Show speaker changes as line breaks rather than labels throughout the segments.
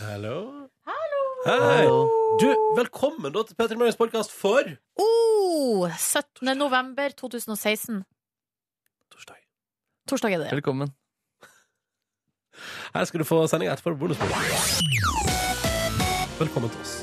Hallo. Hei.
Hallo.
Du, velkommen da til Petter Morgens podkast for
Oh, 17. november 2016.
torsdag.
Torsdag er det.
Velkommen.
Her skal du få sendinga etterpå. Bonusbord. Velkommen til oss.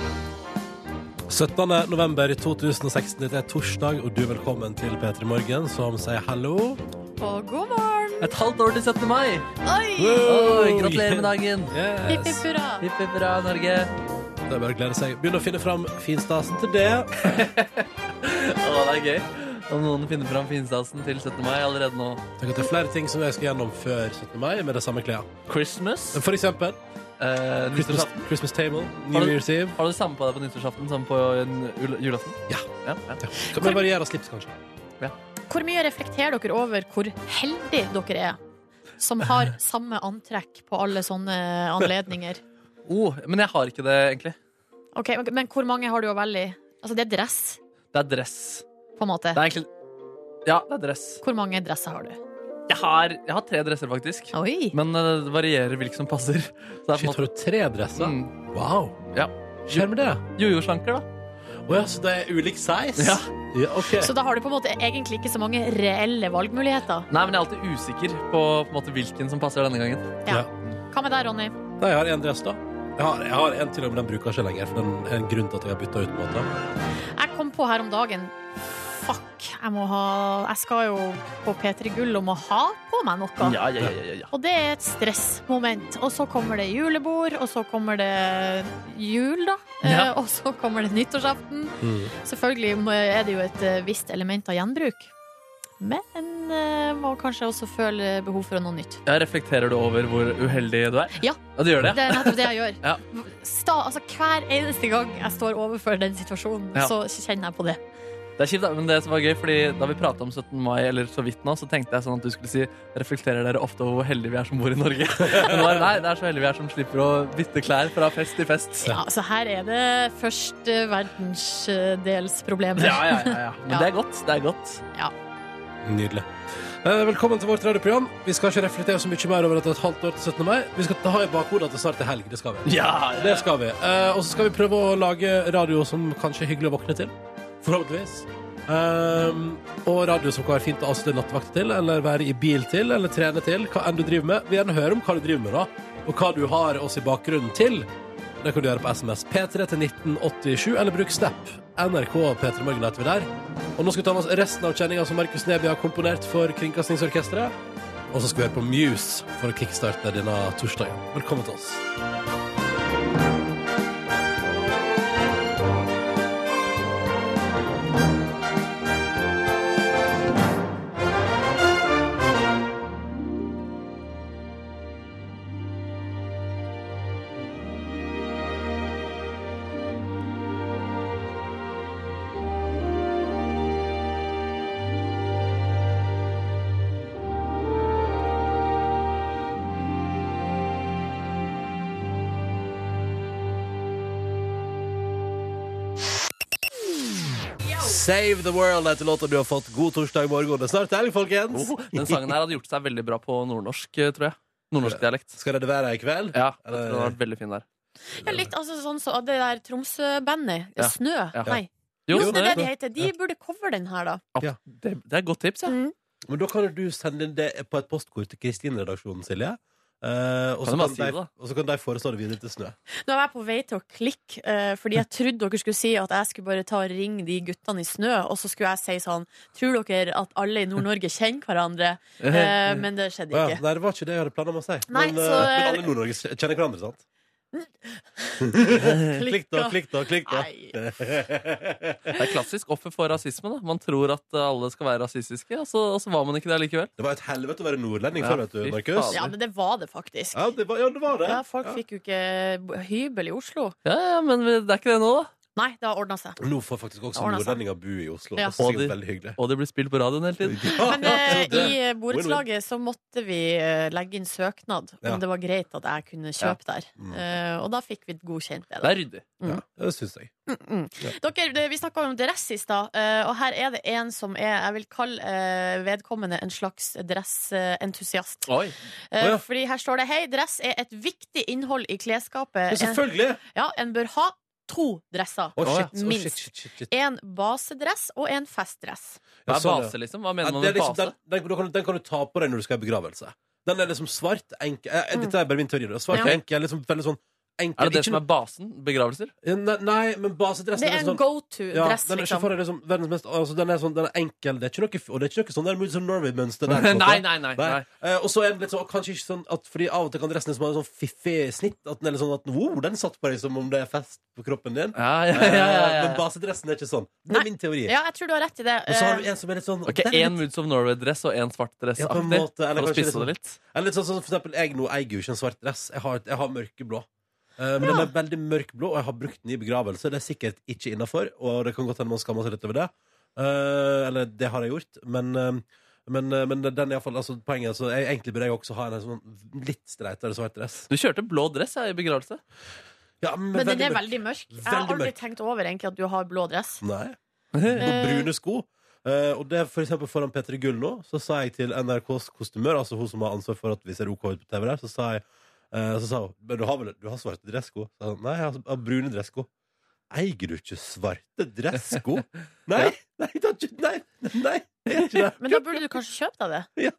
den 17. november 2016, dette er torsdag, og du er velkommen til P3 Morgen, som sier hallo.
Og god morgen!
Et halvt år til 17. mai! Oi,
Oi!
Wow.
gratulerer med dagen!
Hipp, hipp
Yes.
hurra.
Hipp, hipp hurra, Norge!
Det er bare å glede seg. Begynn å finne fram finstasen til det.
Å, det er gøy. Om noen finner fram finstasen til 17. mai allerede nå.
Tenk at det er flere ting som jeg skal gjennom før 17. mai med de samme klærne.
Christmas.
For eksempel
Eh,
Christmas,
nyttårsaften.
Christmas Table,
Har
New
du-
Year's Eve.
Har du det samme på deg på nyttårsaften som på en jul- julaften?
Ja.
ja, ja.
Ja. Kan vi variere slips, kanskje?
Hvor mye reflekterer dere over hvor heldige dere er? Som har samme antrekk på alle sånne anledninger.
Oh, men jeg har ikke det, egentlig.
Ok, men- Men hvor mange har du å velge i? Altså, det er dress,
Det er dress.
på en måte.
Det er egentlig Ja, det er dress.
Hvor mange dresser har du?
Jeg har, jeg har tre dresser, faktisk.
Oi!
Men eh, det varierer hvilken som passer. Så det er på en
Shit,
måte
har du tre dresser?
Mm.
Wow.
Ja.
Skjer med det?
Jojo-slanker, da.
Å ja, så det er ulik size?
Ja.
Ja, ok.
Så da har du på en måte egentlig ikke så mange reelle valgmuligheter.
Nei, men jeg er alltid usikker på, på en måte, hvilken som passer denne gangen.
Ja. Hva med deg, Ronny?
Nei, jeg har én dress, da. Jeg har, jeg har en til, men den bruker jeg ikke lenger. For den er en grunn til at jeg har bytta ut. på en måte.
Jeg kom på her om dagen Fuck, jeg må ha Jeg skal jo på P3 Gull om å ha på meg noe.
Ja, ja, ja, ja, ja.
Og det er et stressmoment. Og så kommer det julebord, og så kommer det jul, da.
Ja.
Eh, Og så kommer det nyttårsaften.
Mm.
Selvfølgelig må- er det jo et eh, visst element av gjenbruk. Men eh, må kanskje også føle behov for noe nytt.
Ja, reflekterer du over hvor uheldig du er?
Ja.
Ja, du gjør det?
Det er nettopp det jeg gjør.
Ja.
Sta, altså, hver eneste gang jeg står overfor den situasjonen,
Ja.
så kjenner jeg på det.
Det er kjipt, da, men det som var gøy, fordi da vi pratet om 17. mai, eller så vidt nå, så tenkte jeg sånn at du skulle si reflekterer dere ofte over hvor heldige vi er som bor i Norge. Men det var, nei, det er så heldige vi er som slipper å bytte klær fra fest til fest.
Ja, så her er det først eh, verdensdelsproblemer.
Ja, ja, ja, ja. Men
Ja.
det er godt. Det er godt.
Nydelig. Eh, Velkommen til vårt radioprogram. Vi skal ikke reflektere så mye mer over at det er et halvt år til 17. mai. Vi skal ta i bakhodet at det snart er helg. Det skal vi.
Ja,
Det skal vi. Eh, og så skal vi prøve å lage radio som kanskje er hyggelig å våkne til. Forhåpentligvis. Ehm, og radio som kan være fint å avslutte nattevakt til, eller være i bil til, eller trene til. Hva enn du driver med. Vi vil gjerne høre om hva du driver med, da. Og hva du har oss i bakgrunnen til. Det kan du gjøre på SMS P3 til 1987, eller bruk Snap. NRK P3 Morgen heter vi der. Og nå skal vi ta med oss resten av kjenninga som Markus Neby har komponert for Kringkastingsorkesteret. Og så skal vi høre på Muse for å kickstarte denne torsdagen. Velkommen til oss. Save the World heter låta du har fått. God torsdag morgen. Det er snart helg, folkens.
Oh, den sangen her hadde gjort seg veldig bra på nordnorsk, eh, tror jeg. Nordnorsk dialekt.
Skal det være i kveld?
Ja, jeg tror den hadde vært veldig fin der.
Ja, litt altså, sånn så det der Tromsø-bandet.
Ja.
Snø.
Ja.
Nei.
Jo,
Jo, det er det de
det,
heter. De burde cover den her, da.
det er et godt tips, ja.
Men da kan jo du sende inn det på et postkort til Kristin-redaksjonen, Silje. Eh, og,
Kan
så
du bare
kan
si det,
de,
da?
og så kan de foreslå det videre til Snø.
Nå er jeg på vei til å klikke, eh, fordi jeg trodde dere skulle si at jeg skulle bare ta og ringe de guttene i Snø, og så skulle jeg si sånn Tror dere at alle i Nord-Norge kjenner hverandre? Eh, men det skjedde
Å ja,
ikke.
nei, det var ikke det jeg hadde planer om å si.
Nei,
men,
så,
eh, men
eh,
alle i Nord-Norge kjenner hverandre, sant? Klikk, da, klikk, da, klikk, da.
Nei.
Det er klassisk offer for rasisme. da Man tror at eh, alle skal være rasistiske, og så, og så var man ikke det likevel.
Det var et helvete å være nordlending
Ja,
før, vet du,
fy
Markus.
faen.
Ja,
Ja, men det var det faktisk.
det var, ja, det var det.
Ja, folk
Ja.
fikk jo ikke bo- hybel i Oslo.
Ja, ja, Men vi- det er ikke det nå, da.
Nei, det har ordna seg.
Nå får faktisk også
Ordnet seg.
nordlendinger bo i Oslo.
Ja.
Det synes jeg
Og
er
de-
veldig hyggelig.
Og det blir spilt på radioen hele tiden.
Men eh, i borettslaget
Win-win.
så måtte vi eh, legge inn søknad
Ja.
om det var greit at jeg kunne kjøpe der.
Mm.
Eh, og da fikk vi godkjent det. da.
Det er ryddig.
Ja, det syns jeg.
Mm. Dere, det- vi snakka om dress i stad, eh, og her er det en som er Jeg vil kalle eh, vedkommende en slags dressentusiast.
Oi.
Eh,
Å, ja.
Fordi her står det Hei, dress er et viktig innhold i
Men
klesskapet. En,
selvfølgelig!
ja, en bør ha to dresser.
Å, shit, å,
eh, Minst.
shit, shit, shit, shit.
En basedress og en festdress.
Hva
Ja,
er
sånn, ja.
base, liksom? Hva
Ja,
mener man
det er
med
liksom, den,
base?
den, den, kan, den kan du ta på deg når du skal i begravelse. Den er liksom svart, enkel eh,
Mm.
Dette er bare min teori. da. Svart,
Ja.
enkel, liksom veldig sånn enkel.
Er det det som
Ikke
er basen? Begravelser?
noe- Nei, Nei, men basedressen
Det er en
liksom
go to-dress,
den er ikke for
liksom.
deg liksom verdens mest altså, Den er sånn, den er enkel, det er ikke noe, og det er ikke noe sånn der Moods of Norway-mønster der. på en måte.
Nei, nei, nei.
Nei.
nei.
Eh, og så er den litt sånn, kanskje ikke sånn at Fordi av og til kan dressen liksom ha en sånn fiffig snitt. At den er litt sånn at wow, den satt på deg som om det er fest på kroppen din.
Ja, ja, ja, ja,
Eh, Men
ja.
basedressen er ikke sånn. Det
Nei.
er min teori.
Ja, jeg tror du har rett i det.
Og så har du
Eh,
en som er litt sånn
Ok,
den er
Én
litt-
Moods of Norway-dress og én svart dress
Ja, på en
aktig.
måte, eller
For å
kanskje
spisse
liksom-
det litt.
Eller litt sånn som for eksempel, jeg nå eier jo ikke en svart dress. Jeg har, jeg har mørkeblå. Eh, men
Ja.
den er veldig mørkblå, og jeg har brukt den i begravelse. Det er sikkert ikke innafor, og det kan godt hende man skammer seg litt over det. Eh, eller det har jeg gjort, men eh, men, eh, men den er i hvert fall, altså, poenget er så jeg, Egentlig burde jeg også ha en sånn litt streitere svart dress.
Du kjørte blå dress ja, i begravelse.
Ja, men,
men den er
mørk.
veldig mørk. Jeg har
Veldig
aldri
mørk.
tenkt over egentlig at du har blå dress.
Nei.
Nei,
Og
Eh.
brune sko. Eh, og det er for eksempel foran Petter Gull nå, så sa jeg til NRKs kostymør, altså hun som har ansvar for at vi ser OK ut på TV der, så sa jeg eh, Så sa hun Men du har vel du har svarte dressko? Så sa hun, Nei, jeg har, jeg har brune dressko. Eier du ikke svarte dressko? Nei! Nei, det er ikke, nei, nei, jeg gjør ikke det.
Mm.
Men da burde du kanskje kjøpe deg det.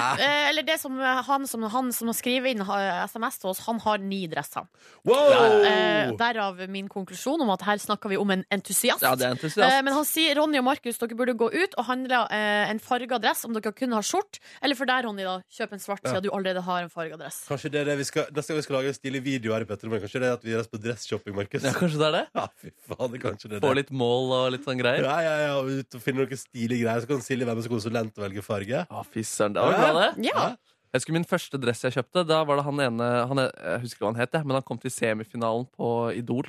Ah,
Eh, eller det som eh, han som, han som skriver inn har SMS til oss, han har ni dresser.
Oh.
wow!
Eh, derav min konklusjon om at her snakker vi om en entusiast.
Ja, det er entusiast.
Eh, Men han sier Ronny og Markus dere burde gå ut og handle eh, en farga dress om dere kun har skjort. Eller for deg, Ronny, da, kjøp en svart
Ja.
siden du allerede har en farga dress.
Kanskje det er det vi skal Neste gang vi skal lage en stilig video her i Petter Morgen, kanskje det er at vi reiser på dress-shopping, Markus?
Ja, kanskje det er det?
Ja, fy faen, det er kanskje det er
Få
det.
litt mål og litt sånn greier.
Ja, ja, ja, og ut og finne noen stilige greier. Så kan Silje være med som konsulent og velge farge.
Å, fy søren, det var bra, det.
Ja.
Jeg husker min første dress jeg kjøpte. Da var det han ene han, Jeg husker ikke hva han het, jeg, men han kom til semifinalen på Idol.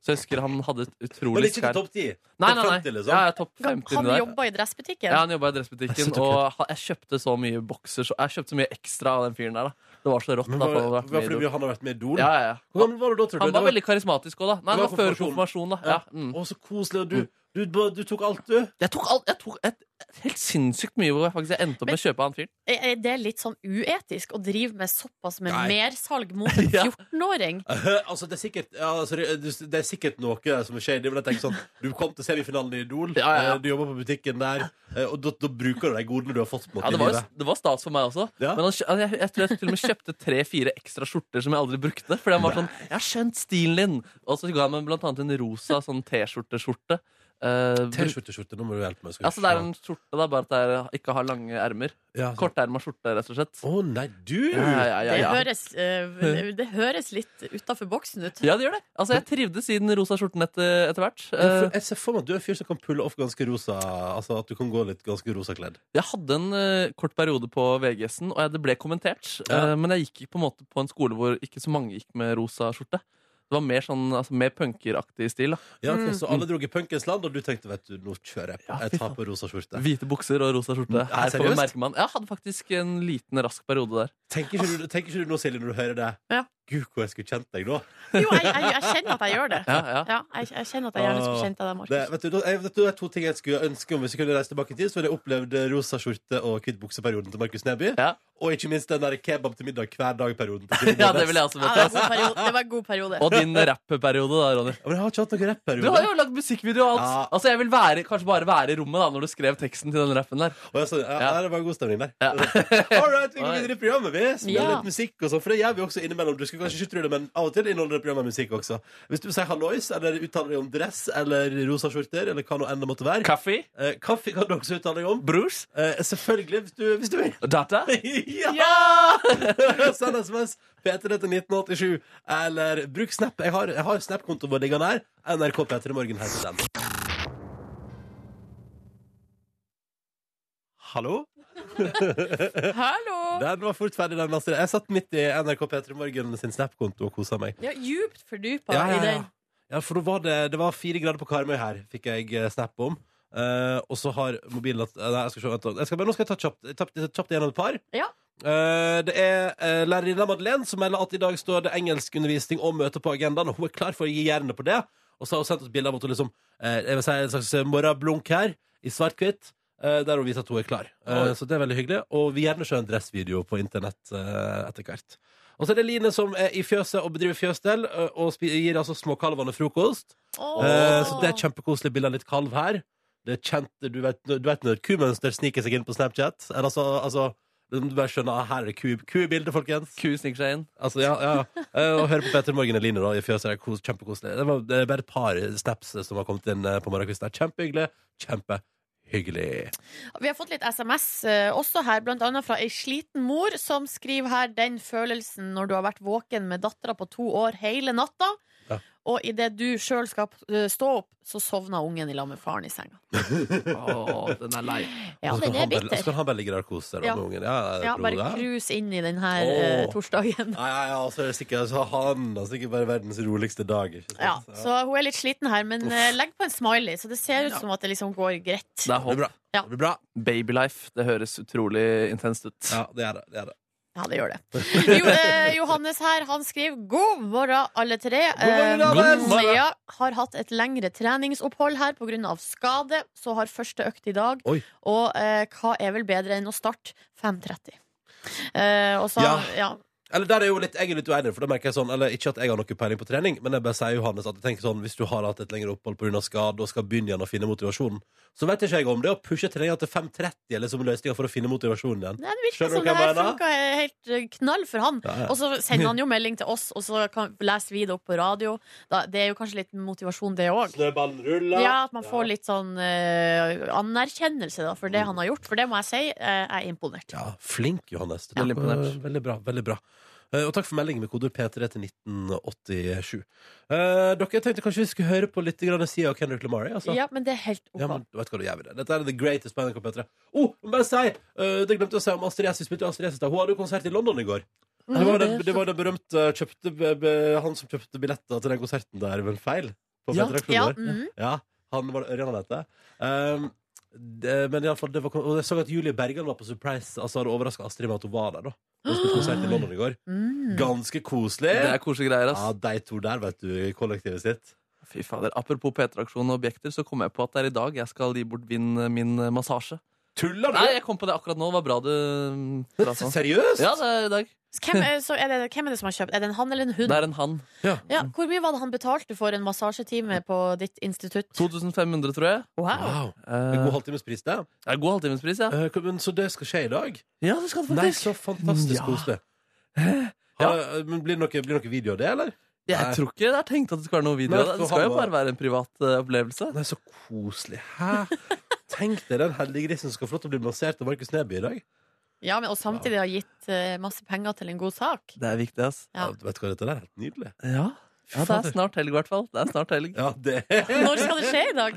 Så jeg husker han hadde et
Men
utrolig
ikke til
skær
topp 10.
Nei, nei,
topp
nei.
50, liksom.
Ja, ja, topp
Han
50 der.
jobba i dressbutikken.
Ja, han jobba i dressbutikken,
Det er så
og han- jeg kjøpte så mye bokser. Så jeg kjøpte så mye ekstra av den fyren der. da Det var så rått.
Men
da,
var,
for han hadde vært
var
med i
fordi
Idol.
han har vært med i Idol?
ja, ja, ja.
Hvor gammel var du da, tror du?
Han var
Det
veldig karismatisk òg, da. Nei,
Det
det
var
var før
konfirmasjon.
konfirmasjon, da. Ja, mm.
Å, så koselig. Og du, du, ba- du tok alt, du.
Jeg tok, alt, jeg tok et, et helt sinnssykt mye hvor jeg faktisk endte opp med å kjøpe av han fyren.
Er er det litt sånn uetisk å drive med såpass med
Nei.
mersalg mot en
Ja.
14-åring?
altså, det er sikkert ja, altså, det- Det er sikkert noe som er shady, men jeg tenker sånn Du kom til semifinalen i Idol,
Ja, ja, ja.
eh, du jobber på butikken der, eh, og da, da bruker du de godene du har fått på en måte
Ja, det,
i
var,
livet.
det var stas for meg også.
Ja.
Men han, kjø- altså, jeg, jeg tror jeg til og med kjøpte tre-fire ekstra skjorter som jeg aldri brukte. Fordi han var sånn 'Jeg har skjønt stilen din!' Og så ga han meg blant annet en rosa sånn T-skjorte-skjorte. Eh, br-
T-skjorte-skjorte, nå må du hjelpe meg. skal jeg
altså Det er
se.
en skjorte, da, bare at det er, ikke har lange ermer.
ja, så-
Korterma skjorte, rett og slett.
Å nei, du!
Ja, ja, ja,
Det,
ja.
høres, eh, det høres litt utafor boksen ut.
ja, det gjør det. Altså, Jeg trivdes i den rosa skjorten etter, etter hvert.
Jeg
Eh,
f- Jeg ser for meg at du er en fyr som kan pulle off ganske rosa Altså at du kan gå litt ganske rosa kledd.
Jeg hadde en eh, kort periode på VGS-en, og jeg, det ble kommentert.
Ja.
eh, men jeg gikk på en måte på en skole hvor ikke så mange gikk med rosa skjorte. Det var mer sånn, altså, mer punkeraktig stil. da.
Ja, ok, Så alle dro i punkens land, og du tenkte vet du, nå kjører jeg på.
Mm. Ja, fy
Jeg tar
faen.
på rosa skjorte.
Hvite bukser og rosa skjorte. Her får
seriøst?
vi merke man. Jeg hadde faktisk en liten rask periode der.
Tenker ikke, du, tenker ikke du nå, Silje, når du hører det?
Ja.
Gud, hvor jeg skulle kjent deg nå.
Jo, jeg, jeg, jeg kjenner at jeg gjør det.
Ja, ja.
Ja, jeg, jeg kjenner at jeg gjerne skulle kjent deg der,
Det,
Markus.
vet du, da- jeg, vet du, det er to ting jeg skulle ønske om hvis jeg kunne reise tilbake i tid. Så ville jeg opplevd rosa skjorte og hvitt bukse-perioden til Markus Neby.
Ja.
Og ikke minst den der kebab til middag hver dag-perioden. til Silje
ja,
Nordnes.
det vil jeg også
Ja,
vite.
det, var en
ass.
god periode. det var en god periode.
Og din rappperiode, da, Ronny.
Men jeg har ikke hatt noen
Du har
rapp-periode.
jo lagd musikkvideo og alt.
Ja.
Altså, jeg vil være, kanskje bare være i rommet da når du skrev teksten til den rappen der.
Og jeg sa, ja,
Ja.
nei, Det var en god stemning der.
Ja.
All right, vi går videre i programmet, vi. Spiller
Ja.
litt musikk og sånn, for det gjør vi også innimellom. Du skal skulle kanskje ikke tro det, men av og til inneholder det programmet musikk også. Hvis du sier hallois, eller uttaler deg om dress eller rosa skjorter, eller hva nå enn det måtte være
Kaffe,
eh, Kaffe kan du også uttale deg om.
brus,
Eh, selvfølgelig, hvis du, hvis du vil.
data.
ja! Send SMS P3 til 1987, eller bruk Snap. Jeg har, jeg har Snap-kontoen vår liggende her. NRK P3 Morgen heter den. Hallo?
Hallo!
Den var fort ferdig, den. Astrid. Jeg satt midt i NRK P3 Morgen sin Snap-konto og kosa meg.
Ja, djupt fordypa
Ja, ja,
i
ja.
den.
Ja, for da var det, det var fire grader på Karmøy her, fikk jeg eh, snap om. Eh, og så har mobilen at, Nei, jeg skal se, vent, da. jeg skal, bare- Nå skal jeg ta kjapt, kjapt, kjapt igjennom et par.
Ja.
Eh, det er uh, lærerinna Madeleine som melder at i dag står det engelskundervisning og møte på agendaen. Og hun er klar for å gi jernet på det. Og så har hun sendt oss bilder av at hun liksom, eh, jeg vil si en slags morgenblunk her, i svart-hvitt. eh, der hun viser at hun er klar. Eh, så det er veldig hyggelig. Og vi gjerne se en dressvideo på internett eh, etter hvert. Og så er det Line som er i fjøset og bedriver fjøsstell ø, og spi- gir altså småkalvene frokost.
Åh.
Eh, Så det er kjempekoselig bilde av litt kalv her. Det er kjent, du vet, du vet når kumønster sniker seg inn på Snapchat? Eller altså, altså du bare skjønner, ah, her er det ku, ku i bildet, folkens.
Ku sniker seg inn.
Altså, ja, ja. Eh, Og høre på Petter Morgen og Line da, i fjøset. Det er kos, kjempekoselig. Det var det er bare et par snaps som har kommet inn eh, på morgenkvisten. her. Kjempehyggelig. Kjempehyggelig.
Vi har fått litt SMS eh, også her, blant annet fra ei sliten mor som skriver her den følelsen når du har vært våken med dattera på to år hele natta,
Ja.
og idet du sjøl skal eh, stå opp, så sovna ungen i lag med faren i senga.
Åh, den er lei.
Ja,
Og så kan
den
han bare-
er
Så
bitter.
kan han bare ligge der og kose seg da,
Ja.
med ungen. Ja, det er
Ja,
bra,
bare
det.
cruise inn i den her eh,
Åh.
torsdagen.
Nei, nei, altså, det er sikkert, så han er sikkert bare verdens roligste dag. Ikke sant?
Ja, så hun er litt sliten her, men eh, legg på en smiley, så det ser ut som at det liksom går greit.
Det er
Det blir
håp.
bra.
Ja.
Det blir bra.
Babylife. Det høres utrolig intenst ut.
Ja, det er det. det, er det.
Ja, det gjør det. Jo, eh, Johannes her, han skriver God morgen, alle tre.
morgen, Johannes!
Maja har hatt et lengre treningsopphold her pga. skade, så har første økt i dag.
Oi.
Og eh, hva er vel bedre enn å starte 5.30? Eh, og så, ja.
Ja. Eller der er jo litt, jeg er litt uenig, for da merker jeg sånn Eller ikke at jeg har noe peiling på trening, men jeg bare sier Johannes at jeg tenker sånn hvis du har hatt et lengre opphold pga. skade og skal begynne igjen å finne motivasjonen, så vet ikke jeg om det å pushe treninga til 5.30 eller som løsninga liksom for å finne motivasjonen igjen.
Nei, det virker
Skjønner
som
du
det
hva jeg
her
mener?
funka helt eh, knall for han.
Ja, ja.
Og så sender han jo melding til oss, og så kan, leser vi det opp på radio. Da, det er jo kanskje litt motivasjon, det òg.
Snøballen ruller.
Ja, at man får litt sånn eh, anerkjennelse da, for det han har gjort. For det må jeg si, eh, jeg er imponert.
Ja, flink, Johannes. Det
Ja.
er
Veldig imponert.
Veldig bra. veldig bra. Eh, Og takk for meldingen med kodeord P3 til 1987. Eh, dere jeg tenkte kanskje vi skulle høre på litt grann sida av Kendrick Lamar? ja, Altså.
Ja, men det er helt ok.
Ja, men vet du hva du gjør med det? Dette er The Greatest på NRK P3. Oh, jeg må bare si, eh, det glemte jeg å si om Astrid S. Vi spilte jo Astrid S. i stad. Hun hadde jo konsert i London i går.
Mm.
Det var den, det var den berømte eh, kjøpte, be- be- han som kjøpte billetter til den konserten der ved en feil. På
Ja.
P3
Ja,
Klubber.
mhm.
Ja, mm. han var det Ørjan han heter. Um, det, men i alle fall, det var, og jeg så at Julie Bergan var på Surprise. Altså hadde overraska Astrid med at hun var der. da Hun spilte konsert i London i går.
Mm.
Ganske koselig.
Ah. Det er koselige greier, ass.
Ja, De to der, vet du, i kollektivet sitt.
Fy fader. Apropos P3-aksjonen og objekter, så kom jeg på at det er i dag jeg skal gi bort min, min massasje.
Tuller
Nei,
du?!
jeg kom på det akkurat nå. Det var bra du bra sa.
Seriøst?!
Ja, det er i dag.
Så Hvem, er, så er det, hvem er det som har kjøpt? Er det en han eller en hun?
Det er en han.
Ja, hvor mye var det han betalte for en massasjetime på ditt institutt?
2500, tror jeg.
Wow.
Wow. En
Eh,
god halvtimes pris, det.
det er god halvtimespris, ja.
Eh, men så det skal skje i dag?
Ja, det skal det
Nei,
faktisk. Mm,
så fantastisk
Ja.
koselig.
Ja.
Ha- Men blir det noe, blir det noe video av det, eller? Nei.
Jeg tror ikke det er tenkt at det skal være noe video.
Nei,
av
for
det. Det skal
han
jo
var-
bare være en privat eh, opplevelse.
Nei, så koselig. Hæ? Tenk deg den heldige grisen som skal få lov til å bli massert av Markus Neby i dag.
Ja, men, og samtidig har gitt eh, masse penger til en god sak.
Det er viktig, ass.
Ja.
Ja.
vet du hva, dette der er helt nydelig.
Ja, ja det er
Fader.
snart helg, i hvert fall. Det er snart helg.
Ja, det Kanskje
Når skal det skje i dag?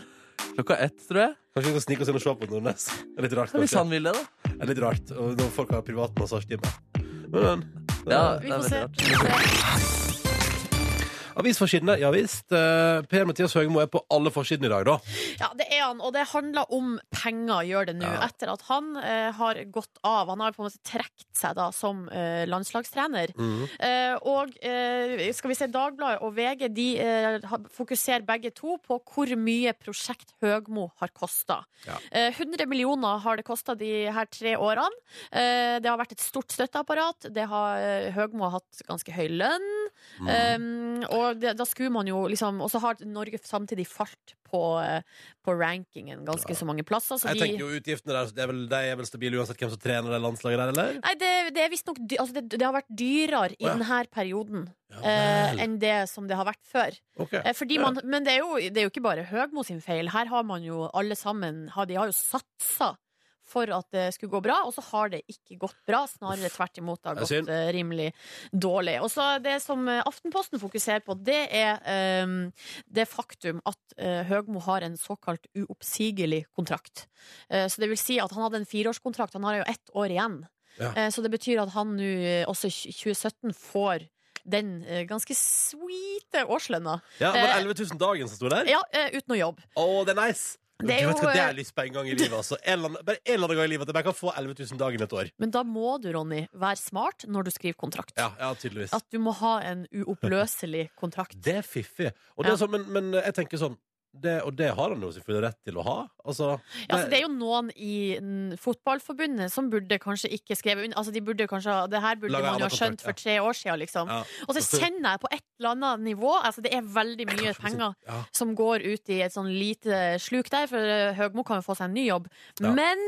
Klokka ett, tror jeg.
vi skal snike oss inn og se på den Nordnes. Det er litt sånn. rart,
Ja, Hvis
kanskje.
han vil det, da.
Det er litt rart og når folk har privat massasjetime. Men, Eh, men
Ja,
Vi
det er
får se.
veldig rart.
Avisforsidene, ja visst. Eh, per Mathias Høgmo er på alle forsidene i dag, da.
Ja, det er han, og det handler om penger, gjør det nå.
Ja.
Etter at han eh, har gått av. Han har på en måte trukket seg da som eh, landslagstrener.
Mhm.
Eh, og eh, skal vi se, Dagbladet og VG de eh, har- fokuserer begge to på hvor mye prosjekt Høgmo har kosta.
Ja.
Eh, 100 millioner har det kosta de her tre eh, årene. Eh, det har vært et stort støtteapparat. Det har, Høgmo har hatt ganske høy lønn.
Mm.
Um, og det, da skulle man jo liksom Og så har Norge samtidig falt på, eh, på rankingen ganske så mange plasser. Så
Jeg
de,
tenker jo utgiftene der, så det er vel, de er vel stabile uansett hvem som trener det landslaget der, eller?
nei, det, det er visstnok dy- altså det, det har vært dyrere
Å,
i
ja.
denne perioden
Ja
eh,
vel.
enn det som det har vært før.
Ok.
Eh, fordi man, men det er, jo, det er jo ikke bare Høgmo sin feil. Her har man jo alle sammen har, De har jo satsa for at det skulle gå bra, og så har det ikke gått bra. Snarere tvert imot. Det har
Det er
gått
synd.
eh, rimelig dårlig. Og så Det som eh, Aftenposten fokuserer på, det er eh, det faktum at eh, Høgmo har en såkalt uoppsigelig kontrakt. Eh, så det vil si at han hadde en fireårskontrakt. Han har jo ett år igjen.
Ja.
Eh, så det betyr at han nå eh, også i 2017 får den eh, ganske sweete årslønna.
Ja, var det
eh,
11 000 dagen som sto der?
Ja, eh, uten å jobbe.
Å, det er nice!
Det er
du vet
jo,
hva, det
eh,
er lyst på en gang i livet, altså. En eller annen, bare en eller annen gang i livet at jeg bare kan få 11 000 dagen et år.
Men da må du, Ronny, være smart når du skriver kontrakt.
Ja, ja tydeligvis.
At du må ha en uoppløselig kontrakt.
Det er fiffig. Og det
Ja.
er sånn, men, men jeg tenker sånn det, Og det har han jo selvfølgelig rett til å ha. Altså,
Ja, altså, det er jo noen i mm, fotballforbundet som burde kanskje ikke skrevet under. Altså, de burde kanskje, ha- det her burde
Laget
man jo
annen
ha skjønt
kontrakt,
for tre år siden, liksom.
Ja.
Og så kjenner jeg på et eller annet nivå Altså, det er veldig mye penger
sånn, Ja.
som går ut i et sånn lite sluk der, for eh, Høgmo kan jo få seg en ny jobb.
Ja.
Men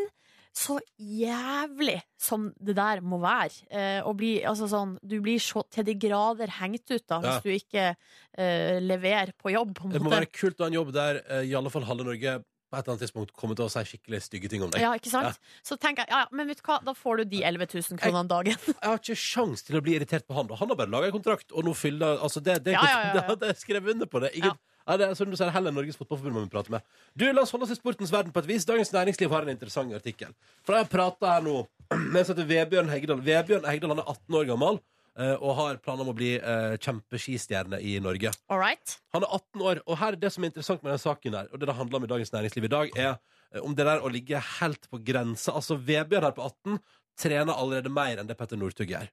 så jævlig som det der må være. Eh, å bli, altså sånn, du blir så til de grader hengt ut da, hvis
Ja.
du ikke eh, leverer på jobb. På en
Det må
måte.
være kult å ha en jobb der eh, i alle fall halve Norge på et eller annet tidspunkt kommer til å si skikkelig stygge ting om deg.
Ja, ikke sant? Så tenker jeg, ja, ja, men vet du hva, da får du de 11 000 kronene dagen.
Jeg har ikke sjans til å bli irritert på han. Og han har bare laga en kontrakt, og nå fyller altså det, det,
Ja, ja, ja, ja.
det hadde jeg skrevet under på. det Ingen,
Ja.
ja. det er som du sier, heller Norges Fotballforbund må vi prate med. Du, La oss holde oss i sportens verden på et vis. Dagens Næringsliv har en interessant artikkel. For jeg har prata her nå med en som heter Vebjørn Hegdal. Vebjørn Hegdal han er 18 år gammel eh, og har planer om å bli eh, kjempeskistjerne i Norge.
All right?
Han er 18 år, og her er det som er interessant med den saken der, og det det handler om i Dagens Næringsliv i dag, er eh, om det der å ligge helt på grensa. Altså, Vebjørn her på 18 trener allerede mer enn det Petter Northug gjør.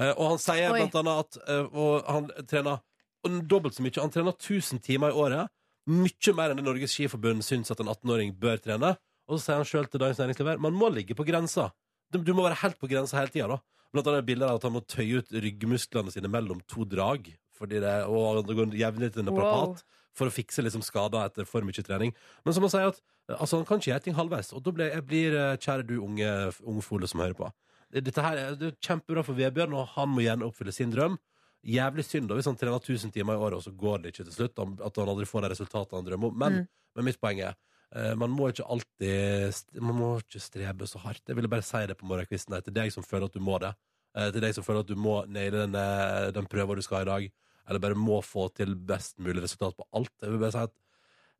Eh, Og han sier
Oi.
blant annet at eh, og han trener og dobbelt så mye. Han trener 1000 timer i året. Mye mer enn det Norges Skiforbund syns at en 18-åring bør trene. Og så sier han sjøl til Dagens Næringsliv her man må ligge på grensa. Du du må være helt på grensa hele tida, da. Blant annet bilder av at han må tøye ut ryggmusklene sine mellom to drag. Fordi det, og han går jevnlig til naprapat for å fikse liksom skader etter for mye trening. Men som han sier, at eh, altså, han kan ikke gjøre ting halvveis. Og da blir jeg blir, eh, kjære du unge, unge fole som hører på. Dette her er, det er kjempebra for Vebjørn, og han må gjerne oppfylle sin drøm. Jævlig synd da hvis han trener 1000 timer i året, og så går det ikke til slutt. han- At han aldri får de resultatene han drømmer om. Men,
Mm.
men mitt poeng er eh, man må ikke alltid st- Man må ikke strebe så hardt. Jeg ville bare si det på morgenkvisten her, til deg som føler at du må det. Eh, Til deg som føler at du må naile den, eh, den prøva du skal ha i dag eller bare må få til best mulig resultat på alt. Jeg vil bare si at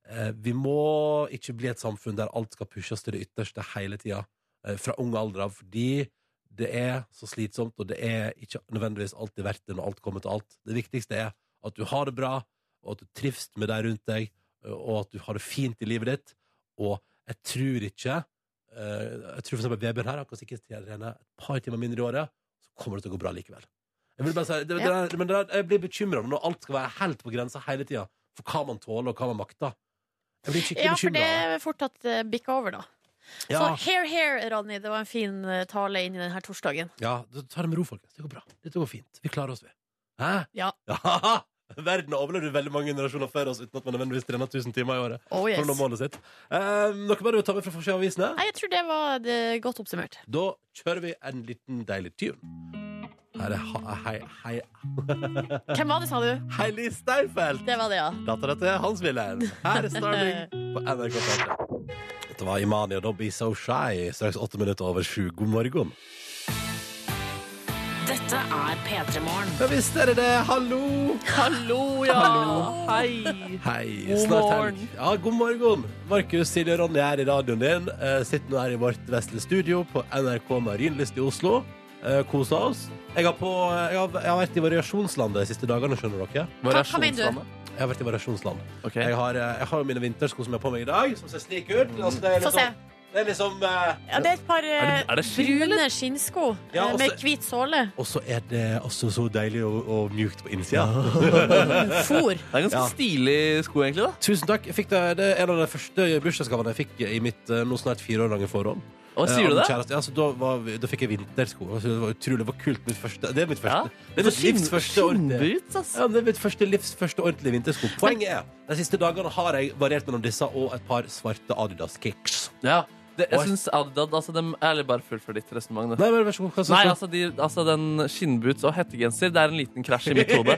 eh, vi må ikke bli et samfunn der alt skal pushes til det ytterste hele tida, eh, fra ung alder av, fordi det er så slitsomt, og det er ikke nødvendigvis alltid verdt det når alt kommer til alt. Det viktigste er at du har det bra, og at du trives med de rundt deg, eh, og at du har det fint i livet ditt. Og jeg tror ikke eh, Jeg tror for eksempel Vebjørn her han kan sikkert trene et par timer mindre i året, så kommer det til å gå bra likevel. Jeg, vil bare si, det, det
Ja.
er, men det er, jeg blir bekymra når alt skal være helt på grensa hele tida for hva man tåler, og hva man makter. Jeg blir skikkelig
Ja, for det
bekymra.
er fort at det bikker over, da.
Ja,
Så hair, hair, Ronny. Det var en fin eh, tale inn i denne torsdagen.
ja, da tar det med ro, folkens. Det går bra. Dette går fint. Vi klarer oss, vi. Hæ?
Ja.
Ja, Verden har overlevd veldig mange generasjoner før oss uten at man nødvendigvis trener 1000 timer i året.
Oh,
For
yes.
å nå målet sitt. Eh, noe mer du vil ta med fra forsida av avisene?
Nei, jeg tror det var eh, godt oppsummert.
Da kjører vi en liten deilig tune. Her er ha- hei, hei,
Hvem var det, sa du?
Heili Steinfeld!
Det var det, ja.
Dattera til Hans Wilhelm. Her er Starling på NRK P3. Dette var Imani og Don't Be So Shy, straks åtte minutter over sju. God morgen.
Dette er P3 Morgen.
Ja visst er det det. Hallo!
Hallo, ja! Hei!
Hei.
God
snart
morgen.
helg. Ja, god morgen. Markus, Silje og Ronny er i radioen din. Eh, sitter nå her i vårt vesle studio på NRK Marienlyst i Oslo. Eh, koser oss. Jeg har, på, eh, jeg, har, jeg har vært i variasjonsland de siste dagene, skjønner dere.
Hva- hva mener du?
Jeg har vært i variasjonsland.
Ok.
Jeg har, eh, jeg har jo mine vintersko som jeg har på meg i dag, som ser slik ut. Altså, det er
Få se.
liksom, det er liksom eh,
Ja, det er et par eh,
Er det- er det skinn,
brune skinnsko
Ja,
eh,
og
med
så-
hvit såle.
Og så er det også så deilig og, og mjukt på innsida.
Fôr.
Det er ganske
Ja.
stilig sko, egentlig. da
Tusen takk. Jeg Fikk det, det er en av de første bursdagsgavene jeg fikk i mitt eh, nå snart fire år lange forhold. Eh,
Og sier du
av min
det?
Kjæreste, ja, så da, var vi, da fikk jeg vintersko. og så Det var utrolig, det var kult. Mitt første, det er mitt
Ja.
første.
Det
Det
er
er
for
livs første ordentlige.
skinnboots, ass.
Ja, det er mitt første livs første ordentlige vintersko. Poenget er de siste dagene har jeg variert mellom disse og et par svarte Adidas kicks.
Ja. Det, jeg
Oi.
syns Adidad altså, dem- Eller bare fullfør ditt resonnement.
Nei, men vær så god. Hva
Nei,
synes du?
altså, de, altså den skinnboots og hettegenser, det er en liten krasj i mitt hode.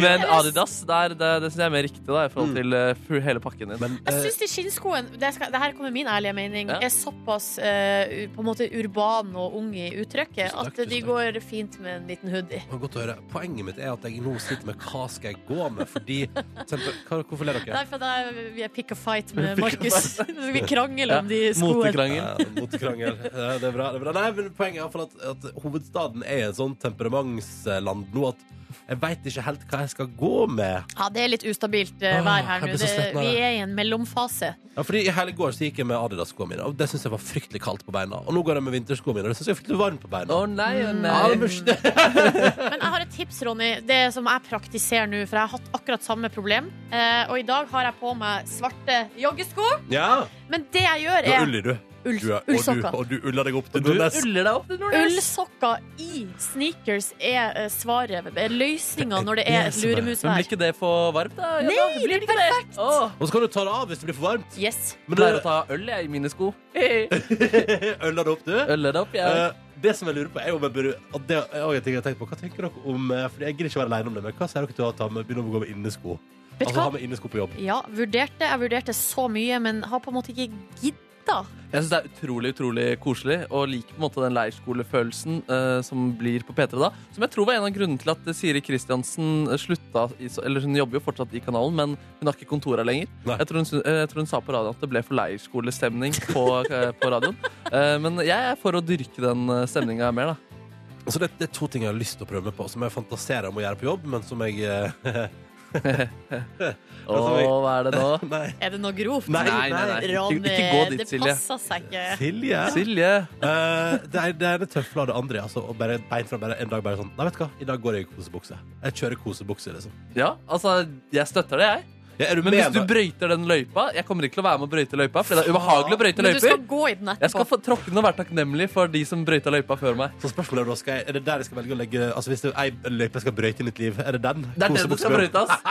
Men Adidas, det, er- det, det syns jeg er mer riktig da, i forhold til eh, fu- hele pakken din.
Men,
Jeg
eh,
syns de skinnskoene det, skal, det her kommer min ærlige mening
Ja.
er såpass eh, u- på en måte urban og ung i uttrykket
Tusen takk,
at de
tusen takk.
går fint med en liten hoodie.
det var godt å høre. Poenget mitt er at jeg nå sitter med hva skal jeg gå med, fordi Senter- hva, Hvorfor ler dere?
Nei, for der, vi er pick a fight med
Vi pick a
Markus. vi krangler
Ja,
om de skoene.
Motekrangel.
Eh, Motekrangel. Ja, det, er bra, det er bra. Nei, men poenget er iallfall at, at hovedstaden er et sånt temperamentsland nå at jeg veit ikke helt hva jeg skal gå med.
Ja, det er litt ustabilt eh,
Åh,
vær her
jeg
nå.
blir så
Det-
sliten av
Vi
det.
er i en mellomfase.
Ja, fordi I hele går så gikk jeg med Adidas-skoene mine, og det syns jeg var fryktelig kaldt på beina. Og nå går jeg med vinterskoene mine, og det syns jeg er fryktelig varmt på
Å
beina.
nei, å
Ja, det
nei.
burde-
Men jeg har et tips, Ronny, det som jeg praktiserer nå, for jeg har hatt akkurat samme problem. Eh, og i dag har jeg på meg svarte joggesko,
Ja.
men det jeg gjør,
Du har
er
ull i, du.
ull-
du er, og, du
ullsokker.
og du uller deg opp til
Du
Nordnes.
uller deg opp, du, Nordnes.
Ullsokker i sneakers er eh, svaret, er løsninga når det
Det
er
er
et
så bra.
Men blir
luremusvær.
ikke det for varmt, da?
Nei,
Jonna?
det er
ikke
perfekt.
Åh.
Og så kan du ta det av hvis det blir for varmt.
Yes.
Men
pleier å
det-
ta øl jeg, i mine sko. Øller
Øller det opp, du.
det opp, jeg.
Eh, det som jeg lurer på, er om jeg burde og Det er også en ting jeg har tenkt på. Hva tenker dere om eh, Fordi jeg gidder ikke være alene om det, men hva sier dere til å ta med begynne å gå med innesko?
Vet du
Altså ha
hva?
med innesko på jobb.
Ja, vurderte. Jeg vurderte så mye, men har på en måte ikke gidda.
Jeg syns det er utrolig utrolig koselig og liker på en måte den leirskolefølelsen eh, som blir på P3 da. Som jeg tror var en av grunnene til at Siri Kristiansen eh, slutta i, så- Eller hun jobber jo fortsatt i kanalen, men hun har ikke kontor her lenger.
Nei.
Jeg tror, hun, sy- eh, jeg tror hun sa på radioen at det ble for leirskolestemning på, eh, på radioen. Eh, men jeg er for å dyrke den stemninga mer, da.
Så det, det er to ting jeg har lyst til å prøve meg på, som jeg fantaserer om å gjøre på jobb, men som jeg eh,
Å, hva er det nå?
Nei.
Er det noe grovt?
Nei, nei,
nei. Ikke-
Ronny,
ikke gå dit,
det
Silje.
passer seg ikke.
Silje.
Silje.
Eh, det, er, det er det tøfle av det andre. Altså, og bare beint fra bare en dag bare sånn Nei, vet du hva, i dag går jeg i kosebukse. Jeg kjører kosebukse, liksom.
Ja, altså, jeg støtter det, jeg.
Ja, er du
Men
med
hvis du
meg?
brøyter den løypa Jeg kommer ikke til å være med å brøyte løypa, for det er ubehagelig å brøyte
Men du skal
løyper.
gå i den
Jeg skal
etterpå.
få tråkke den og være takknemlig for de som brøyta løypa før meg.
Så spørsmålet er da, skal jeg, er det der jeg skal velge å legge Altså hvis det er ei løype jeg skal brøyte i mitt liv, er det den?
Det er det du
Kosebukse
skal
på jobb.
brøyte,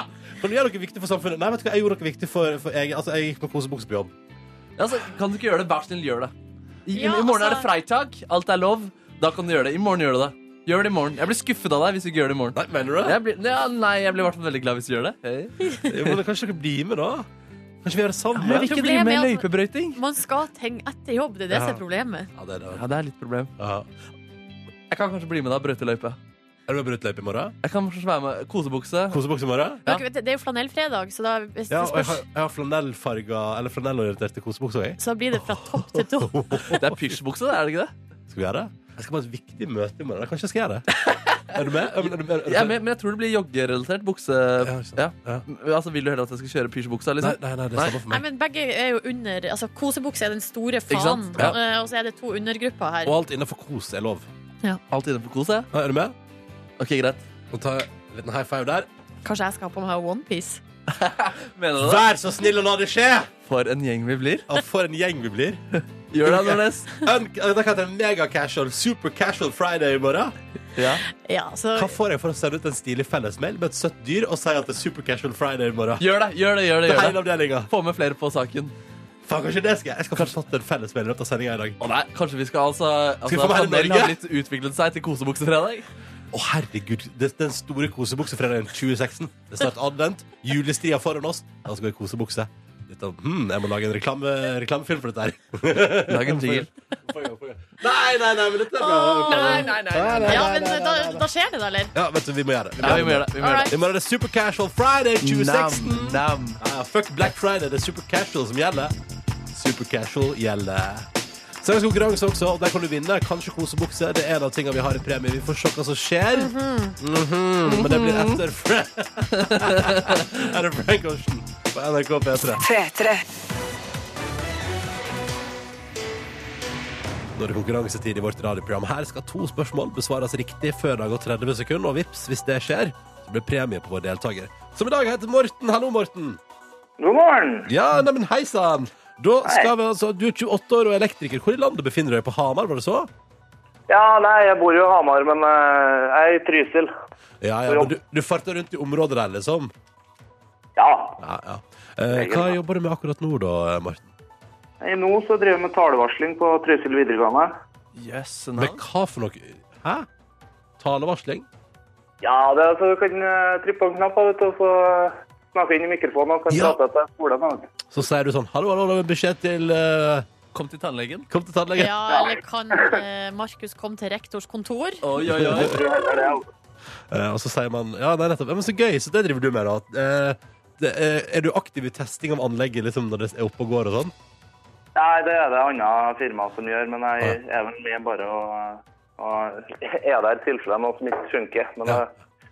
ass.
Kan du gjøre noe viktig for samfunnet? Nei, vet du hva, jeg gjorde noe viktig for, for jeg, Altså, jeg gikk med kosebukse på jobb.
Altså, kan du ikke gjøre det, vær så snill, gjør det. I,
Ja,
I morgen er det
altså-
freitag, alt er lov. Da kan du gjøre det. I morgen gjør du det. Gjør det i morgen. Jeg blir skuffet av deg hvis du ikke gjør det i morgen.
Nei, mener du det?
Jeg blir, ja, nei, jeg blir i hvert fall veldig glad hvis du gjør det. Hey.
Jo, men kanskje dere blir med, da? Kanskje vi gjør det sammen?
Jeg
Ja,
vil ikke drive
Problemet
med
er at-
løypebrøyting.
Man skal henge etter jobb, det er det som er problemet.
det er det.
Ja, det er litt problem.
Ja.
Jeg kan kanskje bli med deg og brøyte løype.
Er du med på uteløype i morgen?
Jeg kan kanskje være med kosebukse.
Kosebukse i morgen?
Ja.
Dere vet, Det er jo flanellfredag, så da, hvis det
Ja, og jeg har,
spørs,
jeg har flanellfarga Eller flanellorienterte kosebukser òg.
så blir det fra topp til topp.
Det er pysjbukse, er det ikke det?
Skal vi gjøre det? Jeg skal på et viktig møte i morgen. Kanskje jeg skal gjøre det? Er du med? Er du- er du med? Er du-
Jeg, er med, men jeg tror det blir joggerelatert bukse...
Ja, ikke sant.
Ja.
Ja.
Altså, vil du heller at jeg skal kjøre
Nei,
pysjbuksa? Liksom?
nei, nei, det er samme for
Nei,
meg.
men begge er jo under Altså, kosebukse er den store
Ikke
fanen,
sant?
Ja.
eh, og så er det to undergrupper her.
Og alt innenfor kos er lov.
Alt innenfor kos, ja.
Nei, Er du med?
Ok, greit.
Nå tar jeg en liten high five der.
Kanskje jeg skal ha på meg onepiece?
Mener du det?
Vær så snill å la det skje!
For en gjeng vi blir.
Og for en gjeng vi blir.
Gjør det, Nordnes.
Un Dette heter mega casual, super casual friday i morgen.
Ja.
Ja, så
Hva får jeg for å sende ut en stilig fellesmail med et søtt dyr og si at det er super casual friday i morgen?
Gjør det, gjør det, gjør det.
Det er
Gjør
hele
det.
avdelinga.
Få med flere på saken.
Faen, kanskje det skal jeg. Jeg skal forfatte en fellesmail i løpet av sendinga i dag.
Å nei, Kanskje vi skal altså
vi
altså,
få med hele
Chanel
Norge?
har blitt utviklet seg til kosebuksefredag?
Å, herregud. Det, den store kosebuksefredagen 2016. Det er snart advent. Julestria foran oss. La oss gå i kosebukse. Litt av, hmm, jeg må lage en reklame, reklamefilm for dette her.
Lag en jingle.
Nei, nei, nei, men dette er bra.
Nei, nei, nei. Ja, men da, da skjer det, da, eller?
Ja, vet du, vi må gjøre det.
Ja, vi må gjøre det. vi må gjøre det
I morgen er det super casual friday 2016.
Nam, nam.
Ja, ja, Ah, fuck Black Friday, det er super casual som gjelder. Super casual gjelder. Så er det konkurranse også, og der kan du vinne. Kanskje kosebukse. Det er en av tingene vi har i premie. Vi får se hva som skjer. Mhm. Men det blir etter Fra- Er det Frank Ocean på NRK P3.
P3.
Nå er det konkurransetid i vårt radioprogram. Her skal to spørsmål besvares riktig før det har gått 30 sekunder, og vips, hvis det skjer, så blir premie på vår deltaker. Som i dag heter Morten. Hallo, Morten.
God morgen!
Ja, neimen hei sann! Da skal vi altså, Du er 28 år og elektriker. Hvor i landet befinner du deg? På Hamar, var det så?
Ja, nei, jeg bor jo i Hamar, men eh, jeg er i Trysil.
Ja, ja, men du, du farter rundt i området der, liksom?
Ja.
Ja, ja. Eh, hva jobber du med akkurat nå, da, eh, Martin?
I nå så driver jeg med talevarsling på Trysil videregående.
Yes,
Med hva for noe? Hæ? Talevarsling?
Ja, det er så du kan eh, trykke på en knapp, vet du, og så eh, snakke inn i mikrofonen og kan
Ja.
prate etter skolen. vet du.
Så sier du sånn Hallo, hallo, det er beskjed til eh,
Kom til tannlegen.
Kom til tannlegen.
Ja, eller kan eh, Markus komme til rektors kontor?
Oi, oi, oi.
Det er det, altså.
Eh, og så sier man Ja, nei, nettopp. Ja, men så gøy. Så det driver du med, da. Eh, det, eh, er du aktiv i testing av anlegget liksom, når det er oppe og går og sånn?
Nei, det er det andre firma som gjør, men jeg er vel med bare å, å er der i tilfelle det er noe som ikke funker. Men
Ja.
eh,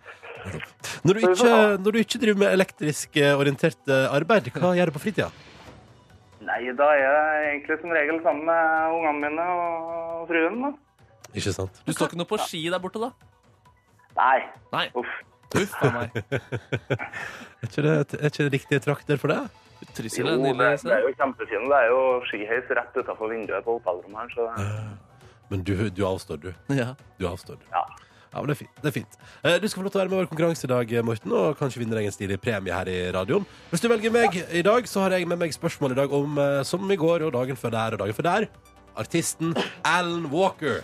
Når du
Så vi får
ikke, når du ikke driver med elektrisk eh, orientert eh, arbeid, hva gjør du på fritida?
nei, da er jeg egentlig som regel sammen med ungene mine og fruen. Da.
Ikke sant?
Du står ikke noe på ski der borte, da?
Nei,
Nei.
uff.
Uff a meg.
Er ikke det, er ikke det riktige trakter for det?
Trysil
Jo,
er et
det,
nydelig
det er
sted.
jo kjempefint. Det er jo skiheis rett utenfor vinduet på hotellrommet her, så
Men du, du avstår, du.
Ja.
Du avstår, du.
Ja.
men det er fint. det er fint Eh, Du skal få lov til å være med i vår konkurranse i dag, Morten, og kanskje vinne deg en stilig premie her i radioen. Hvis du velger meg i dag, så har jeg med meg spørsmål i dag om, eh, som i går og dagen før der og dagen før der, artisten Alan Walker.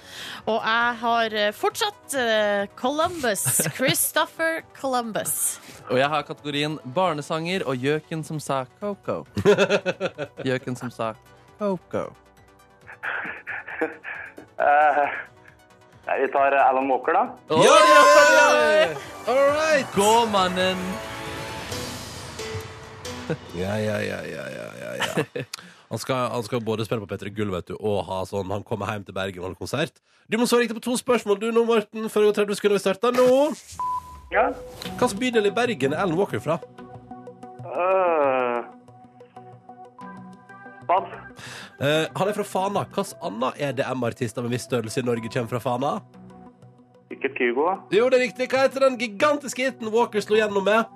Og jeg har eh, fortsatt eh, Columbus. Christopher Columbus.
Og jeg har kategorien barnesanger og gjøken som sa Coco. Gjøken som sa Coco.
eh, nei, Vi tar eh, Alan Walker, da.
Oi, oi, oi.
All right!
Gå, mannen!
Ja, ja, ja, ja, ja, ja, ja. Han skal, han skal både spille på Petter Gull, vet du, og ha sånn Han kommer hjem til Bergen og holder konsert. Du må svare riktig på to spørsmål du nå, Morten, før det går 30 sekunder. Vi starter nå.
Ja.
Hvilken bydel i Bergen er Alan Walker fra?
Eh, Bad.
Eh, han er fra Fana. Hvilken annen EDM-artist av en viss størrelse i Norge kommer fra Fana?
Ikke Kygo. da.
Jo, det er riktig. Hva heter den gigantiske hiten Walker slo gjennom med?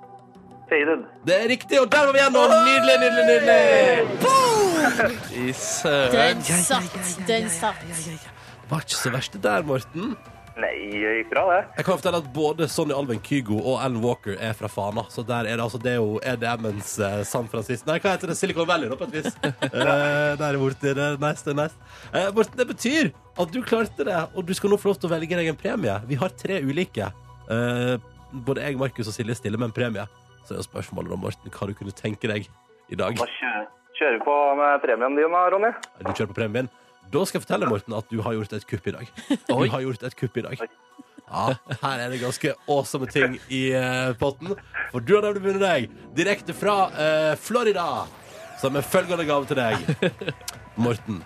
Faded.
Det er riktig, og der var vi gjennom! Nydelig, nydelig, nydelig!
I søren.
Den satt, den satt.
Det var ikke så verst det der, Morten.
Nei, det gikk bra, det.
Jeg kan fortelle at både Sonny Alven Kygo og Alan Walker er fra Fana. Så der er det altså det er jo EDM-ens eh, San Francisco Nei, hva heter det? Silicon Valley, da, på et vis. Eh, der borte. Det er nice, det er nice. Eh, Morten, det betyr at du klarte det, og du skal nå få lov til å velge deg en premie. Vi har tre ulike. Eh, både jeg, Markus og Silje stiller med en premie. Så er jo spørsmålet da, Morten, hva du kunne tenke deg i dag.
Da kjører, kjører vi på med premien din, da, Ronny.
Du kjører på premien. Da skal jeg fortelle Morten at du har gjort et kupp i dag. Du
Oi.
har gjort et kupp i dag. Ja, her er det ganske awesome ting i eh, potten. For du har nemlig vunnet deg direkte fra eh, Florida, som er følgende gave til deg. Morten,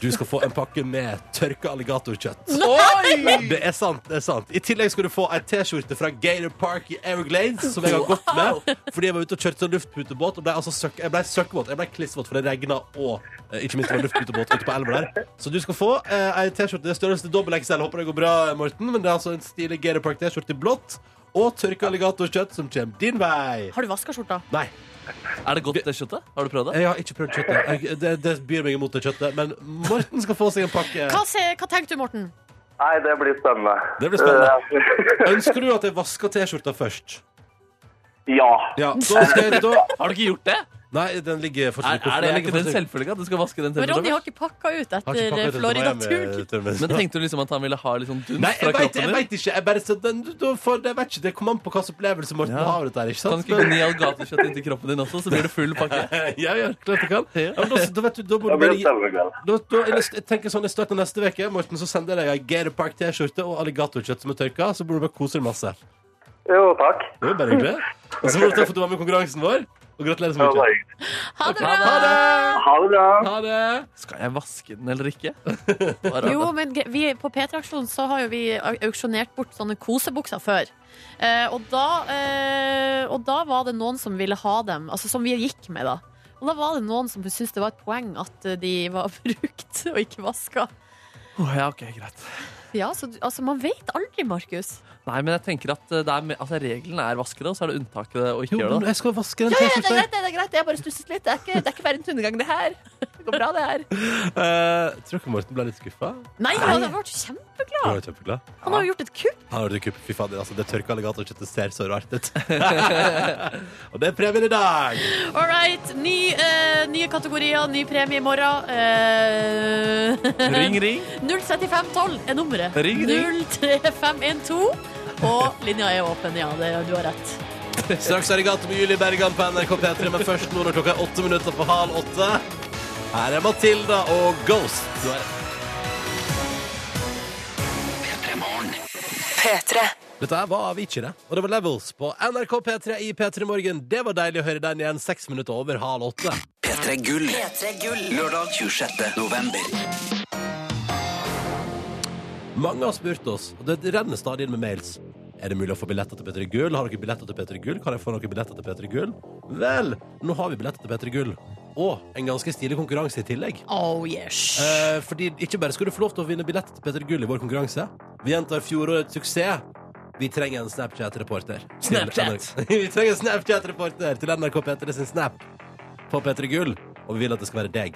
du skal få en pakke med tørka alligatorkjøtt.
Oi!
Det er sant. det er sant I tillegg skal du få ei T-skjorte fra Gator Park i Everglades, som jeg har gått med. Fordi jeg var ute og kjørte sånn luftputebåt og ble, altså søkk, jeg ble søkkvåt. Jeg ble klissvåt, for det regna og eh, ikke minst det var luftputebåt ute på elva der. Så du skal få eh, ei T-skjorte Det er størrelse dobbel XL. Håper det går bra, Morten. Men det er altså en stilig Gator Park-T-skjorte i blått og tørka alligatorkjøtt som kommer din vei.
Har du vaska skjorta?
Nei,
Er det godt, det kjøttet? Har du prøvd det?
jeg har ikke prøvd kjøttet. Jeg, det, det byr meg imot det kjøttet. Men Morten skal få seg en pakke.
Hva, se, hva tenkte du, Morten?
Nei, det blir spennende.
Det blir spennende.
Eh,
Ønsker du at jeg vasker T-skjorta først?
ja.
Ja, da skal jeg, da,
Har du ikke gjort det?
Nei, den ligger
Er,
fortsatt i
er det
Den
er
ligger
ikke det en
fortsatt-
selvfølge at du skal vaske den
Men Ronny
tennene?
har ikke pakka ut
Har ikke
etter
pakket
eh,
den til Miami,
Florida-turen.
Trøndelag.
Men tenkte du liksom at han ville ha litt sånn dunst
Nei,
fra
jeg vet, jeg
kroppen din?
vet ikke. Jeg bare, så den, da får, jeg vet ikke. Det kommer an på hvilken opplevelse Morten
Ja.
har. av Dette, her, ikke
Kan
sant?
du ikke gni alligatorkjøtt inntil kroppen din også, så blir det full pakke?
ja, ja, klart jeg kan. Ja, men da, da vet du, da må du
Det blir
bare
en
gi
spennende kveld.
da, da, jeg, jeg tenker sånn i starten av neste uke, Morten, så sender jeg deg ei Gator Park T-skjorte og alligatorkjøtt som er tørka, så burde du bare kose deg masse.
Jo, takk.
Det var jo bare hyggelig. Og så må du ta for at du var med i konkurransen vår, og gratulerer så
Det var
mye.
hyggelig.
Ha det
Ha
bra!
det!
Ha det bra.
Ha det!
Skal jeg vaske den eller ikke? Bare-
Jo, men ge- vi, på P3-aksjonen så har jo vi au- auksjonert bort sånne kosebukser før. Eh, og, da, eh, og da var det noen som ville ha dem, altså som vi gikk med, da. Og da var det noen som syntes det var et poeng at eh, de var brukt og ikke vaska.
Å, ja, ok, greit.
Ja, så, du- altså, man vet aldri, Markus.
Nei, men jeg tenker at eh, det er, me- altså, reglene er vaske det, og så er det unntaket å ikke
Jo,
gjøre
men
det.
jeg skal vaske den
Ja, ja, det er
T-skjorta.
greit, det er greit. Jeg bare stusset litt. Det er ikke, det er ikke verdens undergang, det her. Det går bra, det her.
Eh, tror dere Morten ble litt skuffa?
Nei, han har vært kjempeglad!
Han har
Han har jo gjort et kupp.
vært i kupp. Fy fader, altså, det tørka alligatorkjøttet ser så rart ut. Og det er premien i dag!
All right. Ny, eh, nye kategorier, ny premie i morgen. Eh,
Ring, ring.
03512 er nummeret.
Ring, ring.
03512. Og linja er åpen, ja. Det, du har rett.
Straks alligator med Julie Bergan på NRK P3, men først nå når klokka er åtte minutter på halv åtte. Her er Matilda og Ghost. Du er Dette her var Avicii, det. Og det var Levels på NRK P3 i P3 Morgen. Det var deilig å høre den igjen seks minutter over halv åtte.
P3 Gull. Lørdag 26. november.
Mange har spurt oss, og det renner stadig inn med mails. Er det mulig å få billetter til P3 Gull? Har dere billetter til P3 Gull? Kan jeg få noen billetter til P3 Gull? Vel, nå har vi billetter til P3 Gull. Og en ganske stilig konkurranse i tillegg.
Oh yes.
Eh, fordi ikke bare skal du få lov til å vinne billetter til P3 Gull i vår konkurranse. Vi gjentar fjorårets suksess. Vi trenger en Snapchat-reporter. til
Snapchat.
NRK. vi trenger en Snapchat-reporter til NRK P3 sin Snap på P3 Gull. Og vi vil at det skal være deg.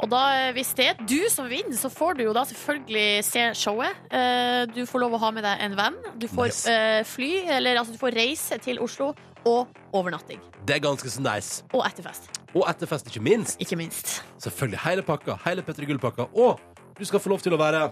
Og da, eh, hvis det er du som vinner, så får du jo da selvfølgelig se showet. Eh, Du får lov å ha med deg en venn. Du får
Nice.
eh, fly, eller altså du får reise til Oslo, og overnatting.
Det er ganske så nice.
Og etterfest,
Og etterfest, ikke minst.
ikke minst.
Selvfølgelig hele pakka, hele Petter Gull-pakka. Og du skal få lov til å være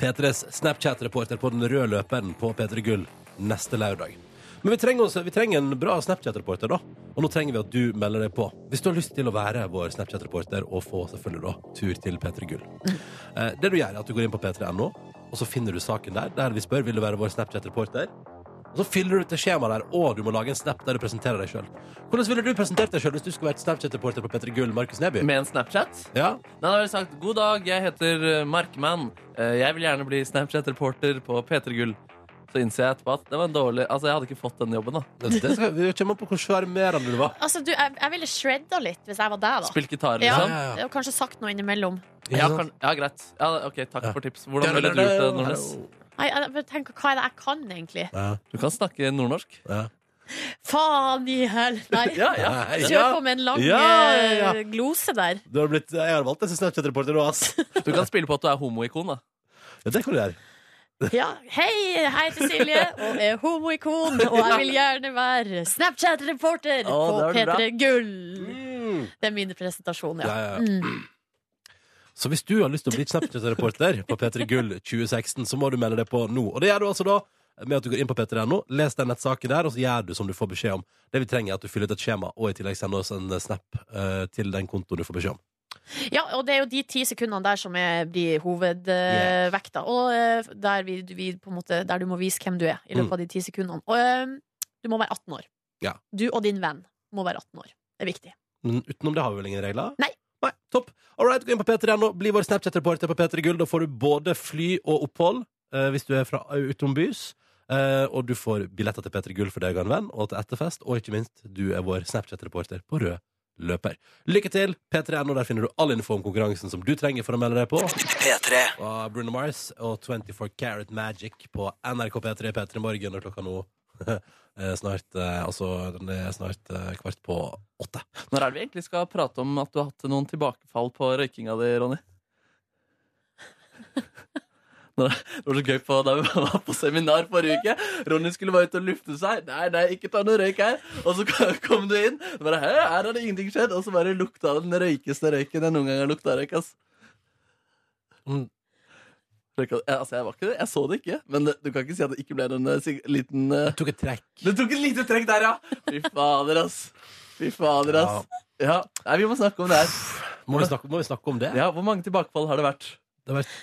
P3s Snapchat-reporter på den røde løperen på P3 Gull neste lørdag. Men vi trenger, også, vi trenger en bra Snapchat-reporter, da. Og nå trenger vi at du melder deg på. Hvis du har lyst til å være vår Snapchat-reporter og få selvfølgelig da tur til P3 Gull. Eh, Det du gjør, er at du går inn på p3.no, og så finner du saken der. Der vi spør vil du være vår Snapchat-reporter. Og så fyller du ut et skjema der, og du må lage en snap der du presenterer deg sjøl. Hvordan ville du presentert deg sjøl hvis du skulle vært Snapchat-reporter på P3 Gull, Markus Neby?
Med en Snapchat.
Ja,
Nei, da har jeg sagt God dag, jeg heter eh, Markmann. Eh, Jeg vil gjerne bli Snapchat-reporter på P3 Gull. Så innser jeg etterpå at det var en dårlig Altså, jeg hadde ikke fått den jobben, da.
det skal, vi kommer på hvor sjarmerende du var.
Altså, du, jeg, jeg ville shredda litt hvis jeg var deg, da.
Spilt gitar,
ja,
liksom.
ja, ja.
Og kanskje sagt noe innimellom.
Ja, kan, ja greit. Ja, ok, takk
Ja.
for tips. Hvordan ville du gjort det, Nordnes?
Nei, jeg, bare tenker, hva er det jeg kan, egentlig?
Du kan snakke nordnorsk.
Faen i hel... Nei.
Nei, ja.
Kjør på med en lang
Ja, ja, ja.
eh, glose der.
Du har blitt, jeg har valgt deg som Snapchat-reporter nå, ass.
Du kan spille på at du er homoikon, da.
Ja, det kan du gjøre.
Ja, hei, jeg heter Silje og er homoikon, og jeg vil gjerne være Snapchat-reporter
Å,
på
det er bra.
P3 Gull.
Mm.
Det er min presentasjon,
Ja,
ja. Mm.
ja, ja. Så hvis du har lyst til å bli Snapchat-reporter på P3 Gull 2016, så må du melde deg på nå. Og det gjør du altså da med at du går inn på p3.no, les den nettsaken der, og så gjør du som du får beskjed om. Det vi trenger, er at du fyller ut et skjema, og i tillegg sender oss en snap eh, til den kontoen du får beskjed om.
Ja, og det er jo de ti sekundene der som er, blir
Yeah.
hovedvekta. Og eh, der, vi, vi, på en måte, der du må vise hvem du er i løpet av de ti sekundene. Og eh, du må være 18 år.
Ja.
Du og din venn må være 18 år. Det er viktig.
Men utenom det har vi vel ingen regler?
Nei.
Nei, Topp. All right, gå inn på P3 nå. Bli vår Snapchat-reporter på P3 Gull. Da får du både fly og opphold eh, hvis du er fra eh, utenbys. Eh, og du får billetter til P3 Gull for deg og en venn, og til etterfest. Og ikke minst, du er vår Snapchat-reporter på rød løper. Lykke til! P3.no, der finner du all info om konkurransen som du trenger for å melde deg på.
P3.
Og Bruno Mars og 24 Carat Magic på NRK P3 P3 Morgen og klokka nå eh, snart eh, Altså, den er snart eh, kvart på åtte.
Når er det vi egentlig skal prate om at du har hatt noen tilbakefall på røykinga di, Ronny? Når Det det var så gøy på da vi var på seminar forrige uke. Ronny skulle bare ut og lufte seg. Nei, nei, ikke ta noe røyk her. Og så kom du inn. Og bare, Hæ, her har det ingenting skjedd. Og så bare lukta den røykeste røyken jeg noen gang har lukta røyk. ass.
Mm.
Røyka, ja, altså, jeg var ikke det. Jeg så det ikke. Men det, du kan ikke si at det ikke ble en liten eh,
Jeg tok et trekk.
det tok et lite trekk der, ja. Fy fader, ass. Fy fader, ass. Ja. Nei, vi må snakke om det her.
Må vi snakke, må vi snakke om det?
Ja, Hvor mange tilbakefall har det vært?
Det har vært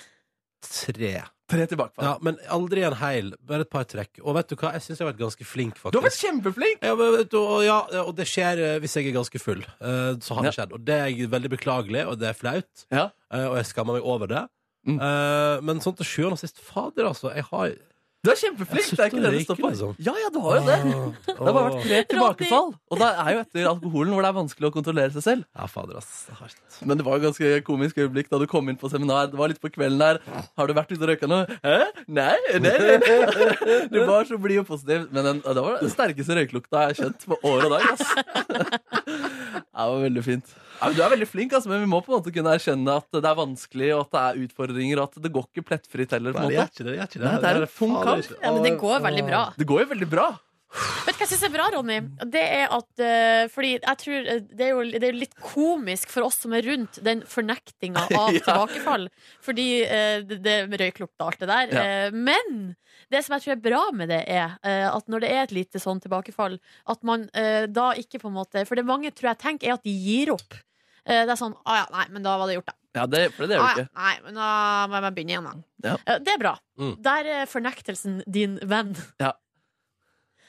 tre.
Tre tilbakefall.
Ja, men aldri en heil. Bare et par trekk. Og vet du hva, jeg syns jeg har vært ganske flink, faktisk.
Du har vært kjempeflink!
ja, men, vet du, og, ja, og det skjer eh, hvis jeg er ganske full. Eh, Så har det skjedd. Og det er jeg veldig beklagelig, og det er flaut.
Ja.
eh, Og jeg skammer meg over det.
Mm.
Eh, Men sånn til sjuende og sist Fader, altså. Jeg har
Du er kjempeflink!
Jeg
Det er ikke det det
synes du
står på.
røyker, liksom.
Ja, ja, du har jo det. Det har bare vært tre tilbakefall.
Ronny.
Og det er jo etter alkoholen hvor det er vanskelig å kontrollere seg selv.
Ja, fader, ass. Det er hardt.
Men det var jo ganske komisk øyeblikk da du kom inn på seminar. Det var litt på kvelden der. Har du vært ute og røyka nå? Hæ? Nei, nei, nei, nei. Du var så blid og positiv. Men den, det var den sterkeste røykelukta jeg har kjent på år og dag. Ass. Det var veldig fint. Ja, men du er veldig flink, ass, men vi må på en måte kunne erkjenne at det er vanskelig, og at det er utfordringer, og at det går ikke plettfritt heller. på
Nei,
en
det gjør
måte.
ikke det. Det, gjør ikke det.
Nei, det er en tung
fader
kamp.
ikke-
Ja, men det går veldig bra.
Det går jo veldig bra.
Vet du hva jeg syns er bra, Ronny? Det er at eh, Fordi jeg tror eh, det er, jo, det er jo litt komisk for oss som er rundt den fornektinga av
Ja.
tilbakefall. Fordi eh, det, det med røyklukta og alt det der.
Ja.
Eh, men det som jeg tror er bra med det, er eh, at når det er et lite sånn tilbakefall, at man eh, da ikke på en måte For det mange tror jeg tenker, er at de gir opp. Eh, det er sånn Å ja, nei, men da var det gjort, da.
Ja, det, for det gjør
Ah,
du
ja,
ikke.
nei, men da må jeg bare begynne igjen, da.
Ja.
Eh, Det er bra.
Mm.
Der er fornektelsen din venn.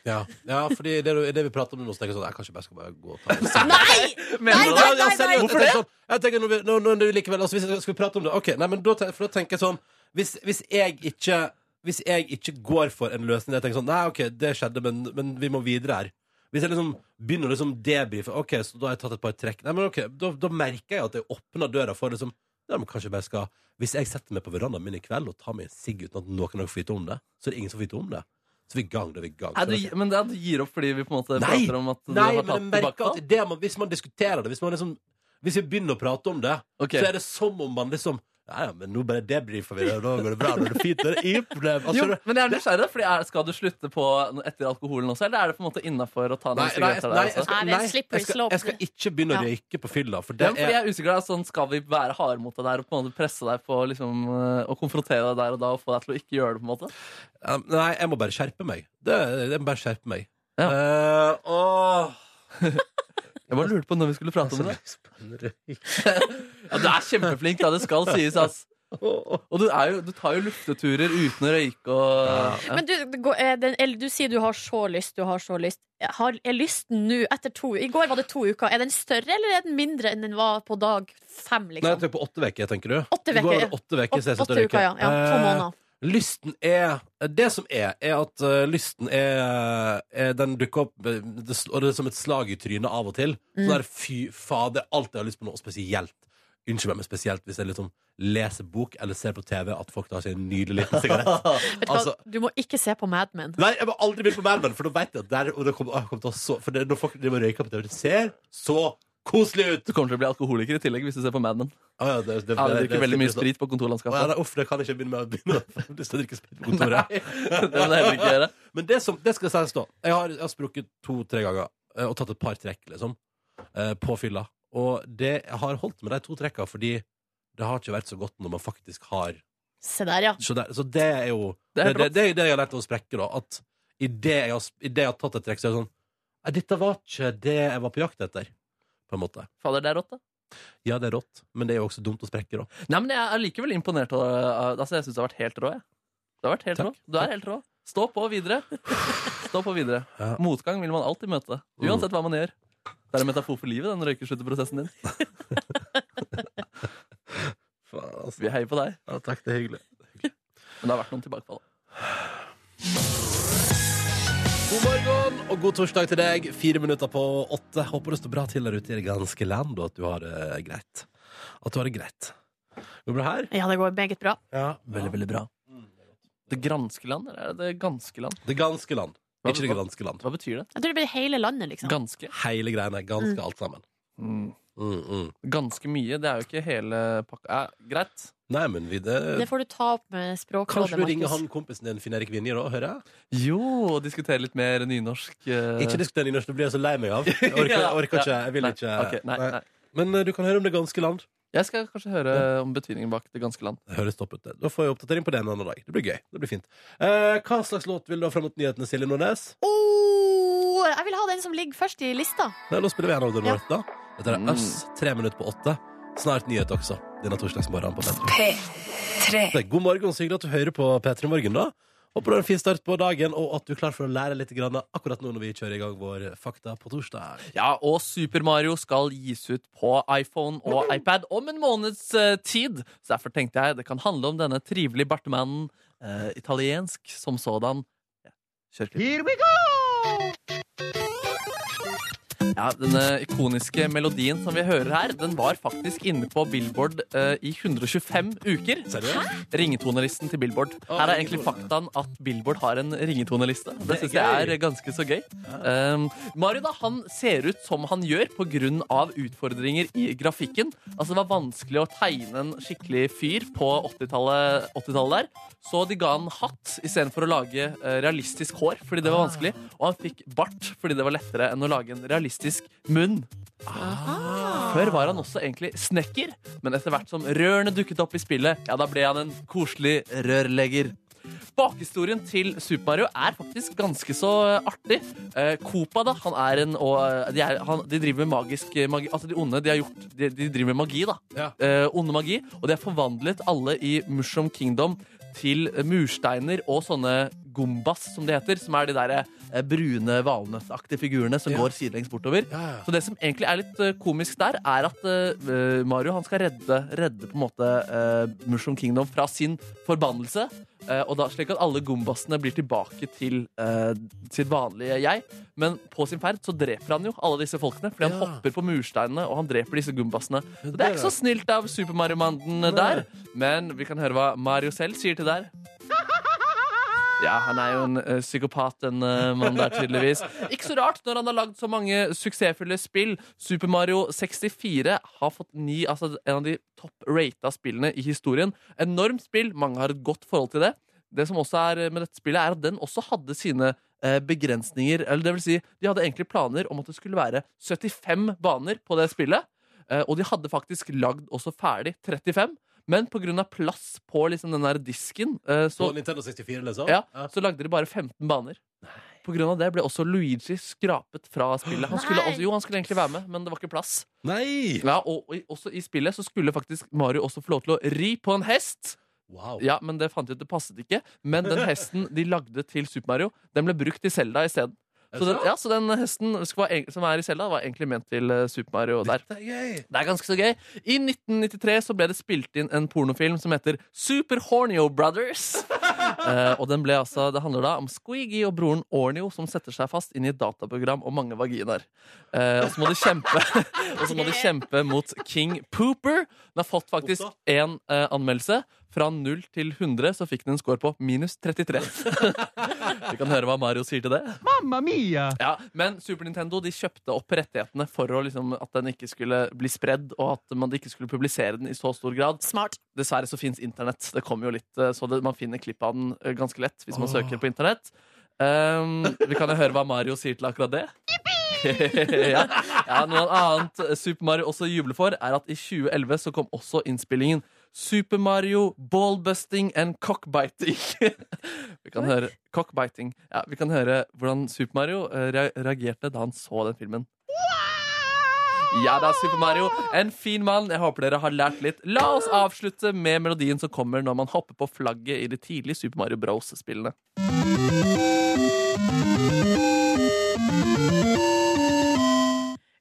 Ja, ja fordi det, du- det vi prater om nå, så tenker jeg sånn Jeg kan ikke bare skal bare gå og ta det.
Nei!
Mener du
Nei,
det?
Ja, seriøst, jeg
Hvorfor
tenker Sånn, jeg tenker når vi, når, når det likevel, altså, hvis jeg skal prate om det Ok, nei, men da, ten- for da tenker jeg sånn Hvis, hvis jeg ikke Hvis jeg ikke går for en løsning Jeg tenker sånn, nei, ok, det skjedde, men, men vi må videre her Hvis jeg liksom begynner å liksom debrife Ok, så da har jeg tatt et par trekk Nei, men ok, da, da merker jeg at jeg åpner døra for liksom Nei, men kanskje jeg bare skal Hvis jeg setter meg på verandaen min i kveld Og tar meg en sigg uten at noen har fått vite om det Så er det ingen som får vite om det Så vi gang, det er vi gang
Nei,
Så
du,
det-
men det er at du gir opp fordi vi på en måte
Nei,
prater om at du
Nei,
har
men jeg
tatt
merker at
tilbakefall?
det man, hvis man diskuterer det Hvis, man liksom, hvis vi begynner å prate om det
Ok.
Så er det som om man liksom Nei, ja, men nå bare debrifer vi det og Da går det bra, da er det fint, da er det ingen problem altså,
Jo,
det-
men jeg er nysgjerrig, da, fordi er, Skal du slutte på etter alkoholen også, eller er det på en måte innafor å ta
Nei,
den sigaretten der? altså.
jeg
Også?
skal-
Nei, det er en
nei,
slippery
jeg skal-
slope.
Jeg skal ikke begynne å
Ja.
røyke på fylla For
Ja,
det
men fordi
er
jeg er usikker, da, sånn, Skal vi være harde mot deg der og på en måte presse deg på liksom, eh, og konfrontere deg der og da og få deg til å ikke gjøre det? på en måte
Um, Nei, jeg må bare skjerpe meg det, Jeg må bare skjerpe meg
Ja.
Eh, åh.
Jeg bare lurte på når vi skulle prate om det. Ja, Du er kjempeflink, da. Det skal sies, ass. Og du, er jo, du tar jo lufteturer uten å røyke og ja.
Men du, det går- eh, den, eller du sier du har så lyst, du har så lyst. Har, er lysten nå, etter to I går var det to uker. Er den større eller er den mindre enn den var på dag fem?
Nei, jeg
liksom?
tenker på åtte veker, tenker du I
Åtte
går
veker,
var det åtte veker,
Åt-
så jeg satt og
Åtte uker, ja. ja to
Eh,
måneder.
Lysten er Det som er, er at eh, lysten er, er Den dukker opp eh, det, sl- Og det er som et slag i trynet av og til Så
Mm.
der, fy fader, alt jeg har lyst på nå Og spesielt, unnskyld meg, men spesielt Hvis jeg liksom leser bok eller ser på TV At folk tar seg en nydelig liten sigarett
Vet du hva,
altså-
du må ikke se på Mad Men.
Nei, jeg må aldri begynne på Mad Men For da vet jeg at der og det kommer, ah, kommer til å så, For det, når folk driver og røyker på TV Det ser så koselig ut
Du kommer til å bli alkoholiker i tillegg hvis du ser på Mad Men.
ah, ja, det, det,
Ja, du drikker veldig
slipper jeg
mye
så-
sprit på
Å, ja,
kontorlandskapet.
nei, uff, det kan jeg ikke begynne med å begynne å- lyst til å drikke sprit på kontoret
Nei, det må du heller ikke gjøre.
Men det, som, det skal sies da Jeg har, jeg har sprukket to-tre ganger eh, Og tatt et par trekk liksom eh, På fylla Og det jeg har holdt med de to trekka Fordi det har ikke vært så godt når man faktisk har
Se der, ja.
Så det, så det er jo
Det
det,
er
det, det, er det jeg har lært å sprekke da At i det jeg har, i det jeg har tatt et trekk Så er det sånn Nei, dette var ikke det jeg var på jakt etter På en måte
Fader, det er rått, da.
Ja, det er rått Men det er jo også dumt å sprekke da
Nei, men jeg er likevel imponert av av- Altså, jeg syns du har vært helt rå, jeg. Du har vært helt
Takk.
rå. Du er helt rå. Stå på videre. Stå på videre.
Ja.
Motgang vil man alltid møte. Uansett hva man gjør. Det er en metafor for livet, den røykesluttprosessen din.
Faen, altså
Vi heier på deg.
ja, Takk, det er hyggelig
Men det har vært noen tilbakefall.
God morgen og god torsdag til deg. Fire minutter på åtte. Håper det står bra til der ute i det ganske land, og at du har det greit. At du har det greit. Går det bra her?
Ja, det går meget bra.
Ja.
Veldig, veldig bra. Det granske land, eller er det det ganske land?
Det ganske land.
Hva-
Ikke det ganske land.
Hva betyr det?
Jeg tror det blir hele landet, liksom.
Ganske?
Hele greiene. Ganske alt sammen.
Mm.
Mm, mm.
Ganske mye. Det er jo ikke hele pakka. Eh, greit.
Nei, men vi det...
Det får du ta opp med Språkrådet,
Kanskje du ringer
Markus.
han kompisen din, Finn Erik Vinje, da? Hører jeg?
Jo, diskutere litt mer nynorsk. eh.
Ikke diskuter nynorsk, det blir jeg så lei meg av. Jeg orker, jeg orker ikke. Jeg vil
Nei,
ikke.
ok, nei, nei.
Men eh, du kan høre om det ganske land.
Jeg skal kanskje høre om betydningen bak det ganske land.
Det høres topp ut. det. Da får jeg oppdatering på det en annen dag. Det blir gøy. Det blir fint. Eh, hva slags låt vil du ha fram mot nyhetene, Silje Nordnes?
Åh, Oh, jeg vil ha den som ligger først i lista.
Nei, nå spiller vi en av den
Ja.
vårt da Dette er
Mm.
Øss, tre minutter på åtte Snart nyhet også Denne torsdagsmorgen på P3 God morgen, så hyggelig at du hører på P3 Morgen da Håper du har en fin start på dagen Og at du er klar for å lære litt grann Akkurat nå når vi kjører i gang vår fakta på torsdag
Ja, og Super Mario skal gis ut på iPhone og iPad om en måneds eh, tid. Så derfor tenkte jeg det kan handle om denne trivelige bartemannen eh, italiensk som sådan. Ja, kjør klipp.
Here we go!
Ja, denne ikoniske melodien som vi hører her, den var faktisk inne på Billboard eh, i 125 uker.
Seriøst?
Ringetonelisten til Billboard. Her er egentlig faktaen at Billboard har en ringetoneliste. Det syns jeg er ganske så gøy. Um, Mario da, han ser ut som han gjør pga. utfordringer i grafikken. Altså Det var vanskelig å tegne en skikkelig fyr på 80-tallet 80-tallet der. Så de ga han hatt istedenfor å lage eh, realistisk hår, fordi det var vanskelig. Og han fikk bart fordi det var lettere enn å lage en realistisk munn. Før var han også egentlig snekker, men etter hvert som rørene dukket opp i spillet, ja, da ble han en koselig rørlegger. Bakhistorien til Super Mario er faktisk ganske så artig. Eh, Koopa, da, han er en og eh, de, er, han, de driver med magisk eh, magi. Altså, de onde, de har gjort De, de driver med magi, da.
Ja.
Eh, onde magi. Og de har forvandlet alle i Mushroom Kingdom til mursteiner og sånne gombas, som det heter. Som er de derre eh, brune valnøttaktige figurene som
Ja.
går sidelengs bortover.
Ja, ja.
Så det som egentlig er litt eh, komisk der, er at eh, Mario han skal redde, redde på en måte eh, Mushroom Kingdom fra sin forbannelse. eh, og da Slik at alle gombasene blir tilbake til eh, sitt vanlige jeg. Men på sin ferd så dreper han jo alle disse folkene, fordi han
Ja.
hopper på mursteinene og han dreper disse gombasene. Så det
det
er ikke så snilt av Super Mario-mannen der, men vi kan høre hva Mario selv sier til der. Ja, han er jo en eh, psykopat, den uh, mannen der, tydeligvis. Ikke så rart når han har lagd så mange suksessfulle spill. Super Mario 64 har fått ni, altså en av de topp-rata spillene i historien. Enormt spill, mange har et godt forhold til det. Det som også er eh, med dette spillet, er at den også hadde sine eh, begrensninger. Eller det vil si, de hadde egentlig planer om at det skulle være 75 baner på det spillet. Eh, og de hadde faktisk lagd også ferdig 35. Men pga. plass på liksom den der disken, eh, så
På Nintendo 64, liksom?
ja, så lagde de bare 15 baner. På grunn av det ble også Luigi skrapet fra spillet. Han skulle,
Nei.
også, jo, han skulle egentlig være med, men det var ikke plass.
Nei!
Ja, og, og i- også i spillet så skulle faktisk Mario også få lov til å ri på en hest.
Wow.
Ja, men det fant de ut det passet ikke. Men den hesten de lagde til Super Mario, den ble brukt i Selda isteden. Så den, ja, så den hesten sk- var eng- som er i Selda, var egentlig ment til eh, Super Mario der.
Det er gøy!
Det er ganske så gøy. I 1993 så ble det spilt inn en pornofilm som heter Super Hornio Brothers. Eh, og den ble altså, Det handler da om Squeegee og broren Ornio som setter seg fast inn i et dataprogram og mange vaginaer. Eh, og så må de kjempe Og så må de kjempe mot King Pooper. Den har fått faktisk én eh, anmeldelse. Fra 0 til 100 så fikk den en score på minus 33. Vi kan høre hva Mario sier til det.
Mamma mia!
Ja, Men Super Nintendo de kjøpte opp rettighetene for å liksom, at den ikke skulle bli spredd, og at man ikke skulle publisere den i så stor grad.
Smart.
Dessverre så fins internett. Det kommer jo litt, eh, så det, Man finner klipp av den eh, ganske lett hvis man søker på internett. Um, vi kan jo høre hva Mario sier til akkurat det. ja. ja, Noe annet eh, Super Mario også jubler for, er at i 2011 så kom også innspillingen Super Mario Ballbusting and Cockbiting. vi kan høre Cockbiting. Ja, vi kan høre hvordan Super Mario eh, rea- reagerte da han så den filmen. Ja da, Super Mario. En fin mann. Jeg håper dere har lært litt. La oss avslutte med melodien som kommer når man hopper på flagget i de tidlige Super Mario Bros-spillene.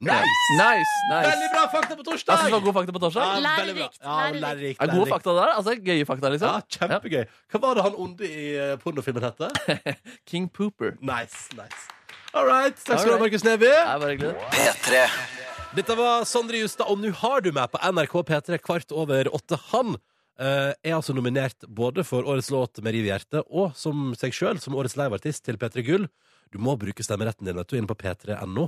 Nice! nice, nice.
Veldig bra fakta på
Jeg
torsdag!
synes det var god fakta på torsdag.
Ja, veldig bra.
Lærerikt,
Ja,
lærerikt.
lærerikt,
Er gode
lærerikt.
fakta der? Altså, Gøye fakta,
Ja,
liksom?
kjempegøy. Hva var det han onde i eh, pornofilmen het?
King Pooper.
Nice, nice. All right. Takk skal du
All
ha,
right.
Markus Neby.
Jeg bare gleder.
P3.
Dette var Sondre Justad, og nå har du meg på NRK P3 kvart over åtte. Han eh, er altså nominert både for årets låt med riv i hjertet og som seg sjøl som årets liveartist til P3 Gull. Du må bruke stemmeretten din vet du, inne på p3.no,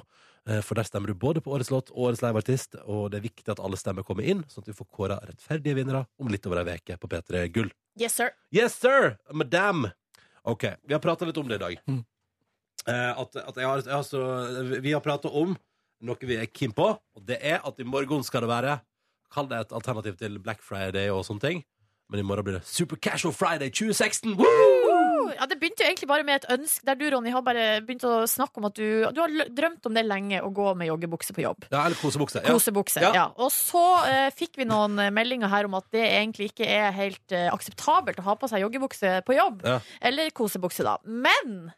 eh, for der stemmer du både på årets låt og årets liveartist, og det er viktig at alle stemmer kommer inn, sånn at vi får kåra rettferdige vinnere om litt over ei uke på P3 Gull.
Yes, sir.
Yes, sir, madam. Ok, vi har prata litt om det i dag. Eh, at, at jeg har, jeg har så, vi har prata om noe vi er keen på, og det er at i morgen skal det være Kall det et alternativ til Black Friday og sånne ting. Men i morgen blir det Super Casual Friday 2016! Woo!
Ja, det begynte jo egentlig bare med et ønske der du, Ronny, har bare begynt å snakke om at du Du har lø- drømt om det lenge, å gå med joggebukse på jobb.
Ja, eller kosebukse. Ja.
Kosebukse. Ja.
Ja.
Og så eh, fikk vi noen eh, meldinger her om at det egentlig ikke er helt eh, akseptabelt å ha på seg joggebukse på jobb.
Ja.
Eller kosebukse, da. Men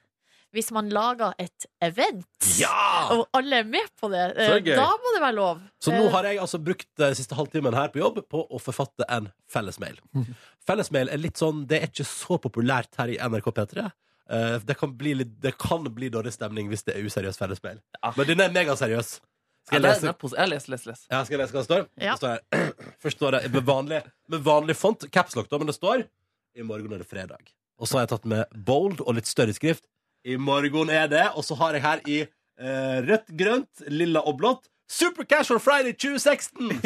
hvis man lager et event,
Ja!
og alle er med på det, eh,
Så det er gøy.
da må det være lov.
Så
Eh.
nå har jeg altså brukt den siste halvtimen her på jobb på å forfatte en fellesmail.
Mm.
Fellesmail er litt sånn Det er ikke så populært her i NRK P3. Eh, det, kan bli litt, det kan bli dårlig stemning hvis det er useriøs fellesmail.
Ja.
Men den er megaseriøs. Skal
Ja,
jeg
det er-
lese?
det er posi- Ja, les, les, les.
Ja, skal jeg lese hva det står?
Ja.
Det står her. Først står det med vanlig, med vanlig font, capslock da, men det står I morgen er det fredag. Og så har jeg tatt med bold og litt større skrift. I morgen er det, og så har jeg her i eh, rødt, grønt, lilla og blått Super Casual Friday 2016!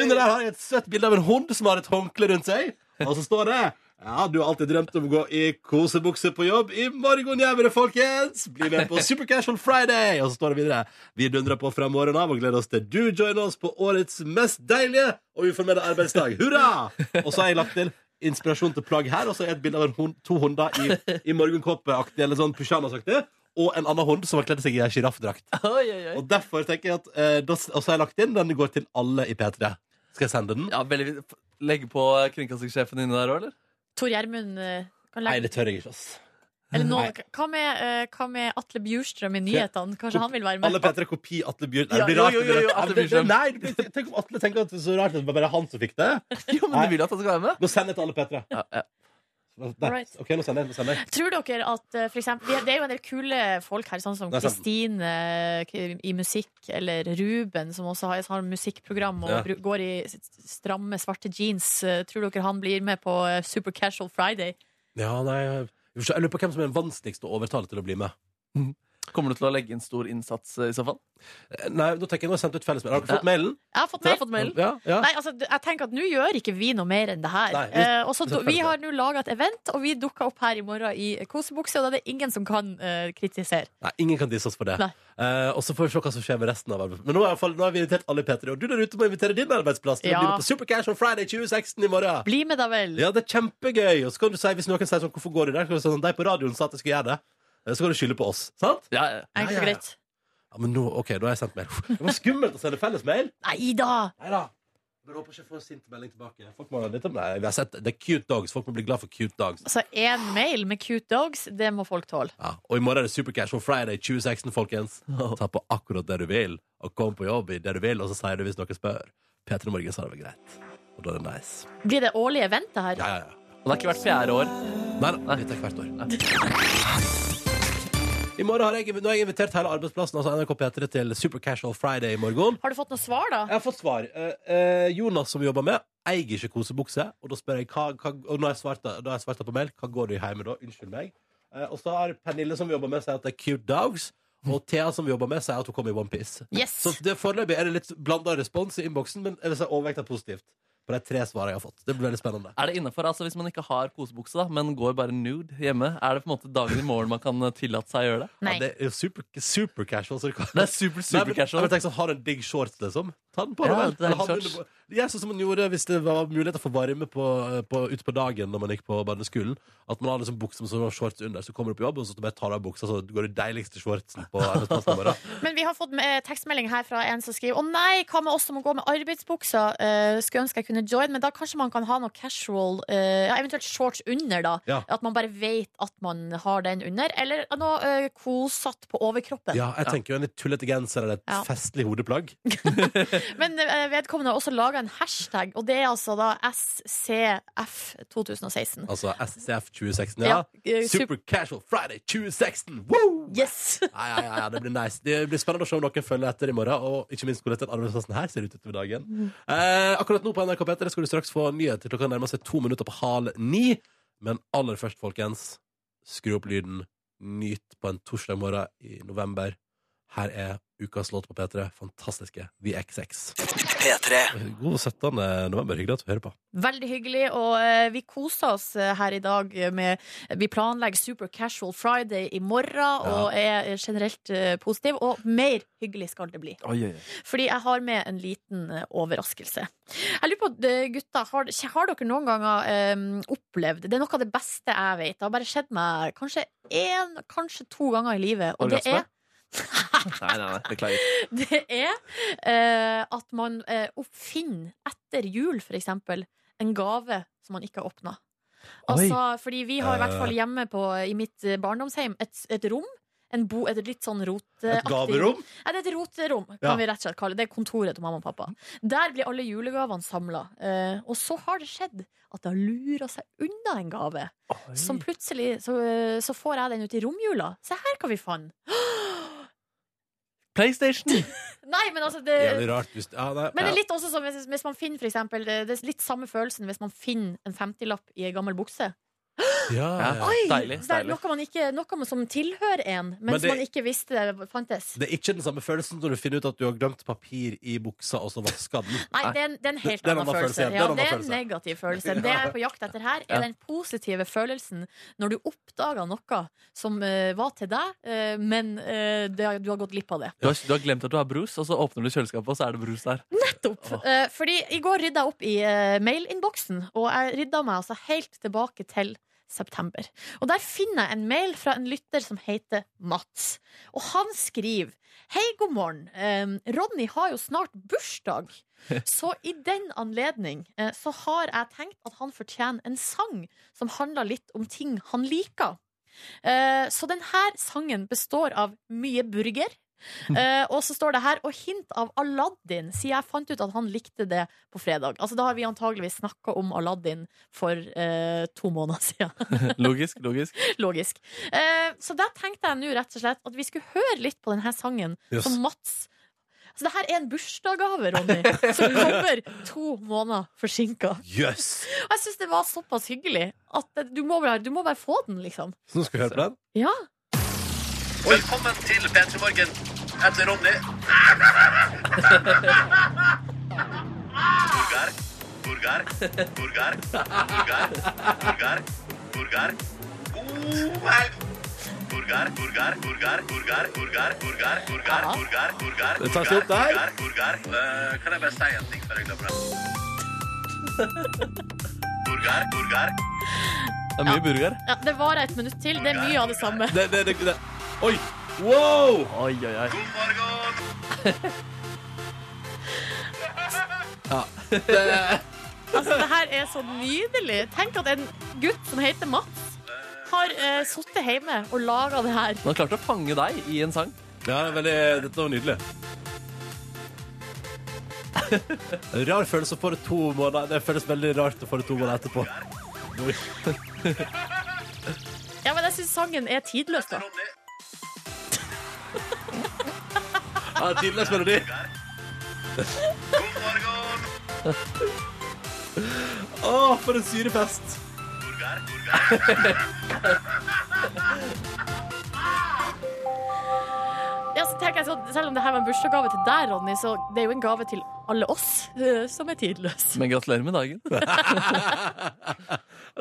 Under der har jeg et søtt bilde av en hund som har et håndkle rundt seg. Og så står det ja, du har alltid drømt om å gå i kosebukse på jobb. I morgen gjør vi det, folkens! Bli med på Super Casual Friday! Og så står det videre. Vi dundrer på fra morgenen av og gleder oss til du joiner oss på årets mest deilige og uformelle arbeidsdag. Hurra! Og så har jeg lagt til inspirasjon til plagg her, og så er et bilde av en hund, to hunder i, i morgenkåpeaktig eller sånn pysjamasaktig, og en annen hund som har kledd seg i ei sjiraffdrakt.
Oi, oi, oi.
Og derfor tenker jeg at eh, da s- Og så har jeg lagt inn den går til alle i P3. Skal jeg sende den?
Ja, veldig fint. Legge på kringkastingssjefen inni der òg, eller?
Tor Gjermund eh, kan
Nei,
legge
det tør jeg ikke, ass.
Eller noen, hva, med, eh, hva med Atle Bjurstrøm i nyhetene? Kanskje han vil være
Alle
med?
P3 kopi Atle Bjørn. Nei,
Ja,
det blir
jo,
rart.
jo,
det blir rart.
jo, jo,
Nei,
Atle
det-
Bjørnsen.
Nei, det blir, tenk om Atle tenker at det er så rart at det var bare han som fikk det.
Jo, men
Nei.
du vil jo at han skal være med?
Nå sender jeg til alle P3.
Ja, ja.
Nei,
Right.
Ok, nå sender jeg. Nå sender jeg.
Tror dere at eh, for eksempel, vi- Det er jo en del kule folk her, sånn som
Det er sant.
Kristine k- i musikk, eller Ruben, som også har, har musikkprogram og
Ja.
bru- går i s- stramme, svarte jeans. Eh, Tror dere han blir med på eh, Super Casual Friday?
Ja, nei, vi får se. jeg lurer på hvem som er den vanskeligste å overtale til å bli med.
Kommer du til å legge inn stor innsats eh, i så fall?
Eh, Nei, nå tenker jeg, nå har jeg sendt ut fellesmail. Har dere fått
Ja.
mailen?
Jeg har fått
Jeg
mail.
har fått mail.
Ja, ja.
Nei, altså, d- jeg tenker at Nå gjør ikke vi noe mer enn det her.
Nei, vi-
Eh, og så
vi tar
do- vi
følelse.
har nå laga et event, og vi dukker opp her i morgen i kosebukse, og da er det ingen som kan eh, kritisere.
Nei, ingen kan disse oss for det.
Nei.
Eh, og så får vi se hva som skjer med resten av arbeidet. Men nå, er i hvert fall, nå har vi invitert alle i P3, og du der ute må invitere din arbeidsplass til
Ja.
å bli med på Super Cash on Friday 2016 i morgen.
Bli med, da vel.
Ja, det er kjempegøy. Og så kan du si, hvis noen sier sånn, hvorfor går du der? Så kan du si sånn, de på radioen sa at jeg skulle gjøre det. Eh, Så kan du skylde på oss, sant?
Ja, ja.
Enkelt
Ja,
og
ja, ja.
greit.
Ja, men nå, ok, da har jeg sendt mail. Det var skummelt å sende felles mail.
Nei da!
Nei da. Men håper ikke jeg får en sint melding tilbake. Folk må ha litt om Nei, vi har sett, det er cute dogs. Folk må bli glad for cute dogs.
Altså, én mail med cute dogs, det må folk tåle.
Ja. Og i morgen er det Supercash on Friday 2016, folkens. Ta på akkurat det du vil, og kom på jobb i det du vil, og så sier du hvis noen spør. P3 Morgen sa det var greit. Og da er det nice.
Blir det årlig event, det her?
Ja, ja, ja.
Og det har ikke vært fjerde år.
Nei, nei, dette er hvert år. I morgen har jeg, nå har jeg invitert hele arbeidsplassen altså NRK P3 til Super Casual Friday i morgen.
Har du fått noe svar, da?
Jeg har fått svar. Eh, eh, Jonas som jobber med, eier ikke kosebukse. Og da spør jeg hva, hva Og nå har jeg svart det- da har jeg svart det på mail. Hva går du i hjemme da? Unnskyld meg. Eh, og så har Pernille som jobber med, sier at det er cute dogs. Og Thea som jobber med, sier at hun kommer i OnePiece.
Yes!
Så det foreløpig er det litt blanda respons i innboksen, men jeg vil si overvekta positivt. På de tre svarene jeg har fått. Det blir veldig spennende.
Er det innenfor, altså Hvis man ikke har kosebukse, da, men går bare nude hjemme, er det på en måte dagen i morgen man kan eh, tillate seg å gjøre det?
Nei.
Ja, det er jo super, super casual. Så det kan...
Det er super,
Nei, men-
super casual.
nei, men tenk sånn, Har du en digg shorts, liksom? Ta den på,
Ja,
da vel.
det er
Eller ha
en
den
shorts.
under- Jeg er sånn som man gjorde hvis det var muligheter for varme på, på, ute på dagen når man gikk på barneskolen. At man har liksom bukser som har shorts under, så kommer du på jobb, og så bare tar du av buksa, så går du deiligste shortsen på arbeidsplassen. Bare.
Men vi har fått eh, tekstmelding her fra en som skriver Å nei, hva med oss som må gå med arbeidsbuksa? Eh, skulle ønske jeg kunne join, men da kanskje man kan ha noe casual, eh, ja, eventuelt shorts under, da.
Ja.
At man bare vet at man har den under. Eller noe eh, kosatt på overkroppen.
Ja, jeg tenker jo en litt tullete genser eller et
Ja.
festlig hodeplagg.
Men eh, vedkommende har også laga en hashtag, og det er altså da SCF2016.
Altså SCF 2016. Ja.
eh,
Super Casual Friday 2016! Woo!
Yes!
Ja, ja, ja, ja, det blir nice. Det blir spennende å se om noen følger etter i morgen, og ikke minst hvordan den arbeidsplassen her ser ut utover dagen. Eh, akkurat nå på NRK P3 skal du straks få nyheter. Klokka nærmer seg to minutter på halv ni. Men aller først, folkens, skru opp lyden. Nyt på en torsdag morgen i november. Her er ukas låt på P3. Fantastiske VXX.
P3.
God 17. november. Hyggelig at du hører på.
Veldig hyggelig, og eh, vi koser oss eh, her i dag med Vi planlegger Super Casual Friday i morgen, og er eh, generelt eh, positiv. Og mer hyggelig skal det bli. Fordi jeg har med en liten eh, overraskelse. Jeg lurer på, eh, gutta, har, har dere noen ganger eh, opplevd Det er noe av det beste jeg vet. Det har bare skjedd meg kanskje én, kanskje to ganger i livet. Og det
Orgasme?
er
Nei, nei, nei, beklager.
det er eh, at man eh, oppfinner etter jul, for eksempel, en gave som man ikke har åpna. Altså, fordi vi har i hvert fall hjemme på, i mitt eh, barndomshjem eh, et, et rom en bo, et litt sånn roteaktig
Et gaverom?
Nei, det er et roterom, kan
Ja.
vi rett og slett kalle det. Det er kontoret til mamma og pappa. Der blir alle julegavene samla. Eh, og så har det skjedd at det har lura seg unna en gave. Som plutselig så, eh, så får jeg den ut i romjula. Se her hva vi fant!
PlayStation!
Nei, men altså
Det
det,
er rart hvis ja, nei,
men det er litt også som hvis, hvis man finner for eksempel, det, det er litt samme følelsen hvis man finner en 50-lapp i ei gammel bukse.
ja, ja, ja.
Ja. Deilig,
Så det er
deilig.
noe, man ikke, noe man som tilhører en, men,
Men det-
som man ikke visste det fantes.
Det er ikke den samme følelsen når du finner ut at du har glemt papir i buksa, og så vaska den.
Nei, det er en, det er en helt
Det er en
annen
annen
følelse.
følelse, ja. Det er en
Ja,
annen
det er en
følelse.
negativ følelse. Det jeg er på jakt etter her,
Ja.
er den positive følelsen når du oppdager noe som eh, var til deg, eh, men eh, det, har- du har gått glipp av det.
Du har, du har glemt at du har brus, og så åpner du kjøleskapet, og så er det brus der.
Nettopp. Eh, fordi i går rydda jeg opp i eh, mailinnboksen, og jeg rydda meg altså helt tilbake til september. Og der finner jeg en mail fra en lytter som heter Mats. Og han skriver Hei, god morgen. Eh, Ronny har jo snart bursdag. Så i den anledning eh, så har jeg tenkt at han fortjener en sang som handler litt om ting han liker. Eh, så denne sangen består av mye burger. Eh, og så står det her Og hint av Aladdin, siden jeg fant ut at han likte det på fredag. Altså Da har vi antageligvis snakka om Aladdin for eh, to måneder siden.
Logisk, logisk.
Logisk. Eh, så da tenkte jeg nå rett og slett at vi skulle høre litt på denne sangen
Jøss.
som Mats Altså det her er en bursdagsgave, Ronny, som kommer to måneder forsinka.
Jøss!
Og jeg syns det var såpass hyggelig at det- du må, bare, du må bare få den, liksom.
Så nå skal vi høre på den.
Ja.
Velkommen til P3 Morgen. Etter Ronny.
Det tar seg opp der.
Eh, kan jeg bare si en ting før jeg glemmer det?
Det er mye burger.
ja det varer et minutt til. Det er mye av det samme.
Det, det, det, det. Oi! Wow!
Oi, oi, oi.
Altså, det her er så nydelig. Tenk at en gutt som heter Mats, har uh, sittet hjemme og laga det her.
Man klarte å fange deg i en sang.
Ja, det er veldig, dette var nydelig. Rar følelse å få det to måneder Det føles veldig rart å få det to måneder etterpå.
Ja, men jeg syns sangen er tidløs, da.
Ja, tidløs melodi. Å, for en syrefest!
Ja, så tenker jeg sånn, Selv om det her var en bursdagsgave til deg, Ronny, så det er jo en gave til alle oss eh, som er tidløs.
Men gratulerer med dagen.
Det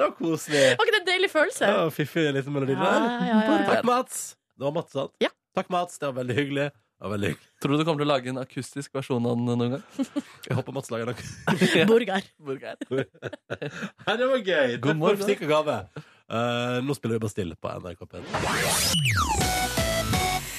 var koselig.
Var ikke det en deilig følelse?
Ja, Fiffig liten melodi
Ja,
der.
ja, ja, ja.
Takk, Mats. Det var Mats, sant?
Ja.
Takk, Mats. Det var veldig hyggelig. Det var veldig hyggelig.
Tror du du kommer til å lage en akustisk versjon av den noen gang?
Jeg håper Mats lager noe.
Burger.
Burger.
Nei, det var gøy.
God morgen.
Stikk og gave. Eh, nå spiller vi bare stille på NRK P3.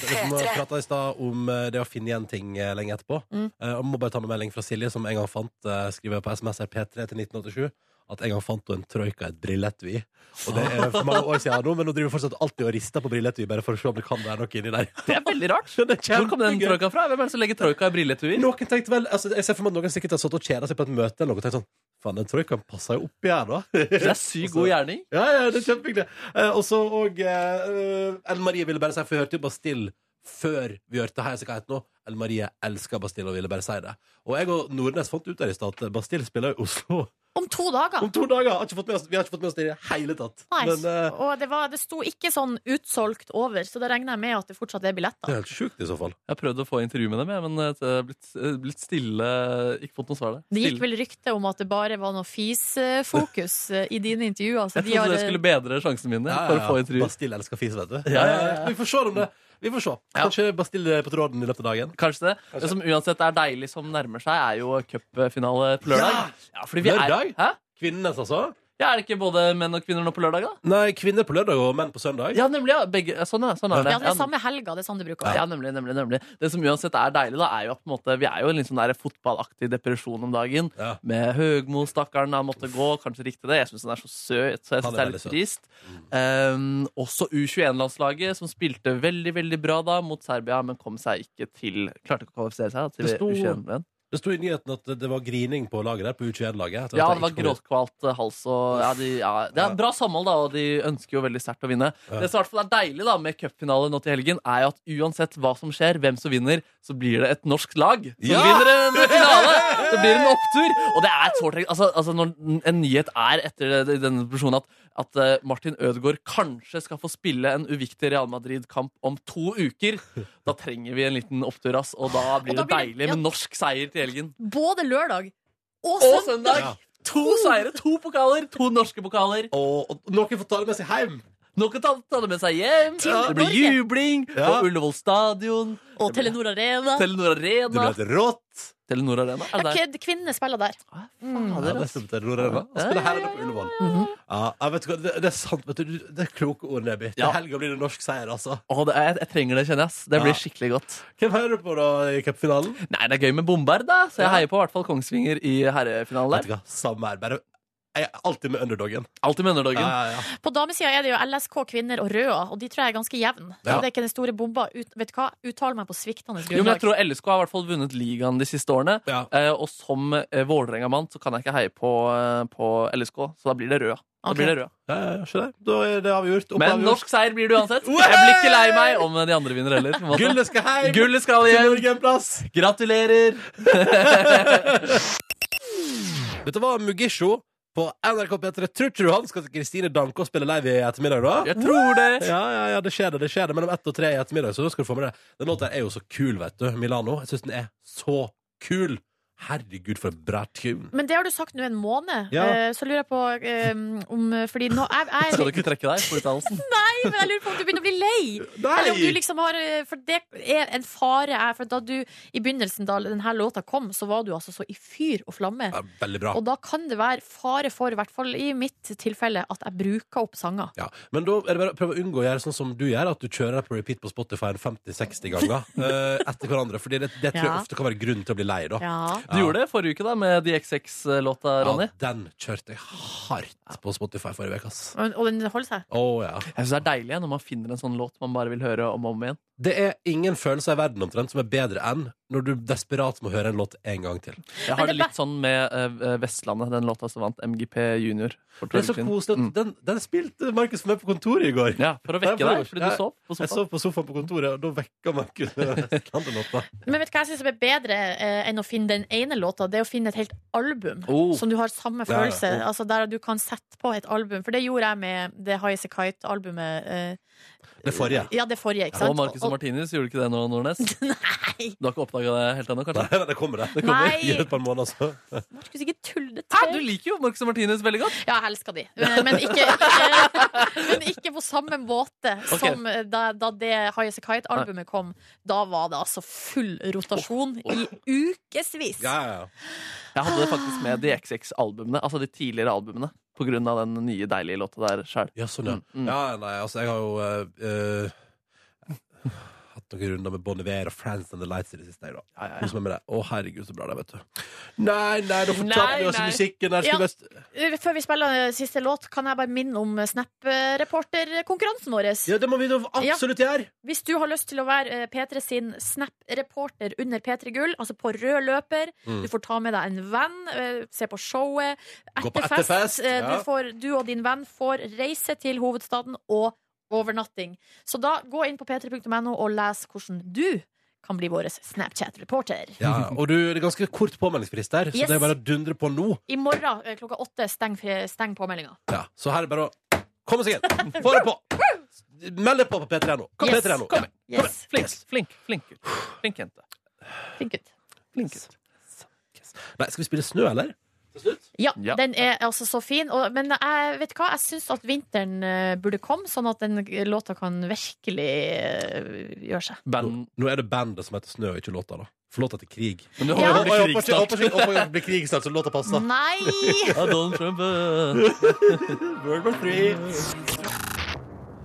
Vi prata i stad om eh, det å finne igjen ting eh, lenge etterpå.
Mm.
Eh, og må bare ta med melding fra Silje, som en gang fant eh, skriver på SMS her P3 til 1987 at en gang fant hun en troika i et brilleetui. Og det er for mange år siden nå, men hun driver fortsatt alltid og rister på brilleetui, bare for å se om det kan være noe inni der.
Det er veldig rart. Hvor kom den troika fra? Hvem er det som legger troika i brilletuer?
Noen tenkte vel, altså Jeg ser for meg at noen sikkert har stått og kjeda seg på et møte eller noe og tenkt sånn Faen, den troikaen passer jo oppi her, da.
Det er sykt god gjerning.
Ja, ja, det er kjempehyggelig. Eh, og så og eh, Ellen Marie ville bare si For vi hørte jo Bastille før vi hørte Hei, så hva heter det nå? Ellen Marie elsker Bastille og ville bare si det. Og jeg og Nordnes fant ut der i stad at Bastille spiller i Oslo
Om to dager.
om to dager. Har ikke fått med oss, vi har ikke fått med oss det i det hele tatt.
Nice.
Men eh,
Og det, var, det sto ikke sånn utsolgt over, så da regner jeg med at det fortsatt er
det
billetter.
er helt sjukt, i så fall.
Jeg har prøvd å få intervju med dem, jeg, men det er blitt, eh, blitt stille. Ikke fått noe svar der.
Det gikk
Stille.
vel rykte om at det bare var noe fisfokus eh, i dine intervjuer. Så
Jeg
de
trodde
har,
det skulle bedre sjansene mine for å få intervju.
Bastille elsker fis, vet du.
Ja, ja, ja.
Vi får se om det. Vi får se. Kanskje Bastille er på tråden i løpet av dagen.
Kanskje det. Det som uansett er deilig som nærmer seg, er jo cupfinale på lørdag. Ja, fordi vi er,
Lørdag?
Hæ?
Kvinnenes, altså.
Ja, Er det ikke både menn og kvinner nå på lørdag, da?
Nei, kvinner på lørdag og menn på søndag.
Ja, nemlig. ja, Begge, ja, sånn, ja. sånn er det.
Ja, det er samme helga, det er sånn det bruker å
Ja.
være.
nemlig, nemlig, nemlig. Det som uansett er deilig, da, er jo at på en måte, vi er jo i en litt sånn der fotballaktig depresjon om dagen.
Ja.
Med Høgmo, stakkaren, han måtte gå. Kanskje riktig det. Jeg syns han er så søt,
Han er
så jeg syns det er
veldig
litt
søt. Mm.
trist. Um, også U21-landslaget, som spilte veldig, veldig bra da mot Serbia, men kom seg ikke til Klarte ikke å kvalifisere seg da,
Det sto-
til U21-VM.
Det sto i nyheten at det var grining på laget der, på U21-laget. etter
Ja,
at
det
de
var
ikke kom inn.
gråtkvalt eh, hals og ja, de, ja, Det er bra samhold, da, og de ønsker jo veldig sterkt å vinne.
Ja.
Det som i hvert fall er deilig da med cupfinale nå til helgen, er jo at uansett hva som skjer, hvem som vinner, så blir det et norsk lag som
Ja!
vinner en finale! Det blir en opptur! Og det er sårt altså, altså, når en nyhet er etter det- denne personen at at eh, Martin Ødegaard kanskje skal få spille en uviktig Real Madrid-kamp om to uker. Da trenger vi en liten opptur, ass. Og da blir
Og da
det
blir det-
deilig
ja.
med norsk seier til helgen.
Både lørdag og
Og
søndag. Oh.
søndag!
Ja.
To seire, to pokaler, to norske pokaler.
Og, og noen får ta det med seg hjem!
Nå kan ta, ta det med seg hjem.
Til
Det blir
Norge.
jubling på
Ja.
Ullevål stadion.
Og Telenor Arena.
Telenor
Det
Arena.
blir helt rått!
Telenor Arena, er det der?
Ja, ok, Kvinnene spiller der.
Ah,
Ja,
fader,
det er
ass.
stort, det er Roar Elva. Han spiller her inne på Ullevål. Ja, jeg vet ikke hva, det, det er sant, vet du. Det er kloke ord, Neby. Til
Ja.
helga blir det norsk seier, altså.
Å, det er, jeg, jeg trenger det, kjenner jeg. ass. Det
Ja.
blir skikkelig godt.
Hvem heier du på da i cupfinalen?
Nei, det er gøy med bomber, da. Så jeg
Ja.
heier på i hvert fall Kongsvinger i herrefinalen
Vet
der.
du hva, samme her. Bare jeg er alltid med underdogen.
Alltid med underdogen.
Ja, ja, ja.
På damesida er det jo LSK, kvinner og Røa, og de tror jeg er ganske jevne.
Ja.
Så det er ikke den store bomba. Ut, vet du hva? Uttaler meg på sviktende
Jo, men jeg
grunnlag.
tror LSK har i hvert fall vunnet ligaen de siste årene.
Ja.
Eh, og som eh, Vålerenga-mann så kan jeg ikke heie på, eh, på LSK, så da blir det rød. Da
Ok.
blir det rød.
Ja, ja, skjønner. Da er det avgjort. Opp
Men
avgjort.
norsk seier blir det uansett. Jeg blir ikke lei meg om de andre vinner heller. på en måte.
Gullet skal hjem!
Gullet skal
Til
hjem!
Norge en plass!
Gratulerer!
Dette var Mugisho på NRK P3. Tror ikke du han skal til Kristine Danke og spille live i ettermiddag, da?
Jeg tror det.
Ja, ja, ja, det skjer det, det skjer det. Mellom ett og tre i ettermiddag, så da skal du få med det. Den låta er jo så kul, vet du. Milano. Jeg syns den er så kul. Herregud, for en bra tune.
Men det har du sagt nå en måned,
Ja.
eh, så lurer jeg på eh, om Fordi nå jeg, jeg,
Skal du ikke trekke deg på uttalelsen?
Nei, men jeg lurer på om du begynner å bli lei. Eller om du liksom har eh, For det er en fare jeg For da du i begynnelsen, da denne låta kom, så var du altså så i fyr og flamme.
Ja, veldig bra.
Og da kan det være fare for, i hvert fall i mitt tilfelle, at jeg bruker opp sanger.
Ja. Men da er det bare å prøve å unngå å gjøre sånn som du gjør, at du kjører deg på repeat på Spotify en 50-60 ganger eh, etter hverandre. Fordi det, det tror jeg
Ja.
ofte kan være grunnen til å bli lei, da.
Ja.
Du gjorde det forrige uke da med DXX-låta, Ronny.
Ja, den kjørte jeg hardt på Spotify forrige uke, ass.
Og, og den holder seg.
Å ja.
Jeg synes Det er deilig når man finner en sånn låt man bare vil høre om og om igjen.
Det er ingen følelse i verden omtrent som er bedre enn når du desperat må høre en låt en gang til.
Jeg
Men
har
det
det litt sånn med eh, Vestlandet, den låta som vant MGP Junior. For to
Det er så
uker siden.
koselig. at
Mm.
Den, den spilte Markus med på kontoret i går.
Ja, For å
Ja,
vekke
for-
deg, fordi
ja.
du sov på
Jeg
sofaen.
sov på sofaen på kontoret, og da vekka Markus med den Vestlandet-låta.
Men vet du hva jeg syns er bedre eh, enn å finne den ene låta? Det er å finne et helt album
Oh.
som du har samme
Ja, ja.
følelse. Altså Der du kan sette på et album. For det gjorde jeg med det Highasakite Kite-albumet. Eh,
Det forrige.
ja, det forrige, ikke sant?
Og Marcus og Martinus gjorde ikke det nå, Nordnes?
Nei!
Du har ikke oppdaga det helt ennå, kanskje?
Nei, det kommer, det.
Nei!
I et par måneder, så.
Markus, ikke tull det
Hæ,
til!
du liker jo Marcus og Martinus veldig godt.
Ja, jeg elsker de. Men men ikke, ikke, men ikke på samme måte som da, da det Highasakite Kite-albumet kom. Da var det altså full rotasjon i ukevis.
Ja, ja, ja.
Jeg hadde det faktisk med de XX-albumene, altså de tidligere albumene, på grunn av den nye deilige låta der sjøl.
Ja, sånn, ja.
Mm, mm.
ja nei, altså, jeg har jo eh, eh, hatt noen runder med Bon Iver og Friends and the Lights i det siste. Jeg, da.
Ja, ja, ja.
Kos meg med det. Å, herregud, så bra det er, vet du. Nei, nei, da fortaper vi oss i
nei.
musikken. Her,
Ja.
skulle best...
Uh, Før vi spiller uh, siste låt, kan jeg bare minne om uh, Snap-reporterkonkurransen vår.
ja, det må vi da absolutt gjøre!
Hvis du har lyst til å være uh, P3 sin Snap-reporter under P3 Gull, altså på rød løper,
Mm.
du får ta med deg en venn, uh, se på showet,
Gå på
etterfest.
etterfest,
Uh,
ja.
du, får, du og din venn får reise til hovedstaden og overnatting. Så da gå inn på p3.no og les hvordan du kan bli vår Snapchat-reporter.
Ja, og du, det er ganske kort påmeldingsfrist der, så
Yes.
det er bare å dundre på nå.
I morgen uh, klokka åtte steng, steng påmeldinga.
Ja, så her er det bare å komme seg inn. Få det på! Meld deg på på P3 nå. Kom,
Yes.
P3 nå.
Kom igjen.
Yes.
Flink, flink, flink gutt. Flink jente.
Flink gutt.
Flink gutt.
Nei, skal vi spille snø, eller?
Ja,
Ja.
den er altså så fin. Og, men jeg vet du hva, jeg syns at vinteren eh, burde komme, sånn at den låta kan virkelig eh, gjøre seg.
Band
Nå er det bandet som heter Snø, og ikke låta, da.
For låta til krig.
Men du
Jeg
håper
håper- jeg
det
håper
blir
ikke- jeg
krigsstart.
håper ikke- jeg håper ikke det blir krig snart, så låta passer.
Nei!
Ja, Donald Trump eh.
World War Three.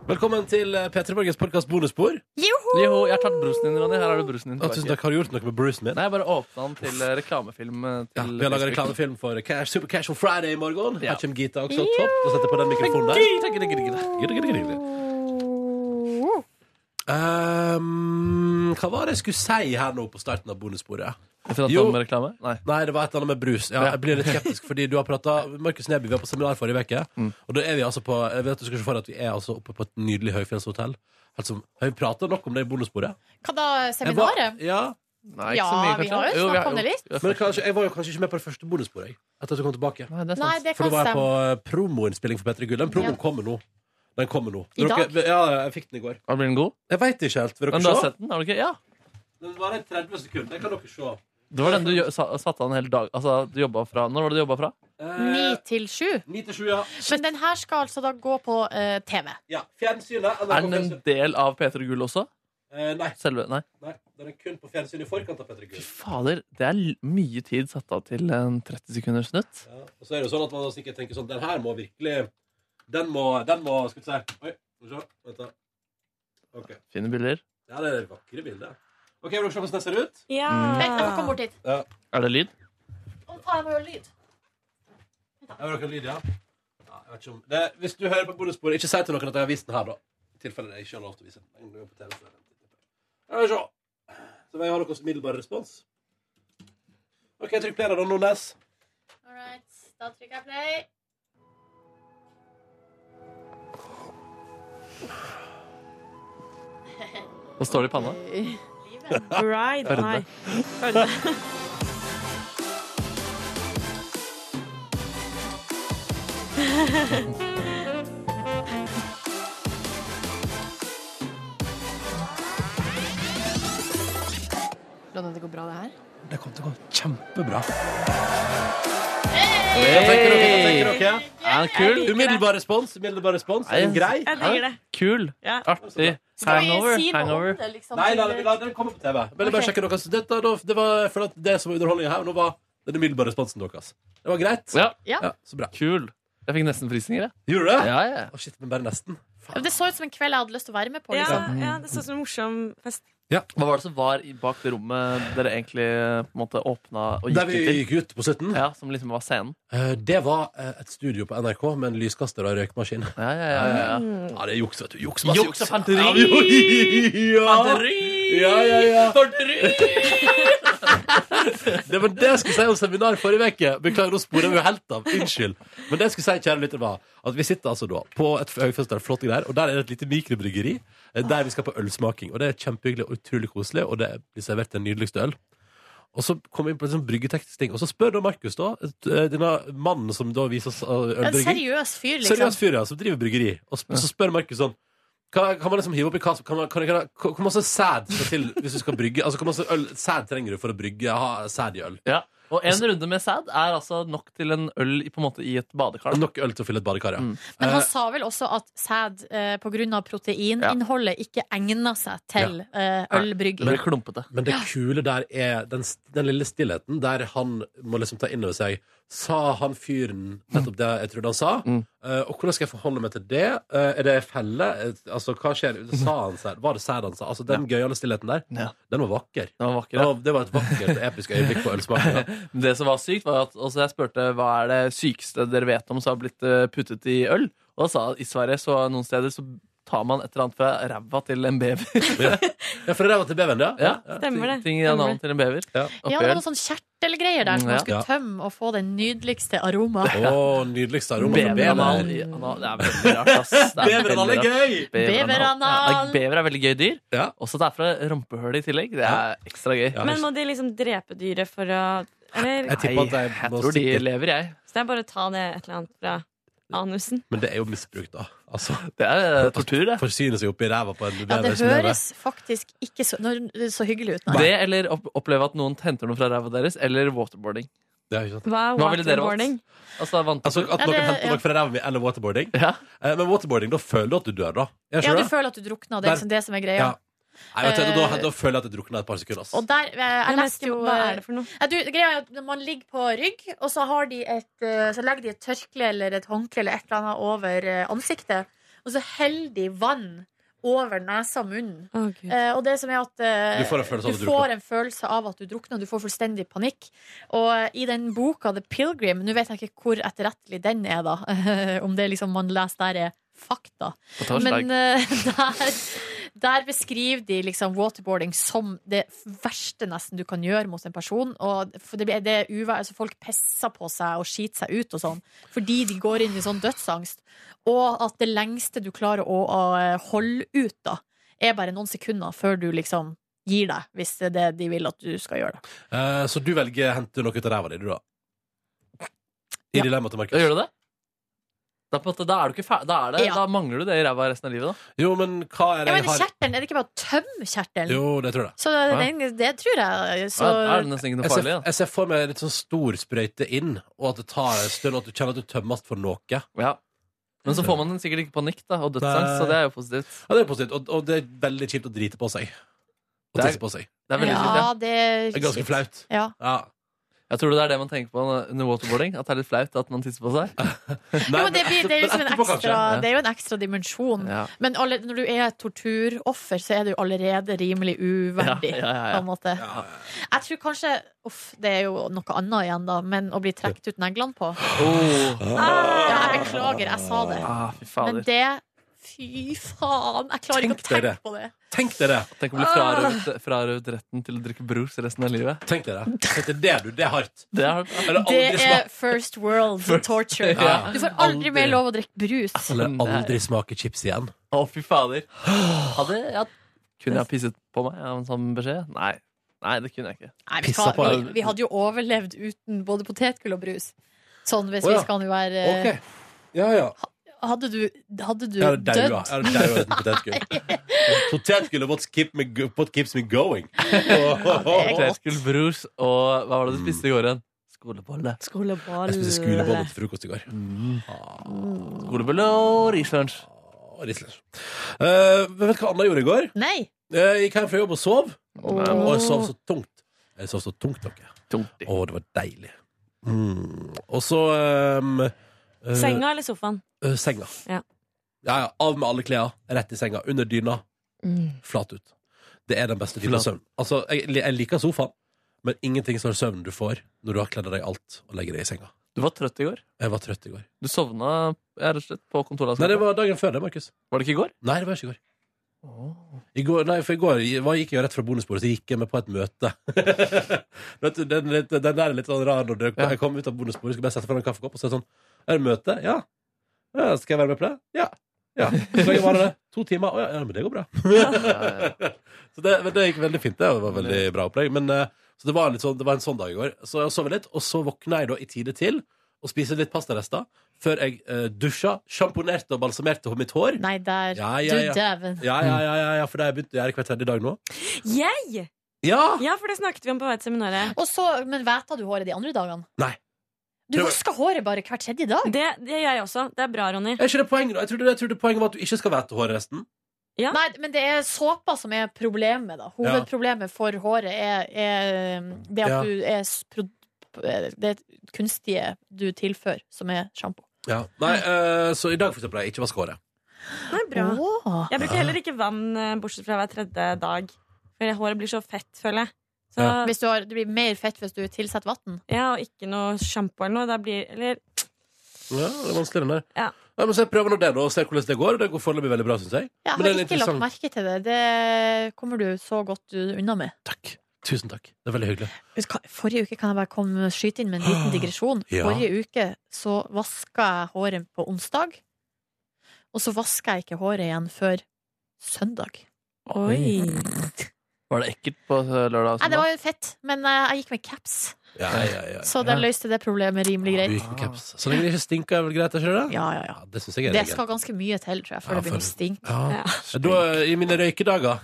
Velkommen til eh,
P3 Morgens podkast bonusspor.
Joho!
Jo, jeg har tatt brusen din, Ronny. Her har du brusen din.
Ja, tusen
tilbake.
takk. Har du gjort noe med bruisen min?
Nei, jeg bare åpna den til eh, reklamefilm. eh,
Ja,
Til
vi har laga reklamefilm for Cash, Super Casual Friday i morgen.
Ja.
Her kommer Gita også. Topp. Da setter jeg på den mikrofonen der. Gidde, gidde, gidde, gidde. Ehm, hva var det jeg skulle si her nå på starten av bonussporet?
Referanse
Jo.
om reklame? Nei.
Nei, det var et eller annet med brus. Ja,
Ja.
jeg blir litt skeptisk, fordi du har prata Markus Neby, vi var på seminar forrige uke.
Mm.
Og da er vi altså på Jeg vet du skal se for deg at vi er altså oppe på et nydelig høyfjellshotell. Altså, har vi prata nok om det i bonussporet?
Hva da,
Jeg var-
seminaret?
Ja,
Nei, kanskje?
Ja, vi har jo
vi
snakket om det litt.
vi
men
har snakket-
kanskje, jeg var jo kanskje ikke med på det første bonussporet, jeg. Etter at du kom tilbake.
Nei, det er
Nei,
sant.
det
For
kan
da var jeg på
stemme.
eh, promoinnspilling for Petter Gull. Den promoen
Ja.
kommer nå. Den kommer nå.
I dag?
ja, jeg fikk den i går.
Ja, Blir den god?
Jeg veit ikke helt. Vil
Men du
dere
har
se?
sett den? har du ikke? Ja.
Den varer i 30 sekunder. Det kan dere se.
Det var den du gjø- sa- satte av en hel dag Altså, du jobbet fra Når var det du jobba fra?
Ni til sju.
9 til 7, ja.
Men den her skal altså da gå på eh, TV.
ja. Fjernsynet. NRK
Er den en
Fjernsyn.
del av P3 Gull også?
Eh, nei,
Selve, nei.
nei, den er kun på fjernsynet i forkant av Petter
Fy
Gull.
fader, det er l- mye tid satt av til en 30 sekunders snutt.
Ja. Og så er det jo sånn at man da sikkert tenker sånn Den her må virkelig Den må, den må Skal vi se. Oi, skal vi se. Vent, da. OK.
Fine bilder.
Ja, det er det vakre bildet. OK, vil dere se hvordan den ser ut?
Ja.
Vent, jeg må komme bort hit.
Er det lyd?
Å, faen, jeg må gjøre lyd.
Ja, vil dere ha lyd, ja? ja jeg vet ikke om. Det, hvis du hører på bonussporet, ikke si til noen at jeg har vist den her, da. I tilfelle jeg ikke har lov til å vise den. Jeg går på TV, så er den- Ja, vi får se. Så jeg har noen umiddelbar respons. OK, trykk play da, Don Nordnes.
All right, da trykker jeg play.
Hva står det i panna?
Right. Nei.
Hvordan det går bra, det her?
Det kommer til å gå kjempebra.
Hey!
Tenker dere?
Er den Ah, kul?
Umiddelbar respons. Umiddelbar respons. Er den grei?
Jeg digger det.
Kul.
Ja.
Artig.
Skal vi
Hangover.
si noe om
Hangover.
det, liksom?
Nei, la, la den komme på TV. Men jeg bare
Ok.
sjekker dere. så Dette, da, det var, for at det som var underholdningen her, nå var den umiddelbare responsen deres. Det var greit?
Ja,
Ja, så bra.
kul. Jeg fikk nesten frysninger, jeg.
Gjorde du det?
Ja, ja.
Å, shit, men bare nesten.
Ja, men Det så ut som en kveld jeg hadde lyst til å være med på.
Ja,
Liksom.
ja, det så ut som en morsom fest.
Hva var det som var i- bak det rommet dere egentlig eh, på en måte åpna og
Der
gikk
vi
ut til?
gikk ut på 17.
Ja, som liksom var scenen.
Eh, Det var eh, et studio på NRK med en lyskaster og en røykmaskin.
Ja, ja, ja, ja, ja.
Ja, det er juks, vet du. Juks, masse
Juks
juks.
og fanteri!
Ja, vi- ja. ja, ja, ja. Det var det jeg skulle si om seminar forrige uke. Beklager, nå sporer vi jo helt av. Unnskyld. Men det jeg skulle si, kjære lytter, var at vi sitter altså da på et høyfest der, flotte greier, og der er det et lite mikrobryggeri eh, der vi skal på ølsmaking. Og det er kjempehyggelig og utrolig koselig, og det blir servert den nydeligste øl. Og så kom vi inn på en sånn bryggeteknisk ting, og så spør da Markus, da, eh, denne mannen som da viser oss eh,
En
ølbrygging
seriøs fyr, liksom.
Seriøs fyr, ja, som driver bryggeri. Og sp så spør Markus sånn kan, kan man liksom hive oppi kassa kan man, kan, kan, kan, Hvor masse sæd skal til hvis du skal brygge? Altså, hvor masse øl, sæd trenger du for å brygge ha sæd i øl?
Ja. Og en runde med sæd er altså nok til en øl i- på en måte i et badekar. da.
Nok øl til å fylle et badekar, ja.
Mm.
Men han sa vel også at sæd eh, pga. proteininnholdet ikke egner seg til eh,
Det
ølbrygging.
blir klumpete.
Men det kule der er den, s- den lille stillheten der han må liksom ta inn over seg Sa han fyren nettopp det jeg trodde han sa?
Mm.
Eh, og hvordan skal jeg forholde meg til det? Eh, er det felle? Eh, altså, hva skjer? Sa han sæd? Var det sæd han sa? Altså, den gøyale stillheten der,
Ja.
den var vakker.
Det var vakkert.
Det var, det var et vakkert, episk øyeblikk på ølsmakinga.
Men Det som var sykt, var at også jeg spurte hva er det sykeste dere vet om som har blitt eh, puttet i øl. Og da sa han, i Sverige så noen steder så tar man et eller annet fra ræva til en bever.
Ja, for det der var til babyen, ja?
Ja,
Stemmer det. altså-
Ting i analen til en bever.
Ja.
Oppi
Ja, det var
øl.
noe sånn kjertelgreier der som
Ja.
man skulle tømme og få den nydeligste aroma.
Å, nydeligste aroma fra
Beveranal
babyen.
i anal. Det er veldig rart, ass. Det er
Beveranal er
veldig rart.
gøy!
Beveranal. Ja,
Beveranal.
bever er veldig gøy dyr.
Ja.
Også det er fra rumpehullet i tillegg. Det er ekstra gøy.
Ja.
Men må de liksom drepe dyret for å Eller
Jeg tipper at
Nei,
jeg
jeg
må
tror de
stikke-
lever, jeg.
så det er bare å ta ned et eller annet fra anusen.
Men det er jo misbruk, da. Altså,
Det er eh, tortur, det.
Forsyne seg oppi ræva på en
Ja,
baby
det
som lever.
høres faktisk ikke så, når- så hyggelig ut, nei.
Det eller opp- oppleve at noen henter noe fra ræva deres, eller waterboarding.
Ja, ikke sant?
Hva er
Hva ville dere
waterboarding?
Altså vant
Altså At
Ja,
noen
det-
henter
ja.
noe fra ræva mi, eller waterboarding.
Ja.
Eh, Men waterboarding, da føler du at du dør, da. Er ikke
Ja, du
det?
føler at du drukner. Det er
Der-
liksom det som er
Ja.
greia.
Nei, vet du, da, da føler jeg at jeg drukner et par sekunder. ass.
Og der, eh, jeg
Men
leste jo
Hva er det for noe?
eh, du, det greia er at Man ligger på rygg, og så, har de et, eh, så legger de et tørkle eller et håndkle eller et eller annet over eh, ansiktet. Og så heller de vann over nesa og munnen.
Å, Gud.
Eh, og det som er at eh,
Du får en følelse av at du
får
drukner.
en følelse av at du drukner, og du får fullstendig panikk. Og eh, i den boka The Pilgrim Nå vet jeg ikke hvor etterrettelig den er, da. Om det liksom man leser der er fakta. Men eh, der, der beskriver de liksom waterboarding som det verste nesten du kan gjøre mot en person. Og for det, blir- det er uvær, altså Folk pisser på seg og skiter seg ut og sånn fordi de går inn i sånn dødsangst. Og at det lengste du klarer å, å eh, holde ut, da, er bare noen sekunder før du liksom gir deg, hvis det er det de vil at du skal gjøre. Da.
Eh, så du velger å hente noe ut av ræva di, du, da? I
Ja.
dilemmaet til
Ja,
Markus.
Gjør du det? Da, på en måte, da, er du ikke fer- da, er det,
eh, Ja.
da mangler du det i ræva resten av livet, da.
Jo, men hva er
Ja,
det
men
jeg har
kjertelen, er det ikke bare å tømme kjertelen?
Jo, det tror jeg.
Så den, det tror jeg. Så
Ja, da er det nesten ikke noe
Jeg ser,
farlig. Da.
jeg ser for meg en litt sånn stor sprøyte inn, og at det tar en stund, og at du kjenner at du tømmes for noe. Ja,
Ja. Men så får man sikkert ikke panikk da, og dødsangst,
Nei.
så det er jo positivt.
det er positivt, og, og det er veldig kjipt å drite på seg. Og
Det er-
tisse på seg.
Det er veldig
ja,
kjipt, ja.
det er
Det er ganske
kjipt.
flaut.
Ja.
Ja.
Jeg tror det er det man tenker på under waterboarding. At det er litt flaut at man tisser på seg.
Nei,
Jo, men det, blir, det, er liksom en
etterpå kanskje.
ekstra,
Ja.
det er jo en ekstra dimensjon.
Ja.
Men alle, når du er et torturoffer, så er du allerede rimelig uverdig.
Ja, ja, ja, ja.
På en måte. Jeg tror kanskje Uff, det er jo noe annet igjen, da, men å bli trukket ut neglene på
Oh.
Ja, jeg beklager, jeg sa det.
Ah, fy
Men
fader.
det Fy faen! Jeg klarer ikke å
Tenk dere.
tenke på det.
Tenk dere det.
Tenk å bli
Ah.
frarøvet, frarøvet retten til å drikke brus resten av livet.
Tenk dere det. Tenk dere det, du. Det er hardt.
Det er hardt.
Eller
Det
aldri
er
smake
first world torture.
Ja.
Du får aldri mer lov å drikke brus.
Eller aldri smake chips igjen.
Å, fy fader. Hadde jeg, kunne jeg ha pisset på meg av en sånn beskjed? Nei. Nei, det kunne jeg ikke.
Nei, vi,
Pissa
skal,
på
vi,
deg.
vi hadde jo overlevd uten både potetgull og brus. Sånn hvis
Å, ja.
vi skal nå være
OK. Ja, ja.
Hadde du, hadde du
Jeg hadde
dødd?
daua. Jeg hadde daua uten potetgull. Potetgull er what, skip me, go- what keeps me going.
det er-
Kleskull, brus og Hva var det du spiste i går igjen? Skolebolle.
Skoleball.
Jeg spiste skolebolle til frokost i går.
Skolebolle og rislunsj.
Å, Rislers. Eh, men vet du hva Anna gjorde i går?
Nei!
Jeg gikk hjem fra jobb og sov.
Åh.
Og jeg sov så tungt. Jeg sov så tungt, dere.
Tungt.
Å, det var deilig. Mm. Og så um, eh,
Senga eller sofaen?
eh, senga.
Ja.
ja, ja, Av med alle klær, rett i senga. Under dyna. Flat ut. Det er den beste typen
Flat.
søvn. Altså, jeg, jeg liker sofaen, men ingenting som er søvn du får når du har kledd av deg alt og legger deg i senga.
Du var trøtt i går.
Jeg var trøtt i går.
Du sovna ja, rett og slett på kontoret. altså.
Nei, det var dagen før det, Markus.
Var det ikke i går?
Nei, det var ikke i går. I går, nei, for i går var- gikk jeg jo rett fra bonusbordet, så gikk jeg med på et møte. Vet du, den, litt- den der er litt sånn rar når du,
Ja.
jeg kom ut av bonusbordet, skal bare sette foran en kaffekopp og så er det sånn Er det møte? Ja. ja. Skal jeg være med på det? Ja. ja. Hvor lenge var det? To timer? Å ja, ja, men det går bra. så det, men det gikk veldig fint. Det var veldig bra opplegg. Men, eh, så det var, litt sånn, det var en sånn dag i går. Så jeg sov litt, og så våkna jeg da i tide til og spiste litt pastarester før jeg eh, dusja, sjamponerte og balsamerte mitt hår.
Nei, der.
Ja, ja, ja.
Du dæven.
Ja, ja, ja, ja, ja for det har jeg begynt å gjøre hver tredje dag nå.
Jeg!
Ja!
Ja, for det snakket vi om på vei til seminaret.
Og så, men væta du håret de andre dagene?
Nei.
Du
Det var-
vasker håret bare hver tredje dag?
Det, det gjør jeg også. Det er bra, Ronny.
Er ikke det poenget, da? Jeg trodde, jeg trodde poenget var at du ikke skal væte håret resten.
Ja.
Nei, men det er såpa som er problemet, da. Hovedproblemet for håret er, er um, det
Ja.
at du er s- pro- Det kunstige du tilfører, som er sjampo.
Nei, eh, Så i dag for eksempel har jeg ikke vasket håret.
Det er bra.
Åh.
Jeg bruker heller ikke vann eh, bortsett fra hver tredje dag. For håret blir så fett, føler jeg. Så,
Ja.
Hvis du har, det blir mer fett hvis du tilsetter vann.
ja, og ikke noe sjampo eller noe. Da blir, eller,
Ja, det er vanskeligere enn det.
Ja.
Nei, men så jeg prøver nå det, da, og ser hvordan det går. Det går foreløpig veldig bra, syns jeg.
Jeg
Men det
har
er
ikke lagt
interessant.
merke til det. Det kommer du så godt unna med.
Takk. Tusen takk. Det er veldig hyggelig.
Husk, hva- Forrige uke kan jeg bare komme skyte inn med en liten digresjon.
Ah, Ja.
Forrige uke så vaska jeg håret på onsdag, og så vaska jeg ikke håret igjen før søndag.
oi.
Var det ekkelt på eh, lørdag? og
Nei, det
søndag?
var jo fett, men eh, jeg gikk med caps,
Ja, ja, ja.
så det løste det problemet rimelig
Du
greit.
gikk med caps. Så lenge det ikke stinker, er vel greit? er Ikke det?
Ja, ja, ja.
Ja, det syns jeg er
Det
greit.
skal ganske mye til, tror jeg, før
Ja,
det begynner å
for-
stinke.
Ja.
Ja.
Da, I mine røykedager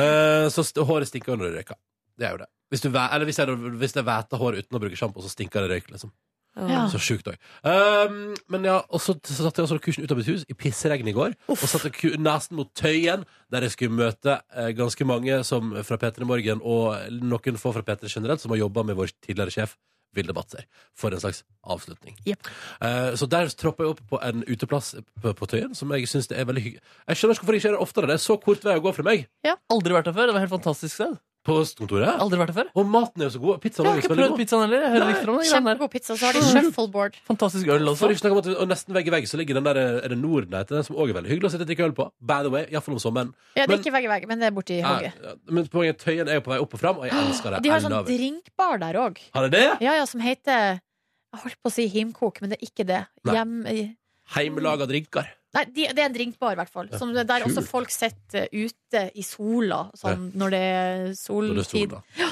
eh, Så st håret stinker når du røyker Det er jo det Hvis, du væ eller hvis, jeg, hvis det er væta hår uten å bruke shampoo Så stinker det røyk liksom
Ah.
Ja.
Så sjukt òg. Um, men ja, og så satte jeg også kursen ut av mitt hus i pissregn i går. Og satte ku- nesen mot Tøyen, der jeg skulle møte eh, ganske mange som, fra P3 Morgen og noen få fra P3 generelt, som har jobba med vår tidligere sjef. Vilde Batzer. For en slags avslutning.
Jepp.
Eh, så der troppa jeg opp på en uteplass på, på Tøyen, som jeg syns er veldig hyggelig. Jeg skjønner ikke hvorfor jeg ikke gjør det oftere. Det er så kort vei å gå fra meg.
Aldri vært der før. Det var helt fantastisk sted.
På kontoret.
Aldri vært der før.
Og maten er jo så god. Pizzaen
Jeg
er jo
har ikke
veldig
prøvd
god.
pizzaen heller. Jeg hører rykter om det. greiene der.
Kjempegod pizza. Så har de shuffleboard.
Fantastisk øl
For
også.
ikke snakke om at og Nesten vegg i vegg så ligger den der eh, Er det Norden det heter, som også er veldig hyggelig å sitte og drikke øl på. By the way, iallfall om sommeren.
Ja, det
Men-
er ikke vegg i vegg, men det er borti
Nei,
hogget.
men poenget er at Tøyen er jo på vei opp og fram, og jeg elsker det.
De har
I
sånn
love it.
drinkbar der òg.
Har de det?
Ja, ja, som heter Jeg holdt på å si himkok, men det er ikke det.
Nei.
Hjem... Nei,
Heimelaga drinker.
de, det er en drinkbar, i hvert fall. Som der også
kult.
folk sitter eh, ute i sola, sånn når det er
Når det er sol,
soltid.
da.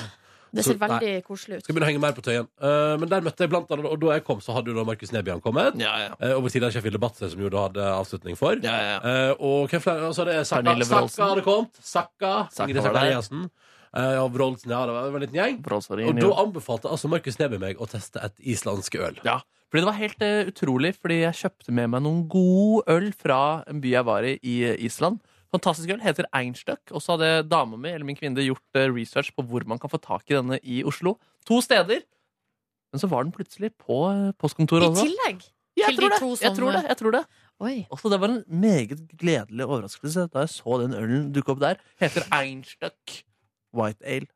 Det
Så-
ser veldig koselig ut.
Skal begynne å henge mer på Tøyen. Eh, men der møtte jeg blant annet, og da jeg kom, så hadde jo da Markus Nebyan kommet.
Ja, ja.
eh, Og vår tidligere sjef Vilde Batzer, som jo da hadde avslutning for.
Ja, ja, ja.
Eh, og hvem flere? Og så hadde jeg Sakka,
Pernille Wroldsen.
Sakka hadde kommet. Sakka.
Sakka
Ingrid
var der.
Sakariassen. Eh, og Wroldsen, ja. Det var det var en liten gjeng. Og da anbefalte altså Markus Neby meg å teste et islandsk øl.
Ja, fordi det var helt eh, utrolig, fordi jeg kjøpte med meg noen god øl fra en by jeg var i i Island. Fantastisk øl, heter Einstøk, og så hadde dama mi eller min kvinne gjort eh, research på hvor man kan få tak i denne i Oslo. To steder! Men så var den plutselig på eh, postkontoret
I
også.
tillegg
Jeg
til
tror
de
det,
to
jeg
som-
tror det, jeg tror det.
Oi.
Også det var en meget gledelig overraskelse da jeg så den ølen dukke opp der. Heter Einstøk White Ale.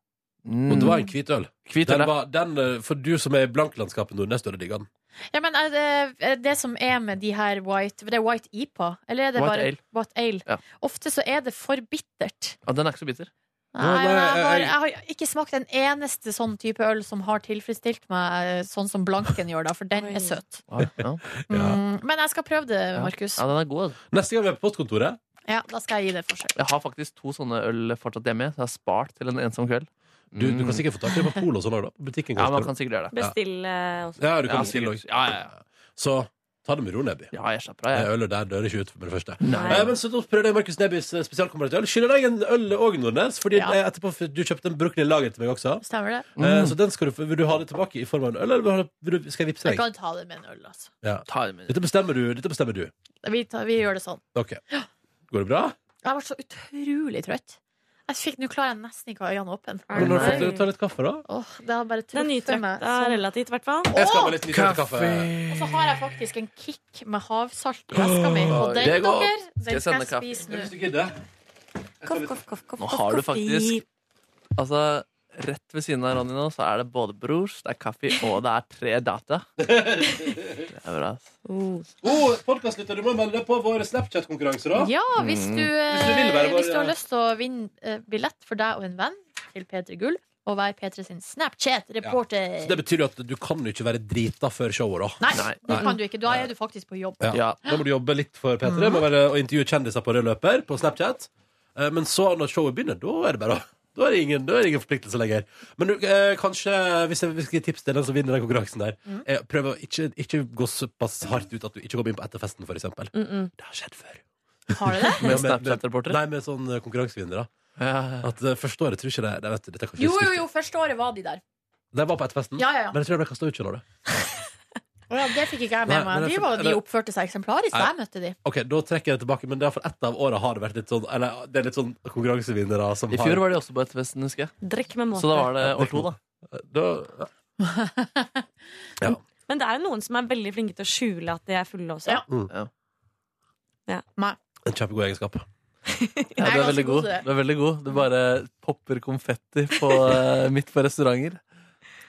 Mm.
Og det var en hvit øl.
Hvit øl,
Den
ja.
var, den, eh, for du som er i blanklandskapet Nordnes, du hadde digga den.
Ja, men er det, er det som er med de her white for Det er white IPA, eller er det
White
bare
ale.
white ale?
Ja.
Ofte så er det for bittert.
Ja, den er ikke så bitter.
Nei,
nei,
jeg, har,
jeg-
jeg har ikke smakt en eneste sånn type øl som har tilfredsstilt meg eh, sånn som Blanken gjør, da, for den
Oi.
er søt.
Ja, ja.
Mm, men jeg skal prøve det,
Ja.
Markus.
ja den er god. altså.
Neste gang vi er på postkontoret
Ja, da skal jeg gi det et forsøk.
Jeg har faktisk to sånne øl fortsatt hjemme. Så jeg har spart til en ensom kveld.
Du, du
Mm.
kan sikkert få tak i det på Polet og sånn også, da. På butikken,
Ja, man
kanskje.
kan sikkert gjøre det.
Bestille eh, også.
Ja, du kan
Ja,
bestille også.
sikkert. Ja, ja, ja.
Så ta det med ro, Neby.
Ja, jeg slapper av,
Det
jeg.
Ølet der dør ikke ut med det første.
Nei.
Eh, men så da prøvde jeg Markus Nebys eh, spesialkombinerte øl. Skylder deg en øl òg, Nordnes, fordi
Ja.
eh, etterpå f- du kjøpte en brukken i lager til meg også.
Stemmer det?
Eh,
Mm.
Så den skal du, få- vil du ha det tilbake i form av en øl, eller vil du ha det- vil du, skal jeg vippse
Jeg
deg?
kan ta det med en øl, altså.
Ta det med.
Dette bestemmer du. Dette bestemmer du.
Vi, tar, vi gjør det sånn.
OK. Går det bra?
Jeg ble så utrolig trøyt. Jeg fikk, Nå klarer jeg nesten ikke å ha øynene åpne.
Men når du har
Nei.
fått ta litt kaffe, da?
Åh, det har bare
Det er
truffet meg.
nytrøkta
sånn.
relativt, i hvert fall.
Jeg skal ha meg litt lite kaffe.
Og så har jeg faktisk en kick med havsalt i veska mi. Og den,
det er godt.
dere,
Skal jeg
den
sende
skal jeg
kaffe?
spise nå.
Hvis du gidder.
Koff, koff, koff, koff,
Nå
koff,
har du
koffi.
faktisk- Altså, rett ved siden av Ronny nå, så er det både Brors, det er Kaffi, og det er tre data. Det er bra. ass.
Oh, Podkastlytter, du må melde deg på vår Snapchat-konkurranse, da.
Ja, hvis du,
Mm.
eh,
Hvis du vil være vår-
hvis du har lyst til å vinne eh, billett for deg og en venn til P3 Gull, og være P3 sin Snapchat-reporter
Så Det betyr jo at du kan jo ikke være drita før showet, da.
Nei,
Nei.
det kan du ikke. Da er du faktisk på jobb.
Ja.
Ja.
Da må du jobbe litt for P3
Mhm.
med å være- og intervjue kjendiser på rød løper på Snapchat. Eh, Men så, når showet begynner, da er det bare å da er det ingen, da er det ingen forpliktelse lenger. Men du, eh, kanskje, hvis jeg hvis jeg skal gi tips til den som vinner den konkurransen der,
Mhm.
eh, prøv å ikke, ikke gå såpass hardt ut at du ikke kommer inn på etterfesten, f.eks. eksempel Det har skjedd før.
Har du
Med
det?
Med- med-
Snapchat-reportere.
Nei, med sånn eh, konkurransevinnere.
Ja.
At eh, Første året tror jeg ikke det, det vet du, dette kan ikke
Jo, jo,
huske.
jo. Første året var de der.
De var på etterfesten,
Ja, ja, ja.
men jeg tror de ble kasta ut. skjønner du
Å ja, det fikk ikke jeg
Nei, men
med meg.
det
De,
er for-
var, de
det-
oppførte seg eksemplarisk da jeg møtte de.
Ok, Da trekker jeg det tilbake, men det er for ett av åra har det vært litt sånn Eller det er litt sånn konkurransevinnere som
I fjor var de også på Etterfesten, husker jeg.
Drikk med måte.
Så da var det år to, da.
har da,
Men det er jo noen som er veldig flinke til å skjule at de er fulle også.
Ja.
En kjempegod egenskap.
Ja,
Jeg
du
er
er veldig
ganske
god.
god til det.
Du er veldig god. Du bare popper konfetti på, eh, midt på restauranter.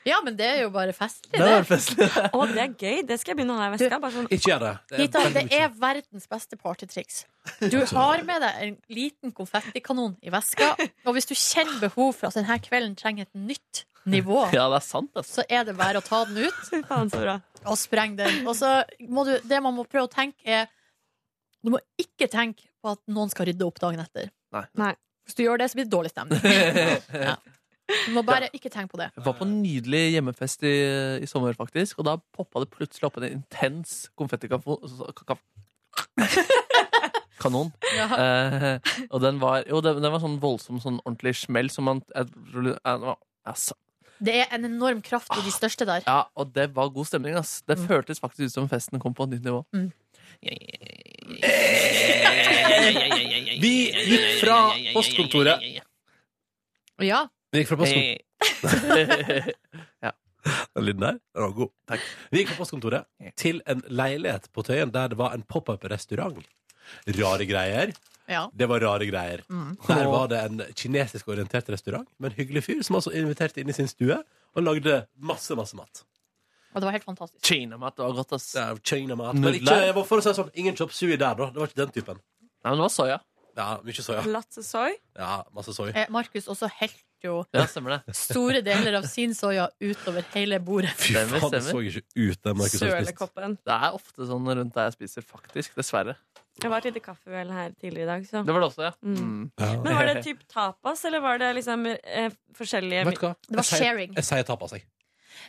Ja, men det er jo bare festlig,
Det var
det.
festlig.
Å, det er gøy! Det skal jeg begynne å ha i veska. Bare sånn
Ikke gjør det.
Rita,
veldig
det
mye.
er verdens beste partytriks. Du har med deg en liten konfettikanon i veska, og hvis du kjenner behov for at denne kvelden trenger et nytt nivå,
Ja, det er sant, ass.
så er det bare å ta den ut
Fy faen, så bra.
og sprenge den. Og så må du, det man må prøve å tenke, er Du må ikke tenke på at noen skal rydde opp dagen etter.
Nei.
Nei.
Hvis du gjør det, så blir det dårlig stemning. Ja. Du må bare ikke tenke på det.
Jeg var på en nydelig hjemmefest i, i sommer, faktisk, og da poppa det plutselig opp en intens konfettikanon.
Ja.
Eh, og den var, jo, den, den var sånn voldsom, sånn ordentlig smell som man jeg, tror det- jeg, jeg, sa-
Det er en enorm kraft i de største der.
Ja, og det var god stemning, ass. Det føltes faktisk ut som festen kom på et nytt nivå.
Mm.
Vi gikk fra postkontoret
Ja.
Vi gikk fra postkontoret Den lyden der, den var god. Vi gikk fra postkontoret til en leilighet på Tøyen der det var en pop-up-restaurant. Rare greier.
ja.
Det var rare greier.
Mm.
Der var det en kinesisk orientert restaurant med en hyggelig fyr som altså inviterte inn i sin stue og lagde masse, masse mat.
Og det var helt fantastisk.
Kinamat var godt, ass.
Det er Kinamat. Men
Nudler.
ikke, jeg var for å si det sånn, ingen chop sui der, da. Det var ikke den typen.
Nei, men det var soya.
Ja, mye soya.
Latte soy.
Ja, masse soy.
Eh, Markus også helt jo
Ja, stemmer det.
store deler av sin soya utover hele bordet.
Fy
Stemmer,
faen, det så
stemmer.
ikke ut, den Markus har spist.
Sølekoppen.
Det er ofte sånn rundt der jeg spiser, faktisk. Dessverre.
Jeg var til det kaffeuhellet her tidligere i dag, så.
Det var det også, ja.
Mm.
Mm.
Ja.
Men var det typ tapas, eller var det liksom eh, forskjellige
Vet du hva?
Det var
Jeg sier-
sharing.
Jeg sier tapas, jeg.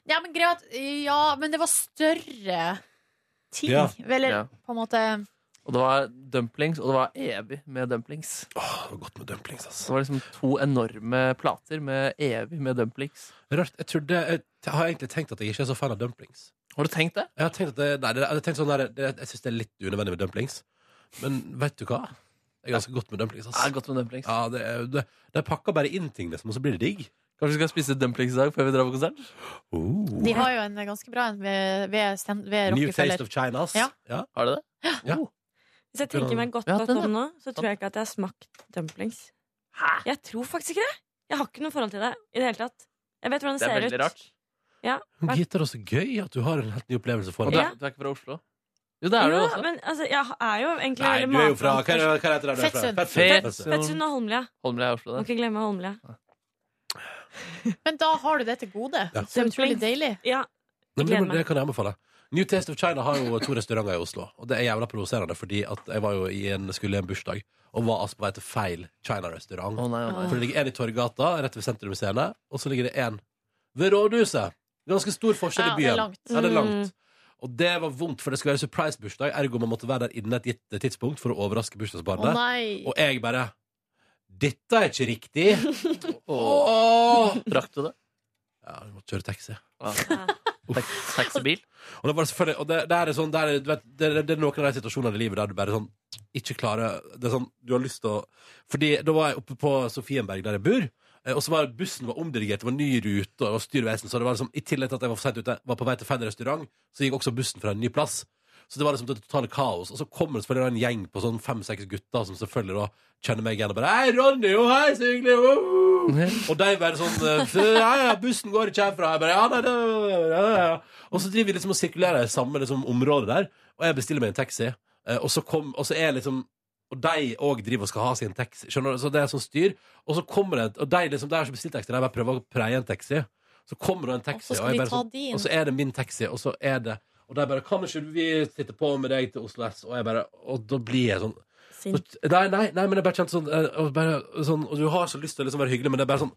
Ja, men greit. Ja, men det var større ting.
Ja.
Eller
Ja.
på en måte
Og det var dumplings, og det var evig med dumplings.
Åh, det var godt med dumplings, altså.
Så det var liksom to enorme plater med evig med dumplings.
Rart. Jeg, trodde, jeg, jeg har egentlig tenkt at jeg ikke er så fan av dumplings.
Har du tenkt det?
Jeg har tenkt at det, nei, det, jeg, har tenkt sånn der, det, jeg synes det er litt unødvendig med dumplings. Men vet du hva? Det er ganske godt med dumplings.
Det er
Ass.
godt med dumplings.
Ja, det, er- det, de pakker bare inn ting, liksom, og så blir det digg.
Kanskje vi skal spise dumplings i dag før vi drar på konsert?
Oh.
De har jo en ganske bra en ved, ved, stand- ved
New taste
Rockefeller.
of China, ass.
Ja. Oh.
Har du det?
Hvis jeg tenker meg godt,
Ja,
godt
den,
om nå, så tror jeg ikke at jeg har smakt dumplings. Jeg tror faktisk ikke det. Jeg har ikke noe forhold til det i det hele tatt. Jeg vet hvordan det,
Det er
ser
veldig
ut.
rart.
Men Gitar, så gøy at du har en helt ny opplevelse for
Og
deg.
du er, du er ikke fra Oslo? Jo, det er du
Ja,
også.
men altså, jeg er jo egentlig
Nei,
veldig
du er jo fra Hva,
matvanskelig.
hva heter det du er fra?
Fettsund.
Fettsund.
Fettsund og Holmlia.
Holmlia er Oslo,
Må
det.
ikke glemme Holmlia.
Men da har du det til gode.
Ja.
Så utrolig deilig.
Ja,
Nei, men det,
Gleder
må-
meg.
det kan jeg anbefale. New Taste of China har jo to restauranter i Oslo. Og det er jævla provoserende, fordi at jeg var jo i en, skulle i en bursdag og var altså på vei til feil China-restaurant.
Å nei, å
For
nei.
det ligger en i Torgata, rett ved Sentrum Scene, og så ligger det en ved Rådhuset. Ganske stor forskjell
Ja,
i
det er
byen.
langt.
Ja, det er langt. Mm. Og det var vondt, for det skulle være surprise-bursdag, ergo man måtte være der innen et gitt tidspunkt for å overraske
Å
bursdagsbarnet.
nei.
og jeg bare Dette er ikke riktig!
Åh,
Åh!
Rakk du det?
Ja, vi måtte kjøre taxi.
Ja. Tak- Taxibil?
Og det, var selvfølgelig, og det, det, er sånn, det, er, du vet, det, det, det er noen av de situasjonene i livet der du bare sånn ikke klarer Det er sånn, du har lyst til å Fordi da var jeg oppe på Sofienberg, der jeg bor. eh, Og så var bussen var omdirigert, det var ny rute og det var styrvesen. Så det var liksom, i tillegg til at jeg var for sent ute, var på vei til feil restaurant, så gikk også bussen fra en ny plass. Så det var liksom det totale kaos. Og så kommer det selvfølgelig en gjeng på sånn fem-seks gutter som selvfølgelig da kjenner meg igjen og bare Hei, Ronny! Jo, hei, så hyggelig! Woo! Og de bare sånn eh, Ja, ja, bussen går ikke herfra. Jeg bare, ja, nei, det- ja, ja, ja. Og så driver vi liksom og sirkulerer i samme liksom, område der, og jeg bestiller meg en taxi. Eh, Og så, kom, og så er liksom Og de òg driver og skal ha sin taxi, skjønner du? Så det er sånn styr. Og så kommer det Og de liksom, der som bestilte taxi, de bare prøver å preie en taxi. Så kommer det en taxi,
Og så skal
jeg
de
bare
ta
sånn-
din.
og så er det min taxi, og så er det Og de bare Kan ikke vi sitte på med deg til Oslo S? Og jeg bare Og da blir jeg sånn
sint.
Nei, nei, nei, men jeg bare kjente sånn, eh, og bare, sånn Og du har så lyst til å liksom være hyggelig, men det er bare sånn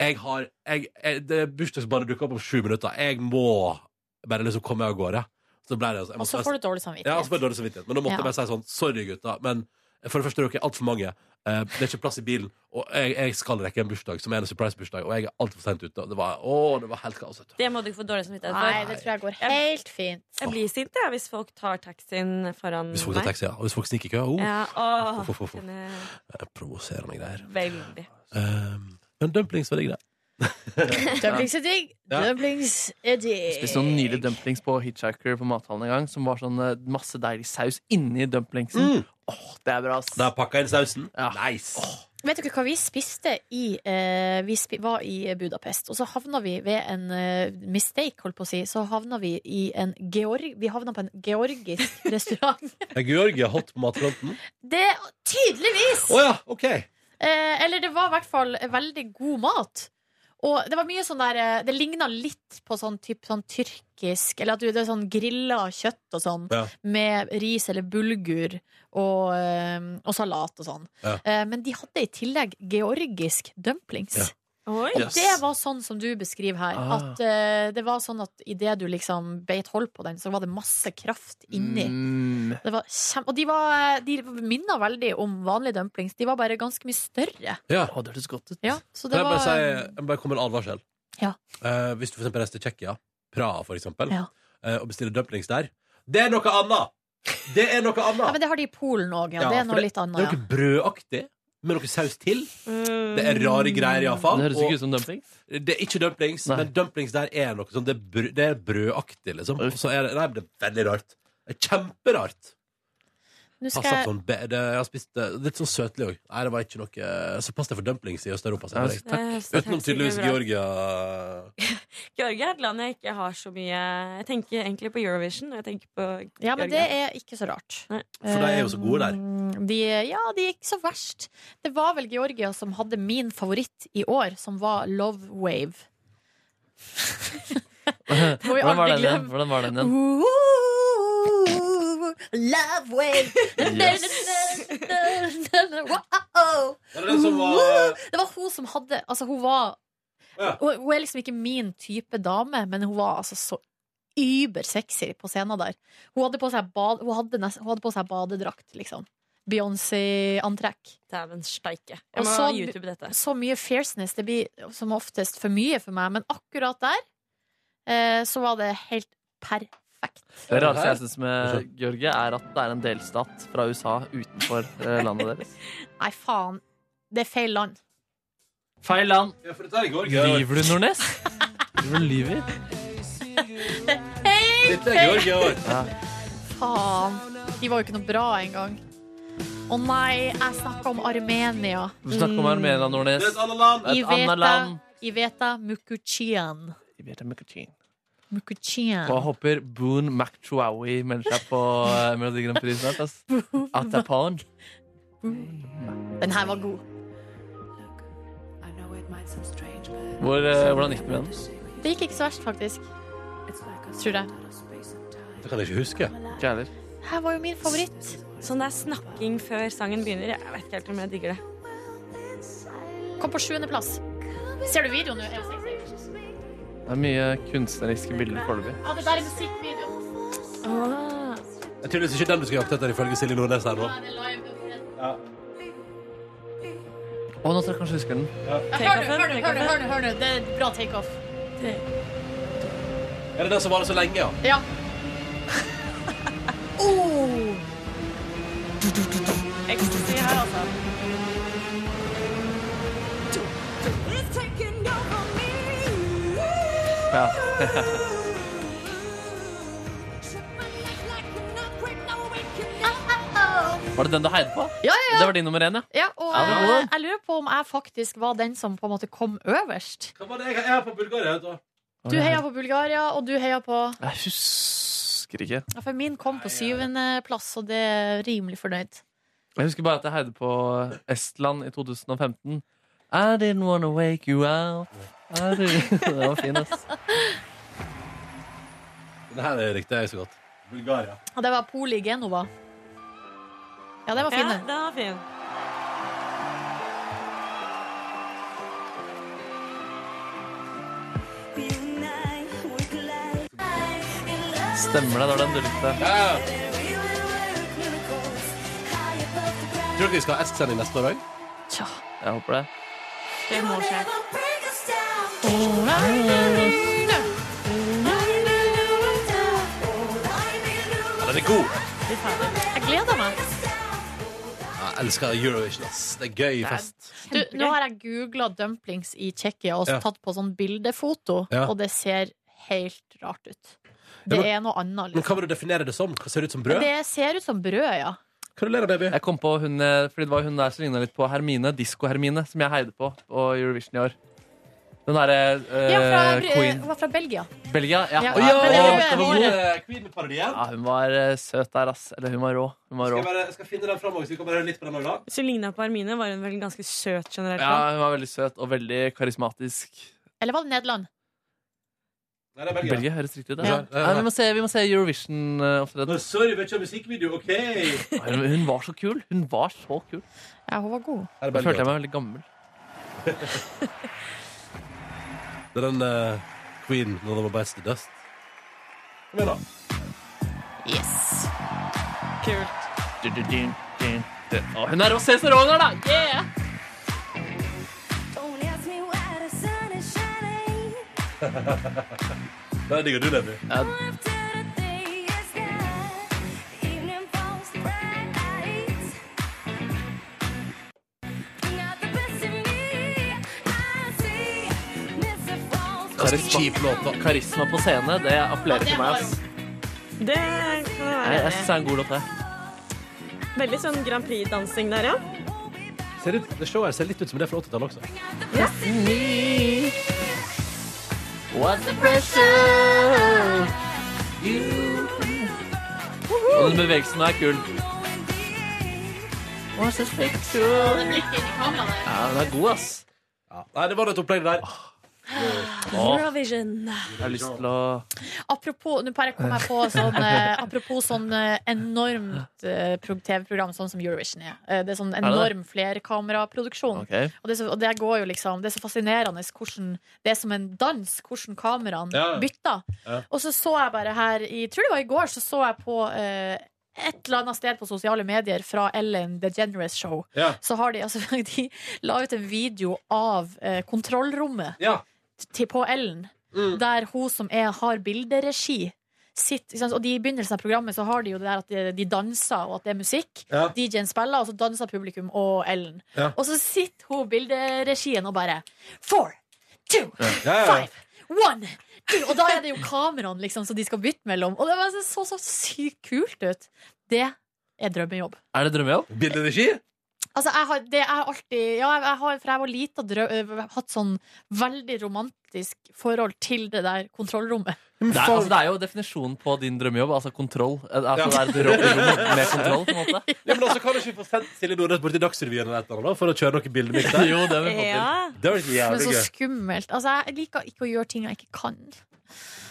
Jeg har jeg, jeg, det Bursdagsbarnet dukker opp om sju minutter. Jeg må bare liksom komme meg av gårde. Så ble det altså, jeg
Og
måtte
så
nesten-
får du dårlig
ja, altså,
samvittighet.
bare dårlig samvittighet. Men da måtte
Ja.
jeg bare si sånn Sorry, gutta, men for det første er dere altfor mange. Eh, det er ikke plass i bilen. Og jeg, jeg skal rekke en bursdag som er en surprise-bursdag, og jeg er altfor sent ute. Og det var, å, det var helt kaos. vet du.
Det må du ikke få dårlig samvittighet
Nei,
for.
det tror jeg går helt fint.
Jeg blir sint jeg, hvis folk tar taxien foran
Hvis folk tar
meg.
taxi, ja. Og hvis folk sniker i kø, oh,
Ja, åh,
Uff, uff, uff.
kjenner jeg
provoserende greier.
veldig.
Eh, men dumplings var digg, det.
Dumplings er digg.
Ja.
Dumplings er digg.
Spiste noen nydelige dumplings på Hitchhiker på mathallen en gang, som var sånn eh, masse deilig saus inni dumplingsen.
Mm.
Åh, det er bra, ass.
Da pakka jeg inn sausen.
Ja.
Nice.
Vet dere hva vi spiste i eh, Vi spi var i Budapest, og så havna vi ved en eh, mistake, holdt på å si. Så havna vi i en Georg... Vi havna på en georgisk restaurant.
Er Georgia hot på matfronten?
Det Tydeligvis!
Å ja, OK.
Eh, eller det var i hvert fall veldig god mat. Og det var mye sånn der eh, Det ligna litt på sånn, typ, sånn tyrkisk Eller at du, det er sånn grilla kjøtt og sånn
Ja.
med ris eller bulgur og, eh, og salat og sånn.
Ja.
Eh, men de hadde i tillegg georgisk dumplings.
Ja.
Oi.
Yes.
Det var sånn som du beskriver her.
Ah.
At eh, det var sånn at idet du liksom beit hold på den, så var det masse kraft inni.
Mm.
Det var kjem og de, var, de minna veldig om vanlige dumplings. De var bare ganske mye større.
Ja.
Åh, det hørtes godt ut.
Ja, så
Kan
det
jeg
var
bare si Jeg må bare komme med en advarsel.
Ja.
Eh, hvis du for eksempel reiser til Tsjekkia, Praha for eksempel,
Ja.
eh, og bestiller dumplings der, det er noe annet! Det er noe annet!
Ja, men det har de i Polen òg, ja.
Ja,
Det er
for
noe litt
Det
annet.
er
Ja. Mm.
noe brødaktig, med noe saus til. Det er rare greier, iallfall.
Det høres ikke ut som dumplings.
Det er ikke dumplings,
Nei.
men dumplings der er noe sånn Det er, brød, det er brødaktig, liksom. Og så er det, nei, men det er veldig rart. Det er kjemperart.
Nå skal
Passer
jeg
sånn, be- det, jeg har spist det litt sånn søtlig òg. Nei, det var ikke noe eh, Så pass deg for dumplings i Øst-Europa. sier jeg.
Det høres- det
Utenom
høres ikke
tydeligvis
bra ut.
Georgia.
Georgia er et land jeg ikke har så mye Jeg tenker egentlig på Eurovision. Og jeg tenker på Georgia.
Ja, men det er ikke så rart.
Nei.
For de er jo så gode der.
Um, De, ja, de er ikke så verst. Det var vel Georgia som hadde min favoritt i år, som var Love Wave. Må vi
Hvordan var
aldri
den igjen?
glemme.
Hvordan var den igjen?
Ooh, love wave.
Yes.
Wow.
Det er den som var eh,
Det var hun som hadde Altså, hun var
Ja.
hun, hun er liksom ikke min type dame, men hun var altså så übersexy på scenen der. Hun hadde på seg, bad, hun hadde nest, hun hadde på seg badedrakt, liksom. Beyoncé-antrekk.
Dæven steike.
Og
Jeg må
så-
YouTube dette.
Så mye fierceness. Det blir som oftest for mye for meg, men akkurat der eh, så var det helt perfekt.
Det rareste jeg syns med Georgia, er at det er en delstat fra USA utenfor eh, landet deres.
Nei, faen. Det er feil land.
Feil land.
Ja, for dette er Georgia.
Lyver du, Nordnes? Du lyver.
Dette er Georgia.
Faen. De var jo ikke noe bra engang. Å nei, jeg snakka om Armenia.
Du snakker om Armenia,
Det
Nordnes.
er et annet land.
Et annet land.
Iveta Mukuchian.
Og jeg
Mukuchian.
håper Boone McChowawi melder seg på eh, Melodi Grand Prix snart. ass. At det er på'n.
Den her var god.
Hvor, eh, hvordan gikk det med den?
Det gikk ikke så verst, faktisk. Tror
Det
jeg.
kan jeg ikke huske.
Ikke jeg heller.
Her var jo min favoritt.
Sånn der snakking før sangen begynner. Jeg vet ikke helt om jeg digger det.
Kom på sjuendeplass. Ser du videoen nå? Er det sexy?
Det er mye kunstneriske bilder foreløpig.
Ja, det der er musikkvideo.
Det er tydeligvis ikke den du skal jakte etter, ifølge Silje Nordnes her nå.
Ja, det er live.
Å, nå skal jeg kanskje huske den.
Ja, Hør nå, hør nå, hør nå, hør nå, hør nå. Det er bra takeoff.
Er det den som varer så lenge, ja?
Ja.
Ecstasy her, altså.
Ja. Var det den du heide på?
Ja, ja,
Det var din nummer én, ja.
ja, og
Ja, det var
jeg,
god.
jeg lurer på om jeg faktisk var den som på en måte kom øverst.
Hva var det jeg jeg er på Bulgaria? vet du.
Du heia på Bulgaria, og du heia på
Jeg husker ikke.
Ja, For min kom på syvendeplass, og det er rimelig fornøyd.
Jeg husker bare at jeg heide på Estland i 2015. I didn't wanna wake you out. I didn't- Den var fin, ass.
Det her er riktig, jeg er så godt. Bulgaria.
Og det var Poli Genova. Ja, den var
Ja,
fin, den.
den var fin.
Stemmer det, det var den du likte.
Tror dere vi skal ha Esk-sending neste år òg?
Tja.
Jeg håper det.
Det må skje.
Ja, den er god.
Jeg gleder meg.
Jeg elsker Eurovision, ass. Det er gøy fest.
Du, nå har jeg googla dumplings i Tsjekkia og så
Ja.
tatt på sånn bildefoto,
Ja.
og det ser helt rart ut.
Ja,
Det
men-
er noe annet.
Men hva
Liksom.
vil du definere det som? Hva ser det ut som brød?
Det ser ut som brød, ja.
Hva du ler av, baby?
Jeg kom på hun, eh, fordi det var hun der som ligna litt på Hermine, Disko-Hermine, som jeg heide på på Eurovision i år. Den derre
ja fra,
eh,
Hun
Queen
var fra Belgia.
Belgia. Ja,
Ja,
Nei,
men det
å,
er
det var
jo-
god.
Queen-parodien.
ja hun var eh, søt der, ass. Eller hun var rå. Hun var
Skal
rå.
jeg, bare, skal jeg finne den framover, så vi kan bare høre litt på den òg, da?
Hvis hun ligna på Hermine, var hun vel ganske søt generelt. da?
Ja, hun var veldig søt og veldig karismatisk.
Eller var det Nederland?
Nei, det er Belgia.
Belgia høres riktig ut. da.
Ja.
Nei, Vi må se, vi må se Eurovision-opptreden.
Nå, Sorry, vi har ikke musikkvideo. OK! Her
Hun, hun var så kul. Hun var så kul.
Ja, hun var god.
er
Da følte jeg
Belgia.
meg veldig gammel.
Det er den eh, Queen når det var Best i Dust. Kom igjen, da.
Yes.
Du, du, din, din, din. Å, hun er rå! Se så rå hun er, da! Yeah!
Don't ask me why the sun is shining.
Der digger du, Levi.
Ganske kjip låt, da.
Karisma på scene, det appellerer til meg. ass.
Det kan jo
Jeg, jeg synes det
være
er en god låt, det.
veldig sånn Grand Prix-dansing der, ja.
Ser ut, det showet her ser litt ut som det er fra 80-tallet også.
What's the pressure? Og den bevegelsen er kul. What's the picture? Ja, den er god, ass.
Ja. Nei, det var et opplegg der.
Eurovision.
Jeg har lyst til å
Apropos, nå bare kom jeg på sånn, eh, apropos sånn eh, enormt eh, pro- TV-program sånn som Eurovision er. Eh, det er sånn enorm flerkameraproduksjon.
Ok.
Og, det er så- og det går jo liksom Det er så fascinerende hvordan Det er som en dans, hvordan kameraene
Ja.
bytter.
Ja.
Og så så jeg bare her i Tror det var i går, så så jeg på eh, et eller annet sted på sosiale medier fra Ellen DeGeneres Show.
Ja.
Så har de altså De la ut en video av eh, kontrollrommet
Ja.
til, på Ellen,
Mm.
der hun som er, har bilderegi sitt, ikke sant? og de I begynnelsen av programmet så har de jo det der at de, de danser, og at det er musikk.
Ja.
DJ-en spiller, og så danser publikum og Ellen.
Ja.
Og så sitter hun bilderegien og bare Four, two,
Ja, ja, ja.
five, one two. Og da er det jo kameraene liksom, som de skal bytte mellom. Og det var så, så, så sykt kult ut. Det er drømmejobb.
Er det drømmejobb?
Bilderegi?
Altså, jeg har, det er alltid ja, jeg har, Fra jeg var lita, drø- øh, hatt sånn veldig romantisk forhold til det der kontrollrommet.
Det er, altså, det er jo definisjonen på din drømmejobb. Altså kontroll. Altså, det er et rom rom med kontroll, på en måte.
Ja, men altså, kan du ikke få sendt Silje Nordnes bort til Dagsrevyen eller et eller annet, da, for å kjøre noen bilder mitt der?
Jo, det vil jeg få til.
Ja.
Det var ikke
Men
jævlig
så
gøy.
skummelt. Altså, jeg liker ikke å gjøre ting jeg ikke kan.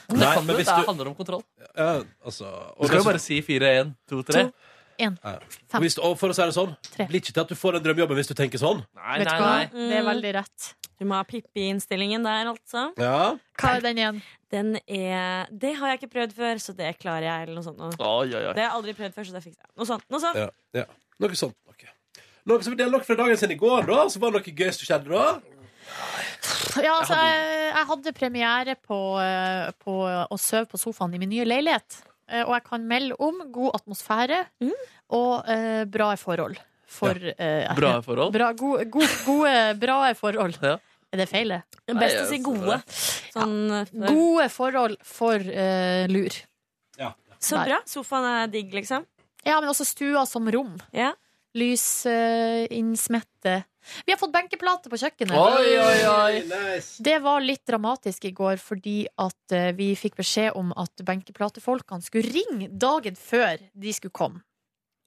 Det,
Nei,
kan
men
du,
hvis
det
du-
handler om kontroll.
Ja, altså, og
Du skal
det-
jo bare si fire, én, to, tre.
To. En,
Ja.
fem,
Hvis, og for å si det sånn,
Tre.
blir ikke til at du får den drømmejobben hvis du tenker sånn.
Nei,
vet du
nei,
hva?
nei.
Det er veldig rett.
Du må ha Pippi-innstillingen der, altså.
Ja.
Hva er den igjen?
Den er Det har jeg ikke prøvd før, så det klarer jeg, eller noe sånt. nå.
Oi, oi, oi.
Det har jeg aldri prøvd før, så det fikser jeg. Noe sånt. Noe sånt.
ja, ja. Noe sånt. Noe. Noe som vi deler nok fra dagen sin i går, da. Så var det noe gøy som skjedde da.
Ja, altså, jeg, jeg hadde premiere på, eh, på å sove på sofaen i min nye leilighet. Eh, Og jeg kan melde om god atmosfære og eh, bra forhold. For eh,
Bra forhold.
Bra, gode, gode, gode, bra forhold.
Ja.
Er det feil, det?
Det er Best
Nei,
å si
jeg
gode. Sånn, for-
Gode forhold for eh, lur.
Så
Nei.
bra. Sofaen er digg, liksom.
Ja, men også stua som rom.
Ja.
Lys, eh, innsmette Vi har fått benkeplate på kjøkkenet.
Oi, oi, oi.
Nice.
Det var litt dramatisk i går fordi at eh, vi fikk beskjed om at benkeplatefolkene skulle ringe dagen før de skulle komme.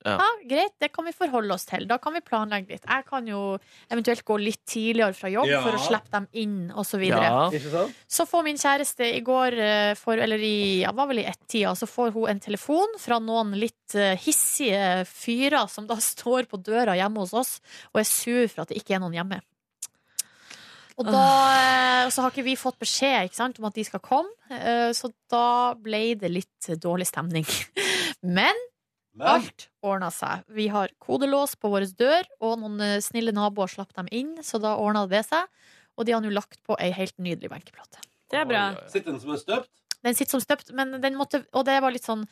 Ja.
greit, det kan vi forholde oss til. Da kan vi planlegge litt. Jeg kan jo eventuelt gå litt tidligere fra jobb
Ja.
for å slippe dem inn, osv.
Ja.
Ikke sant?
Så får min kjæreste i går, eh, for, eller i, ja, var vel i ett-tida, så får hun en telefon fra noen litt eh, hissige fyrer som da står på døra hjemme hos oss og er sur for at det ikke er noen hjemme. Og da eh, så har ikke vi fått beskjed ikke sant, om at de skal komme, eh, så da ble det litt dårlig stemning. Men
Men,
alt ordna seg. Vi har kodelås på vår dør, og noen eh, snille naboer slapp dem inn, så da ordna det seg. Og de har nå lagt på ei helt nydelig benkeplate.
Det er bra.
sitter den som en støpt?
Den sitter som støpt, men den måtte Og det var litt sånn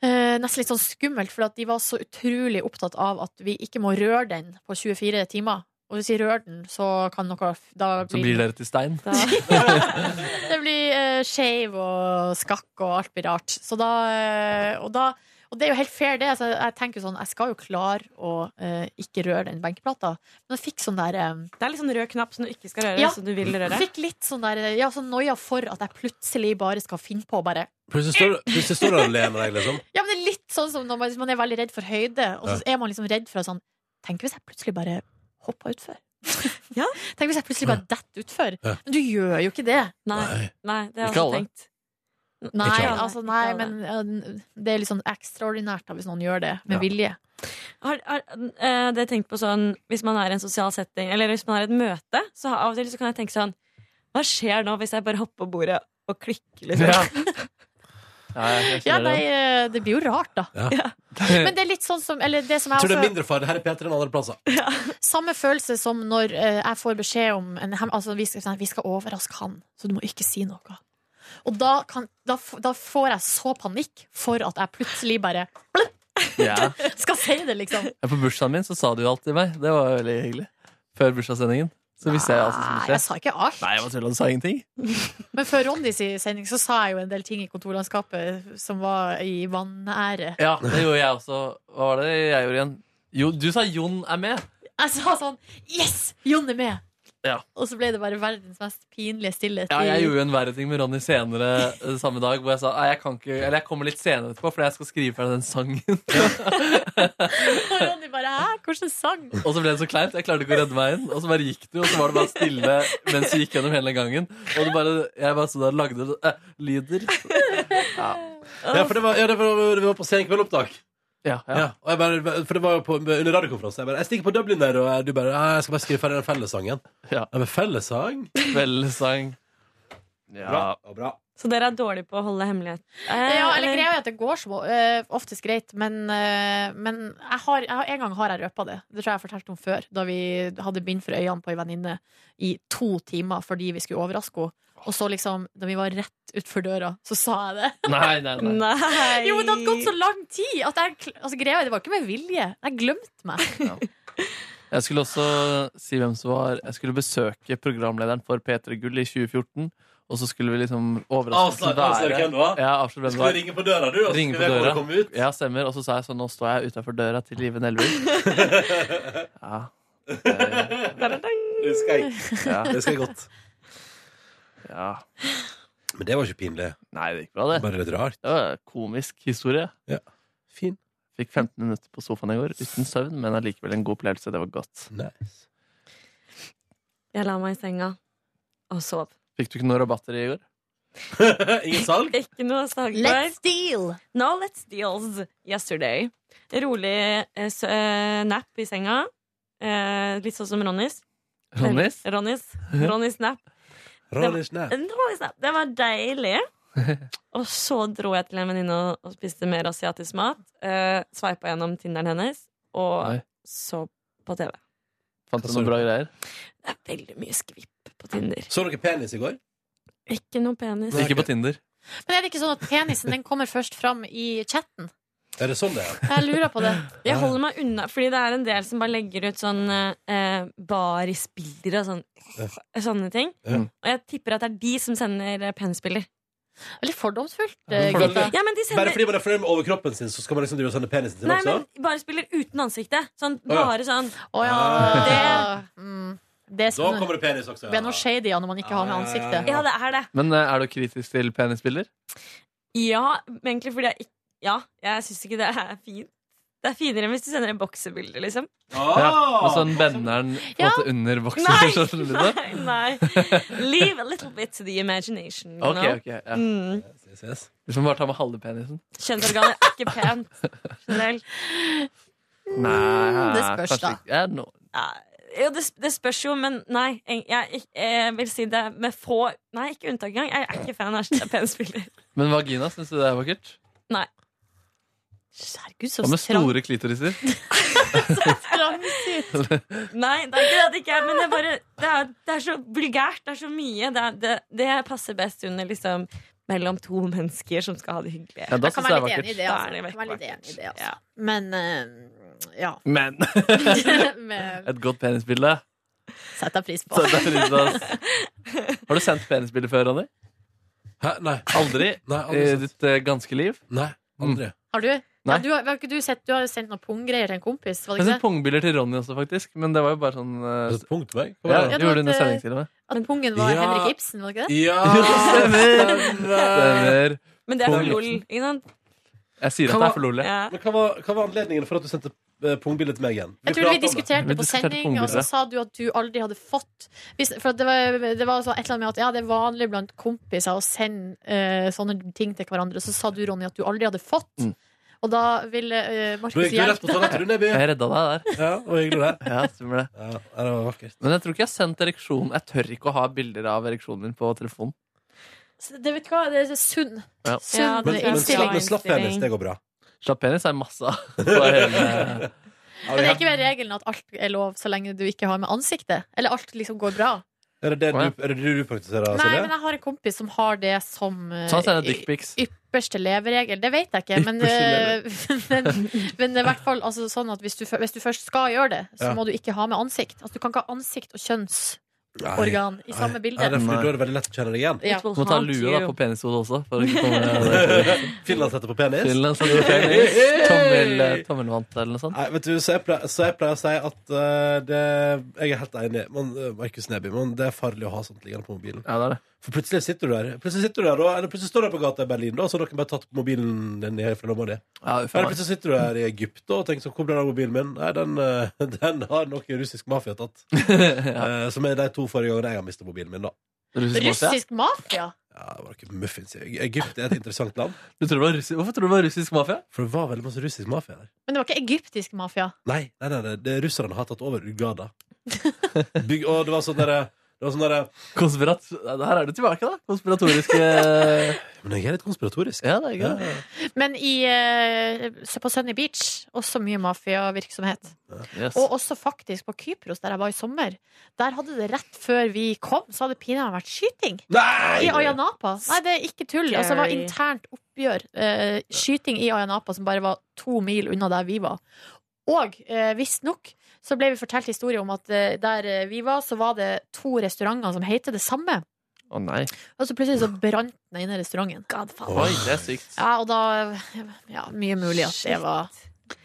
eh, nesten litt sånn skummelt, for at de var så utrolig opptatt av at vi ikke må røre den på 24 timer. Og hvis vi rører den, så kan noe Da
Så
blir
blir dere til stein.
det blir uh, skeiv og skakk og alt blir rart. Så da, eh, og da og det er jo helt fair, det. Så jeg tenker jo sånn, jeg skal jo klare å eh, ikke røre den benkeplata. Men jeg fikk sånn der eh,
Det er litt sånn rød knapp som du ikke skal røre,
Ja.
som du vil røre.
Fikk litt sånn der eh, Ja, sånn noia for at jeg plutselig bare skal finne på bare
Plutselig står- plutselig står du alene deg, liksom.
Ja, men det er litt sånn som når man, hvis man er veldig redd for høyde, og så er man liksom redd for å sånn Tenk hvis jeg plutselig bare hoppa utfor?
Ja.
Tenk hvis jeg plutselig bare detter utfor?
Ja.
Men du gjør jo ikke det.
Nei. Nei, det har jeg
Ikke
også
alle.
tenkt.
Nei,
Ikke alle.
altså, nei
Ikke alle.
men eh, det er litt sånn ekstraordinært da, hvis noen gjør det med
Ja.
vilje.
Har, har eh, dere tenkt på sånn Hvis man er i en sosial setting, eller hvis man har et møte, så har- av og til så kan jeg tenke sånn Hva skjer nå hvis jeg bare hopper på bordet og klikker, liksom?
Ja, nei, eh, det blir jo rart, da.
Ja.
Ja. Men det er litt sånn som Eller det som
Jeg
jeg
tror det er
altså-
også-
mindre far. Det her er P3 enn andre plasser.
Samme følelse som når eh, jeg får beskjed om en, hem- Altså, vi skal, vi skal overraske han, så du må ikke si noe. Og da, kan, da, f- da får jeg så panikk for at jeg plutselig bare
Ja.
skal si det, liksom.
Ja, På bursdagen min så sa du jo alt til meg. Det var jo veldig hyggelig. Før bursdagssendingen. Så visste jeg alt altså, som
Nei,
skulle skje.
Ah, jeg sa ikke alt.
Nei, jeg bare tulla. Du sa ingenting.
Men før Ronny sin sending så sa jeg jo en del ting i kontorlandskapet som var i vanære.
Ja, det gjorde jeg også. Hva var det jeg gjorde igjen? Jo, du sa Jon er med.
Jeg sa sånn Yes! Jon er med!
Ja.
Og så ble det bare verdens mest pinlige stillhet.
Ja, jeg
i-
gjorde jo en verre ting med Ronny senere eh, samme dag, hvor jeg sa «Nei, jeg kan ikke, eller jeg kommer litt senere etterpå, fordi jeg skal skrive ferdig den sangen.
Og Ronny bare Hæ, hvordan sang?
Og så ble det så kleint. Jeg klarte ikke å redde meg inn. Og så bare gikk du, og så var det bare stille mens du gikk gjennom hele gangen. Og du bare, jeg bare stod der og lagde eh, lyder. Ja.
Ja, for det var, ja, det var, vi var på senkveldopptak.
Ja, ja.
Ja. og jeg bare, for det var jo på, under radiokonferanse. Jeg bare, jeg stikker på Dublin der, og du bare «Ja, Jeg skal bare skrive ferdig den fellessangen.
Ja.
Jeg bare, fellessang?
Kveldssang.
Bra.
Ja.
Ja, bra.
Så dere er dårlige på å holde hemmelighet? Eh,
Ja, eller greia er at det går som eh, oftest greit, men, eh, men jeg har, jeg har, en gang har jeg røpa det. Det tror jeg jeg fortalte om før, da vi hadde bind for øynene på ei venninne i to timer fordi vi skulle overraske henne. Og så liksom, da vi var rett utfor døra, så sa jeg det.
Nei, nei, nei.
Nei.
Jo, men det hadde gått så lang tid! At jeg, kl- altså, greia er, det var ikke med vilje. Jeg glemte meg.
Jeg skulle også si hvem som var Jeg skulle besøke programlederen for P3 Gull i 2014. Og så skulle vi liksom overraskende
Avsløre- avsløre hvem det var?
Ja, avsløre hvem det
Skal
var.
du ringe på døra, du? Og så
Ringe
skal
på
vedkommende
døra.
komme ut?
Ja, stemmer. Og så sa jeg sånn, nå står jeg utafor døra til Live Nelvik. Ja.
Det husker jeg.
ja,
Det husker jeg godt.
ja.
Men det var ikke pinlig.
Nei, det gikk bra, det.
Bare litt rart.
Det var en komisk historie.
Fin.
Fikk 15 minutter på sofaen i går uten søvn, men allikevel en god opplevelse. Det var godt.
Nice.
Jeg la meg i senga og sov.
Fikk du ikke noen rabatter i går?
Ingen salg?
Ikke noe sagpoeng.
Let's deal!
No, let's deals yesterday. Rolig eh, s eh, nap i senga. Eh, litt sånn som Ronnys.
Ronnys?
Ronnys. Ronnys nap.
Ronnys nap.
En Ronnys nap. Det var deilig. Og så dro jeg til en venninne og- og spiste mer asiatisk mat. Eh, Sveipa gjennom Tinderen hennes, og
Nei.
så på TV.
Fant du noen bra greier?
Det er veldig mye skvipp på Tinder.
Så dere penis i går?
Ikke noe penis.
Ikke på Tinder.
Men er det ikke sånn at penisen den kommer først fram i chatten?
Er det sånn det er?
Jeg lurer på det.
Jeg holder meg unna, fordi det er en del som bare legger ut sånn eh, barisbilder og sånn, sånne ting.
Ja. Mm.
Og jeg tipper at det er de som sender eh, penisbilder.
Litt fordomsfullt, eh,
Fordomsfullt.
gutta.
Ja, men de
Bare
sender
fordi man er fornøyd med overkroppen sin, så skal man liksom drive og sende penisen sin
Nei,
også?
men barisbilder uten ansiktet. Sånn
ja.
bare sånn.
Å ja.
Ah.
Det, mm, det er
Da
sånn-
kommer det penis også.
Det er noe shady ja, når man ikke har med ansiktet.
Ja, det er det.
Men eh, er du kritisk til penisbilder?
Ja, men egentlig fordi jeg ikke Ja, jeg syns ikke det er fint. Det er finere enn hvis du sender en boksebilde, liksom.
Ja,
Ah!
og sånn bender den på en
Ja.
måte under
Nei,
voksen.
nei, nei. Leave a little bit to the imagination. You
Ok,
know?
ok. Ja.
Mm.
Yes, yes.
Hvis man bare tar med halve penisen.
Kjønnsorganer er ikke pent. Generelt.
Nei,
Mm, det spørs,
kanskje
da.
ikke. Ja, nå-
Nei, Jo, det, det spørs jo, men nei. Jeg, jeg, jeg vil si det med få Nei, ikke unntak engang. Jeg er ikke fan av penspiller.
Men vagina, syns du det er vakkert?
Herregud, så
Og med
strang
store klitoriser.
Nei, det er ikke det at det ikke er, men det er bare Det er, det er så vulgært. Det er så mye. Det, er, det, det passer best under liksom mellom to mennesker som skal ha det hyggelig.
Ja, da
Jeg kan
syns jeg det
være
er
litt enig i
vakkert.
det.
Da er
Altså. Jeg kan være litt enig i
det vakkert.
det altså.
Ja.
Men eh, ja.
Men
Med,
et godt penisbilde.
setter jeg pris på.
Så det er fint, ass. Har du sendt penisbilde før, Ronny?
Hæ? Nei.
Aldri
Nei,
i
aldri. sett.
ditt eh, ganske liv.
Nei, Mm. aldri.
Har du?
Nei.
Ja, du, har, har ikke du, sett, du har jo sendt noen punggreier til en kompis.
Jeg har
Var det
sett
ikke det?
pungbilder til Ronny også, faktisk. Men det var jo bare sånn
Er
eh,
det et punkt på meg? Hva var
ja,
det?
det var
Gjorde du
at,
under
eh,
sending til og med?
At pungen var
Ja.
Henrik Ibsen, var det ikke det?
Ja!
Stemmer! Stemmer.
Men det er for
Kong
lol, ikke sant?
Jeg sier at det er for lol, jeg.
Ja.
Men hva var, hva var anledningen for at du sendte eh, pungbildet til meg igjen?
Jeg tror vi
pratet om det.
diskuterte
Vi
det på
diskuterte
sending, og så
pungbildet.
sa du at du aldri hadde fått hvis, For at det var, det var så et eller annet med at ja, det er vanlig blant kompiser å sende eh, sånne ting til hverandre. Så sa du, Ronny, at du aldri hadde fått.
Mm.
Og da ville eh,
Da
Markus
gikk du rett
hjelpe
på toalettet, du, Neby.
Jeg redda deg der.
Ja, og hyggelig der.
Ja, stemmer det.
Ja, det var vakkert.
Men jeg tror ikke jeg har sendt ereksjon Jeg tør ikke å ha bilder av ereksjonen min på telefonen.
Så Det vet du hva, det er sunn.
Ja.
Sunn
Ja,
Men, men, slapp,
innstilling.
men slapp penis, det går bra.
Slapp penis er masse av på hele
Men det er ikke ved regelen at alt er lov så lenge du ikke har med ansiktet. Eller alt liksom går bra.
Er det det du, er det det du praktiserer,
Nei, men
Silje?
jeg har en kompis som har det som eh,
Sånn sender jeg dickpics.
ypperste leveregel. Det vet jeg ikke, men,
Ypperste
eh, men, men det er i hvert fall altså, sånn at hvis du, fø- hvis du først skal gjøre det, så
Ja.
må du ikke ha med ansikt. Altså, du kan ikke ha ansikt og kjønnsorgan i samme bilde.
Nei, det er fordi da er det veldig lett å kjenne deg igjen.
Ja.
Du må ta lue da på penishodet også. For å ikke komme
Finland setter på penis.
Finland setter på sånn penis. Tommel, eh, tommelvant eller noe sånt.
Nei, vet du, så jeg pleier, så jeg pleier å si at eh, det, jeg er helt enig. Man, eh, Markus Neby, men det er farlig å ha sånt liggende på mobilen.
Ja, det er det.
For plutselig sitter du der, plutselig sitter du der og, eller plutselig står du der på gata i Berlin, da, og så har noen bare tatt mobilen din ned fra lomma di.
Ja, uff a
Eller
meg.
plutselig sitter du der i Egypt da, og tenker sånn, hvor ble det av mobilen min? Nei, den, eh, den har nok russisk mafia tatt.
sånn?
Eh, som er de to forrige gangene jeg har mistet mobilen min, da.
Russisk mafia?
Russisk mafia?
Ja, det var ikke muffins. i Egy- Egypt er et interessant land,
Du tror det var russi- Hvorfor tror du det var russisk mafia?
for det var veldig masse russisk mafia der.
Men det var ikke egyptisk mafia.
Nei, nei, nei, nei det, russerne har tatt over Uganda. Bygg, og det var sånn derre det var sånn derre
Konspirat... Her er du tilbake, da. Konspiratoriske Ja,
Men jeg er litt konspiratorisk.
det er gøy.
Ja.
Men i, eh, på Sunny Beach også mye mafiavirksomhet.
Yes.
Og også faktisk på Kypros, der jeg var i sommer. Der hadde det rett før vi kom, så hadde det pinadø vært skyting. I Ayanapa. Nei, det er ikke tull. Altså, det var
Scary.
internt oppgjør. Eh, skyting i Ayanapa, som bare var to mil unna der vi var. Og eh, visstnok så ble vi fortalt historier om at eh, der eh, vi var, så var det to restauranter som heter det samme.
Å nei.
Og så plutselig så brant den ene restauranten.
Oi, det er sykt.
Ja, og da Ja, mye mulig at det var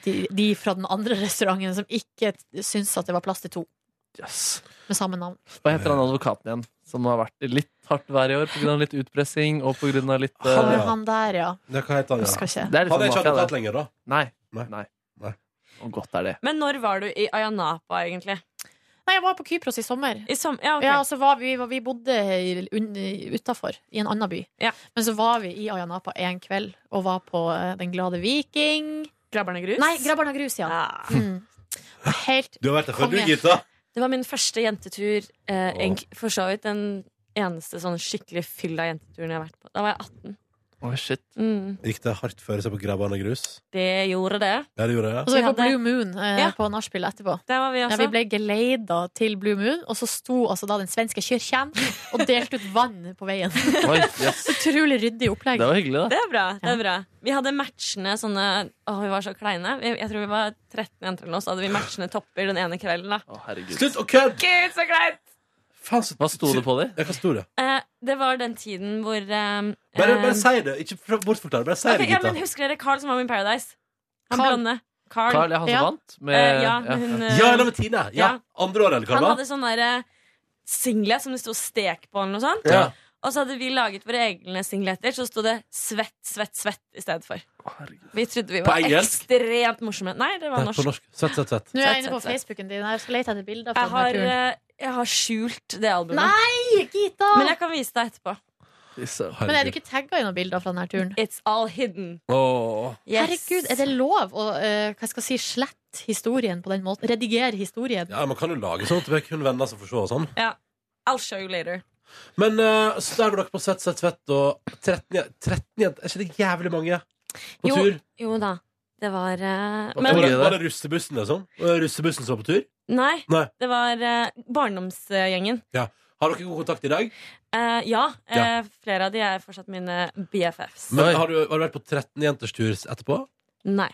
de, de fra den andre restauranten som ikke syntes at det var plass til to
Yes.
med samme navn.
Hva heter han advokaten igjen? Som har vært i litt hardt vær i år pga. litt utpressing og pga. litt eh,
Han,
ja.
han der, ja.
Ja, hva heter han?
Husker
Ja.
ikke.
Det er
Han er
liksom
ikke
mafia,
advokat
det.
lenger, da.
Nei.
Nei.
Nei.
Nei.
Og godt er det.
Men når var du i Ayanapa, egentlig?
Nei, jeg var på Kypros i sommer.
I som, ja, ok.
Ja, altså var vi, vi bodde utafor, i en annen by.
Ja.
Men så var vi i Ayanapa en kveld og var på eh, Den glade viking.
Grabberne grus?
Nei, Grabbarna grus, ja.
Ja.
Mm. Helt
Du har vært der før, du,
Konge.
Gita.
Det var min første jentetur. Eh, egentlig- for så vidt den eneste sånn skikkelig fylla jenteturen jeg har vært på. Da var jeg 18.
Oi, shit.
Mm.
Gikk det hardt før seg på Grabbane grus?
Det gjorde det.
Ja, det gjorde
Og
det.
så var vi
Vi
på Blue
hadde-
Moon eh,
Ja.
på nachspiel etterpå.
Der var vi også.
Ja, vi ble geleida til Blue Moon, og så sto altså da den svenske kirken og delte ut vann på veien.
Oi, yes.
Utrolig ryddig opplegg.
Det var hyggelig, da.
Det er bra. det er bra Vi hadde matchende sånne Å, vi var så kleine. Jeg, jeg tror vi var 13 jenter eller noe, så hadde vi matchende topper den ene kvelden. da
Å, herregud.
Slutt å kødde!
Gud, så kleint!
Faen, så-
Hva sto det på de?
Ja, hva sto det?
Eh, det var den tiden hvor eh,
Bare,
eh,
bare si det. Ikke fra- bortforklar. Bare si
ok,
det,
ja,
Gita.
men Husker dere Carl som var med i Paradise? Han
Carl.
blonde. Carl.
Carl er han som
Ja.
vant? Med,
Eh, ja, men hun eh,
Ja, eller med Tine. Ja.
Ja.
Andre året, eller hva
Han
det var?
hadde sånn derre singlet som det sto stek på, eller noe sånt.
Ja.
Og så hadde vi laget våre egne singleter, så sto det svett, svett, svett i stedet for. Vi trodde vi
På
var
engelsk?
ekstremt morsomme. Nei, det var
Nei, på
norsk.
norsk. Sett, sett, sett.
Nå er jeg inne på
Sett, sett, sett.
Facebooken din. Jeg skal lete etter bilder.
Jeg
Fra
har,
denne turen.
eh, jeg har skjult det albumet.
Nei, Gita!
Men
Men,
jeg kan vise deg etterpå.
Herregud.
er du ikke tagga i noen bilder fra denne turen?
It's all hidden.
Åh.
Yes.
Herregud, er det lov å eh, hva skal jeg si, slette historien på den måten? Redigere historien?
Ja, Man kan jo lage sånn at det er kun venner som får se og sånn.
I'll show you later.
Men eh, så der var dere på Svett, Svett, Svett og 13 jen- 13 jenter. Er ikke det jævlig mange på
Jo,
tur?
Jo da. Det var eh,
var,
Men
det, var det russebussen, liksom? Var det Russebussen som var på tur?
nei,
Nei.
det var eh, barndomsgjengen.
Har dere god kontakt i dag?
Eh, ja, eh, flere av de er fortsatt mine BFFs.
Men har du, har du vært på 13 jenters tur etterpå?
Nei.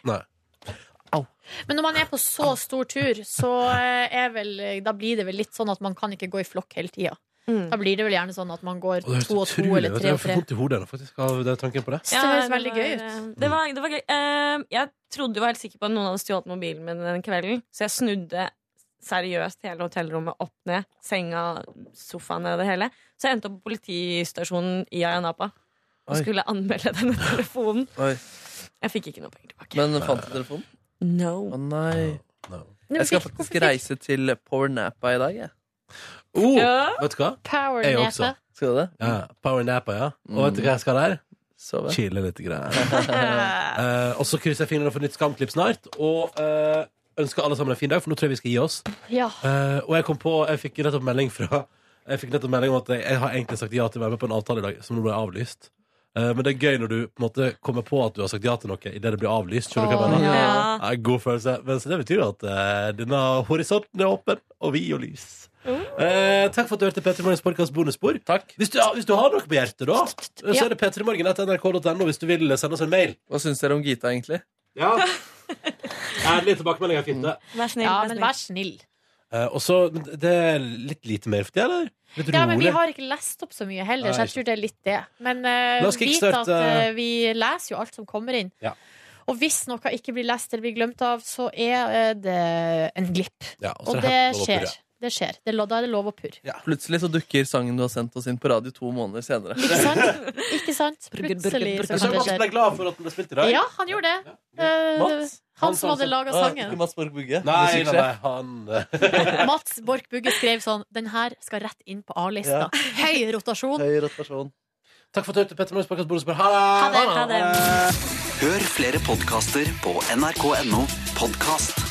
Men når man er på så stor tur, så eh, er vel, da blir det vel litt sånn at man kan ikke gå i flokk hele tida.
Mm.
Da blir det vel gjerne sånn at man går
Og det høres
to og to
utrolig
eller
ut.
tre og
Jeg får
tre.
vondt i hodet nå, faktisk, av det tanken på det.
Så det høres veldig
var,
gøy
eh,
ut.
Det var, det var gøy. Eh, jeg trodde jo helt sikker på at noen hadde stjålet mobilen min den kvelden, så jeg snudde seriøst hele hotellrommet opp ned. Senga, sofaen og det hele. Så jeg endte opp på politistasjonen i Ayanapa og
Oi.
skulle anmelde denne telefonen.
Oi.
Jeg fikk ikke noe penger tilbake.
Men fant du telefonen? Å
no.
nei.
Nei, men
Jeg skal
fikk-
faktisk
hvorfor fikk
reise til Powernapa i dag, jeg.
Oh,
Ja.
Vet du hva?
Power
Jeg
nede.
også.
Skal du det?
Ja, Powernappa, ja. Og vet du hva jeg skal der?
Sove?
Chille litt. Grann. Eh, og så krysser jeg fingrene for nytt Skamklipp snart. Og eh, ønsker alle sammen en fin dag, for nå tror jeg vi skal gi oss.
Ja.
Eh, og jeg kom på, jeg fikk rett opp melding fra eh, Jeg fikk nettopp melding om at jeg, jeg har egentlig sagt ja til å være med på en avtale i dag, som nå ble avlyst. Eh, men det er gøy når du på en måte kommer på at du har sagt ja til noe idet det blir avlyst. Skjønner du hva jeg mener?
ja.
Det er en god følelse. Men så det betyr jo at eh, denne horisonten er åpen, og vi gir lys.
Oh.
Eh, takk for at du hørte P3 Morgens podkast bonusspor. Hvis, du, hvis du har noe på hjertet, da, så
Ja.
er det p3morgen.nrk.no hvis du vil sende oss en mail.
Hva syns dere om Gita, egentlig?
Ja. Ærlige tilbakemeldinger er fint, det.
Vær snill.
Ja,
vær
men
snill.
vær snill.
Eh, og så Det er litt lite mer for tida, eller? Litt
Ja, men vi
rolig.
har ikke lest opp så mye heller, så
Nei,
jeg tror det er litt det. Men eh,
La oss
vit
kickstarte-
at eh, vi leser jo alt som kommer inn.
Ja.
Og hvis noe ikke blir lest eller blir glemt av, så er eh, det en glipp.
Ja, og så
og
er det
det
lov å
skjer.
purre.
Det skjer. Det er lo- da er det lov å purre.
Plutselig så dukker sangen du har sendt oss inn på radio to måneder senere.
Ikke sant? Plutselig
Jeg
så
ser
kan det
Mats ble
skje.
glad for at den ble spilt i dag.
Ja, han gjorde det. Eh,
Mats?
han som hadde laga sangen.
Ikke Mats Borg Bugge.
Nei, nei, nei,
musikksjef.
han eh,
Mats Borch Bugge skrev sånn Den her skal rett inn på A-lista.
Ja.
Høy rotasjon.
Høy rotasjon.
Takk for at du hørte Petter Morgens podkast bonusspor. Ha det!
Ha det, ha det.
Hør flere podkaster på nrk.no podkast.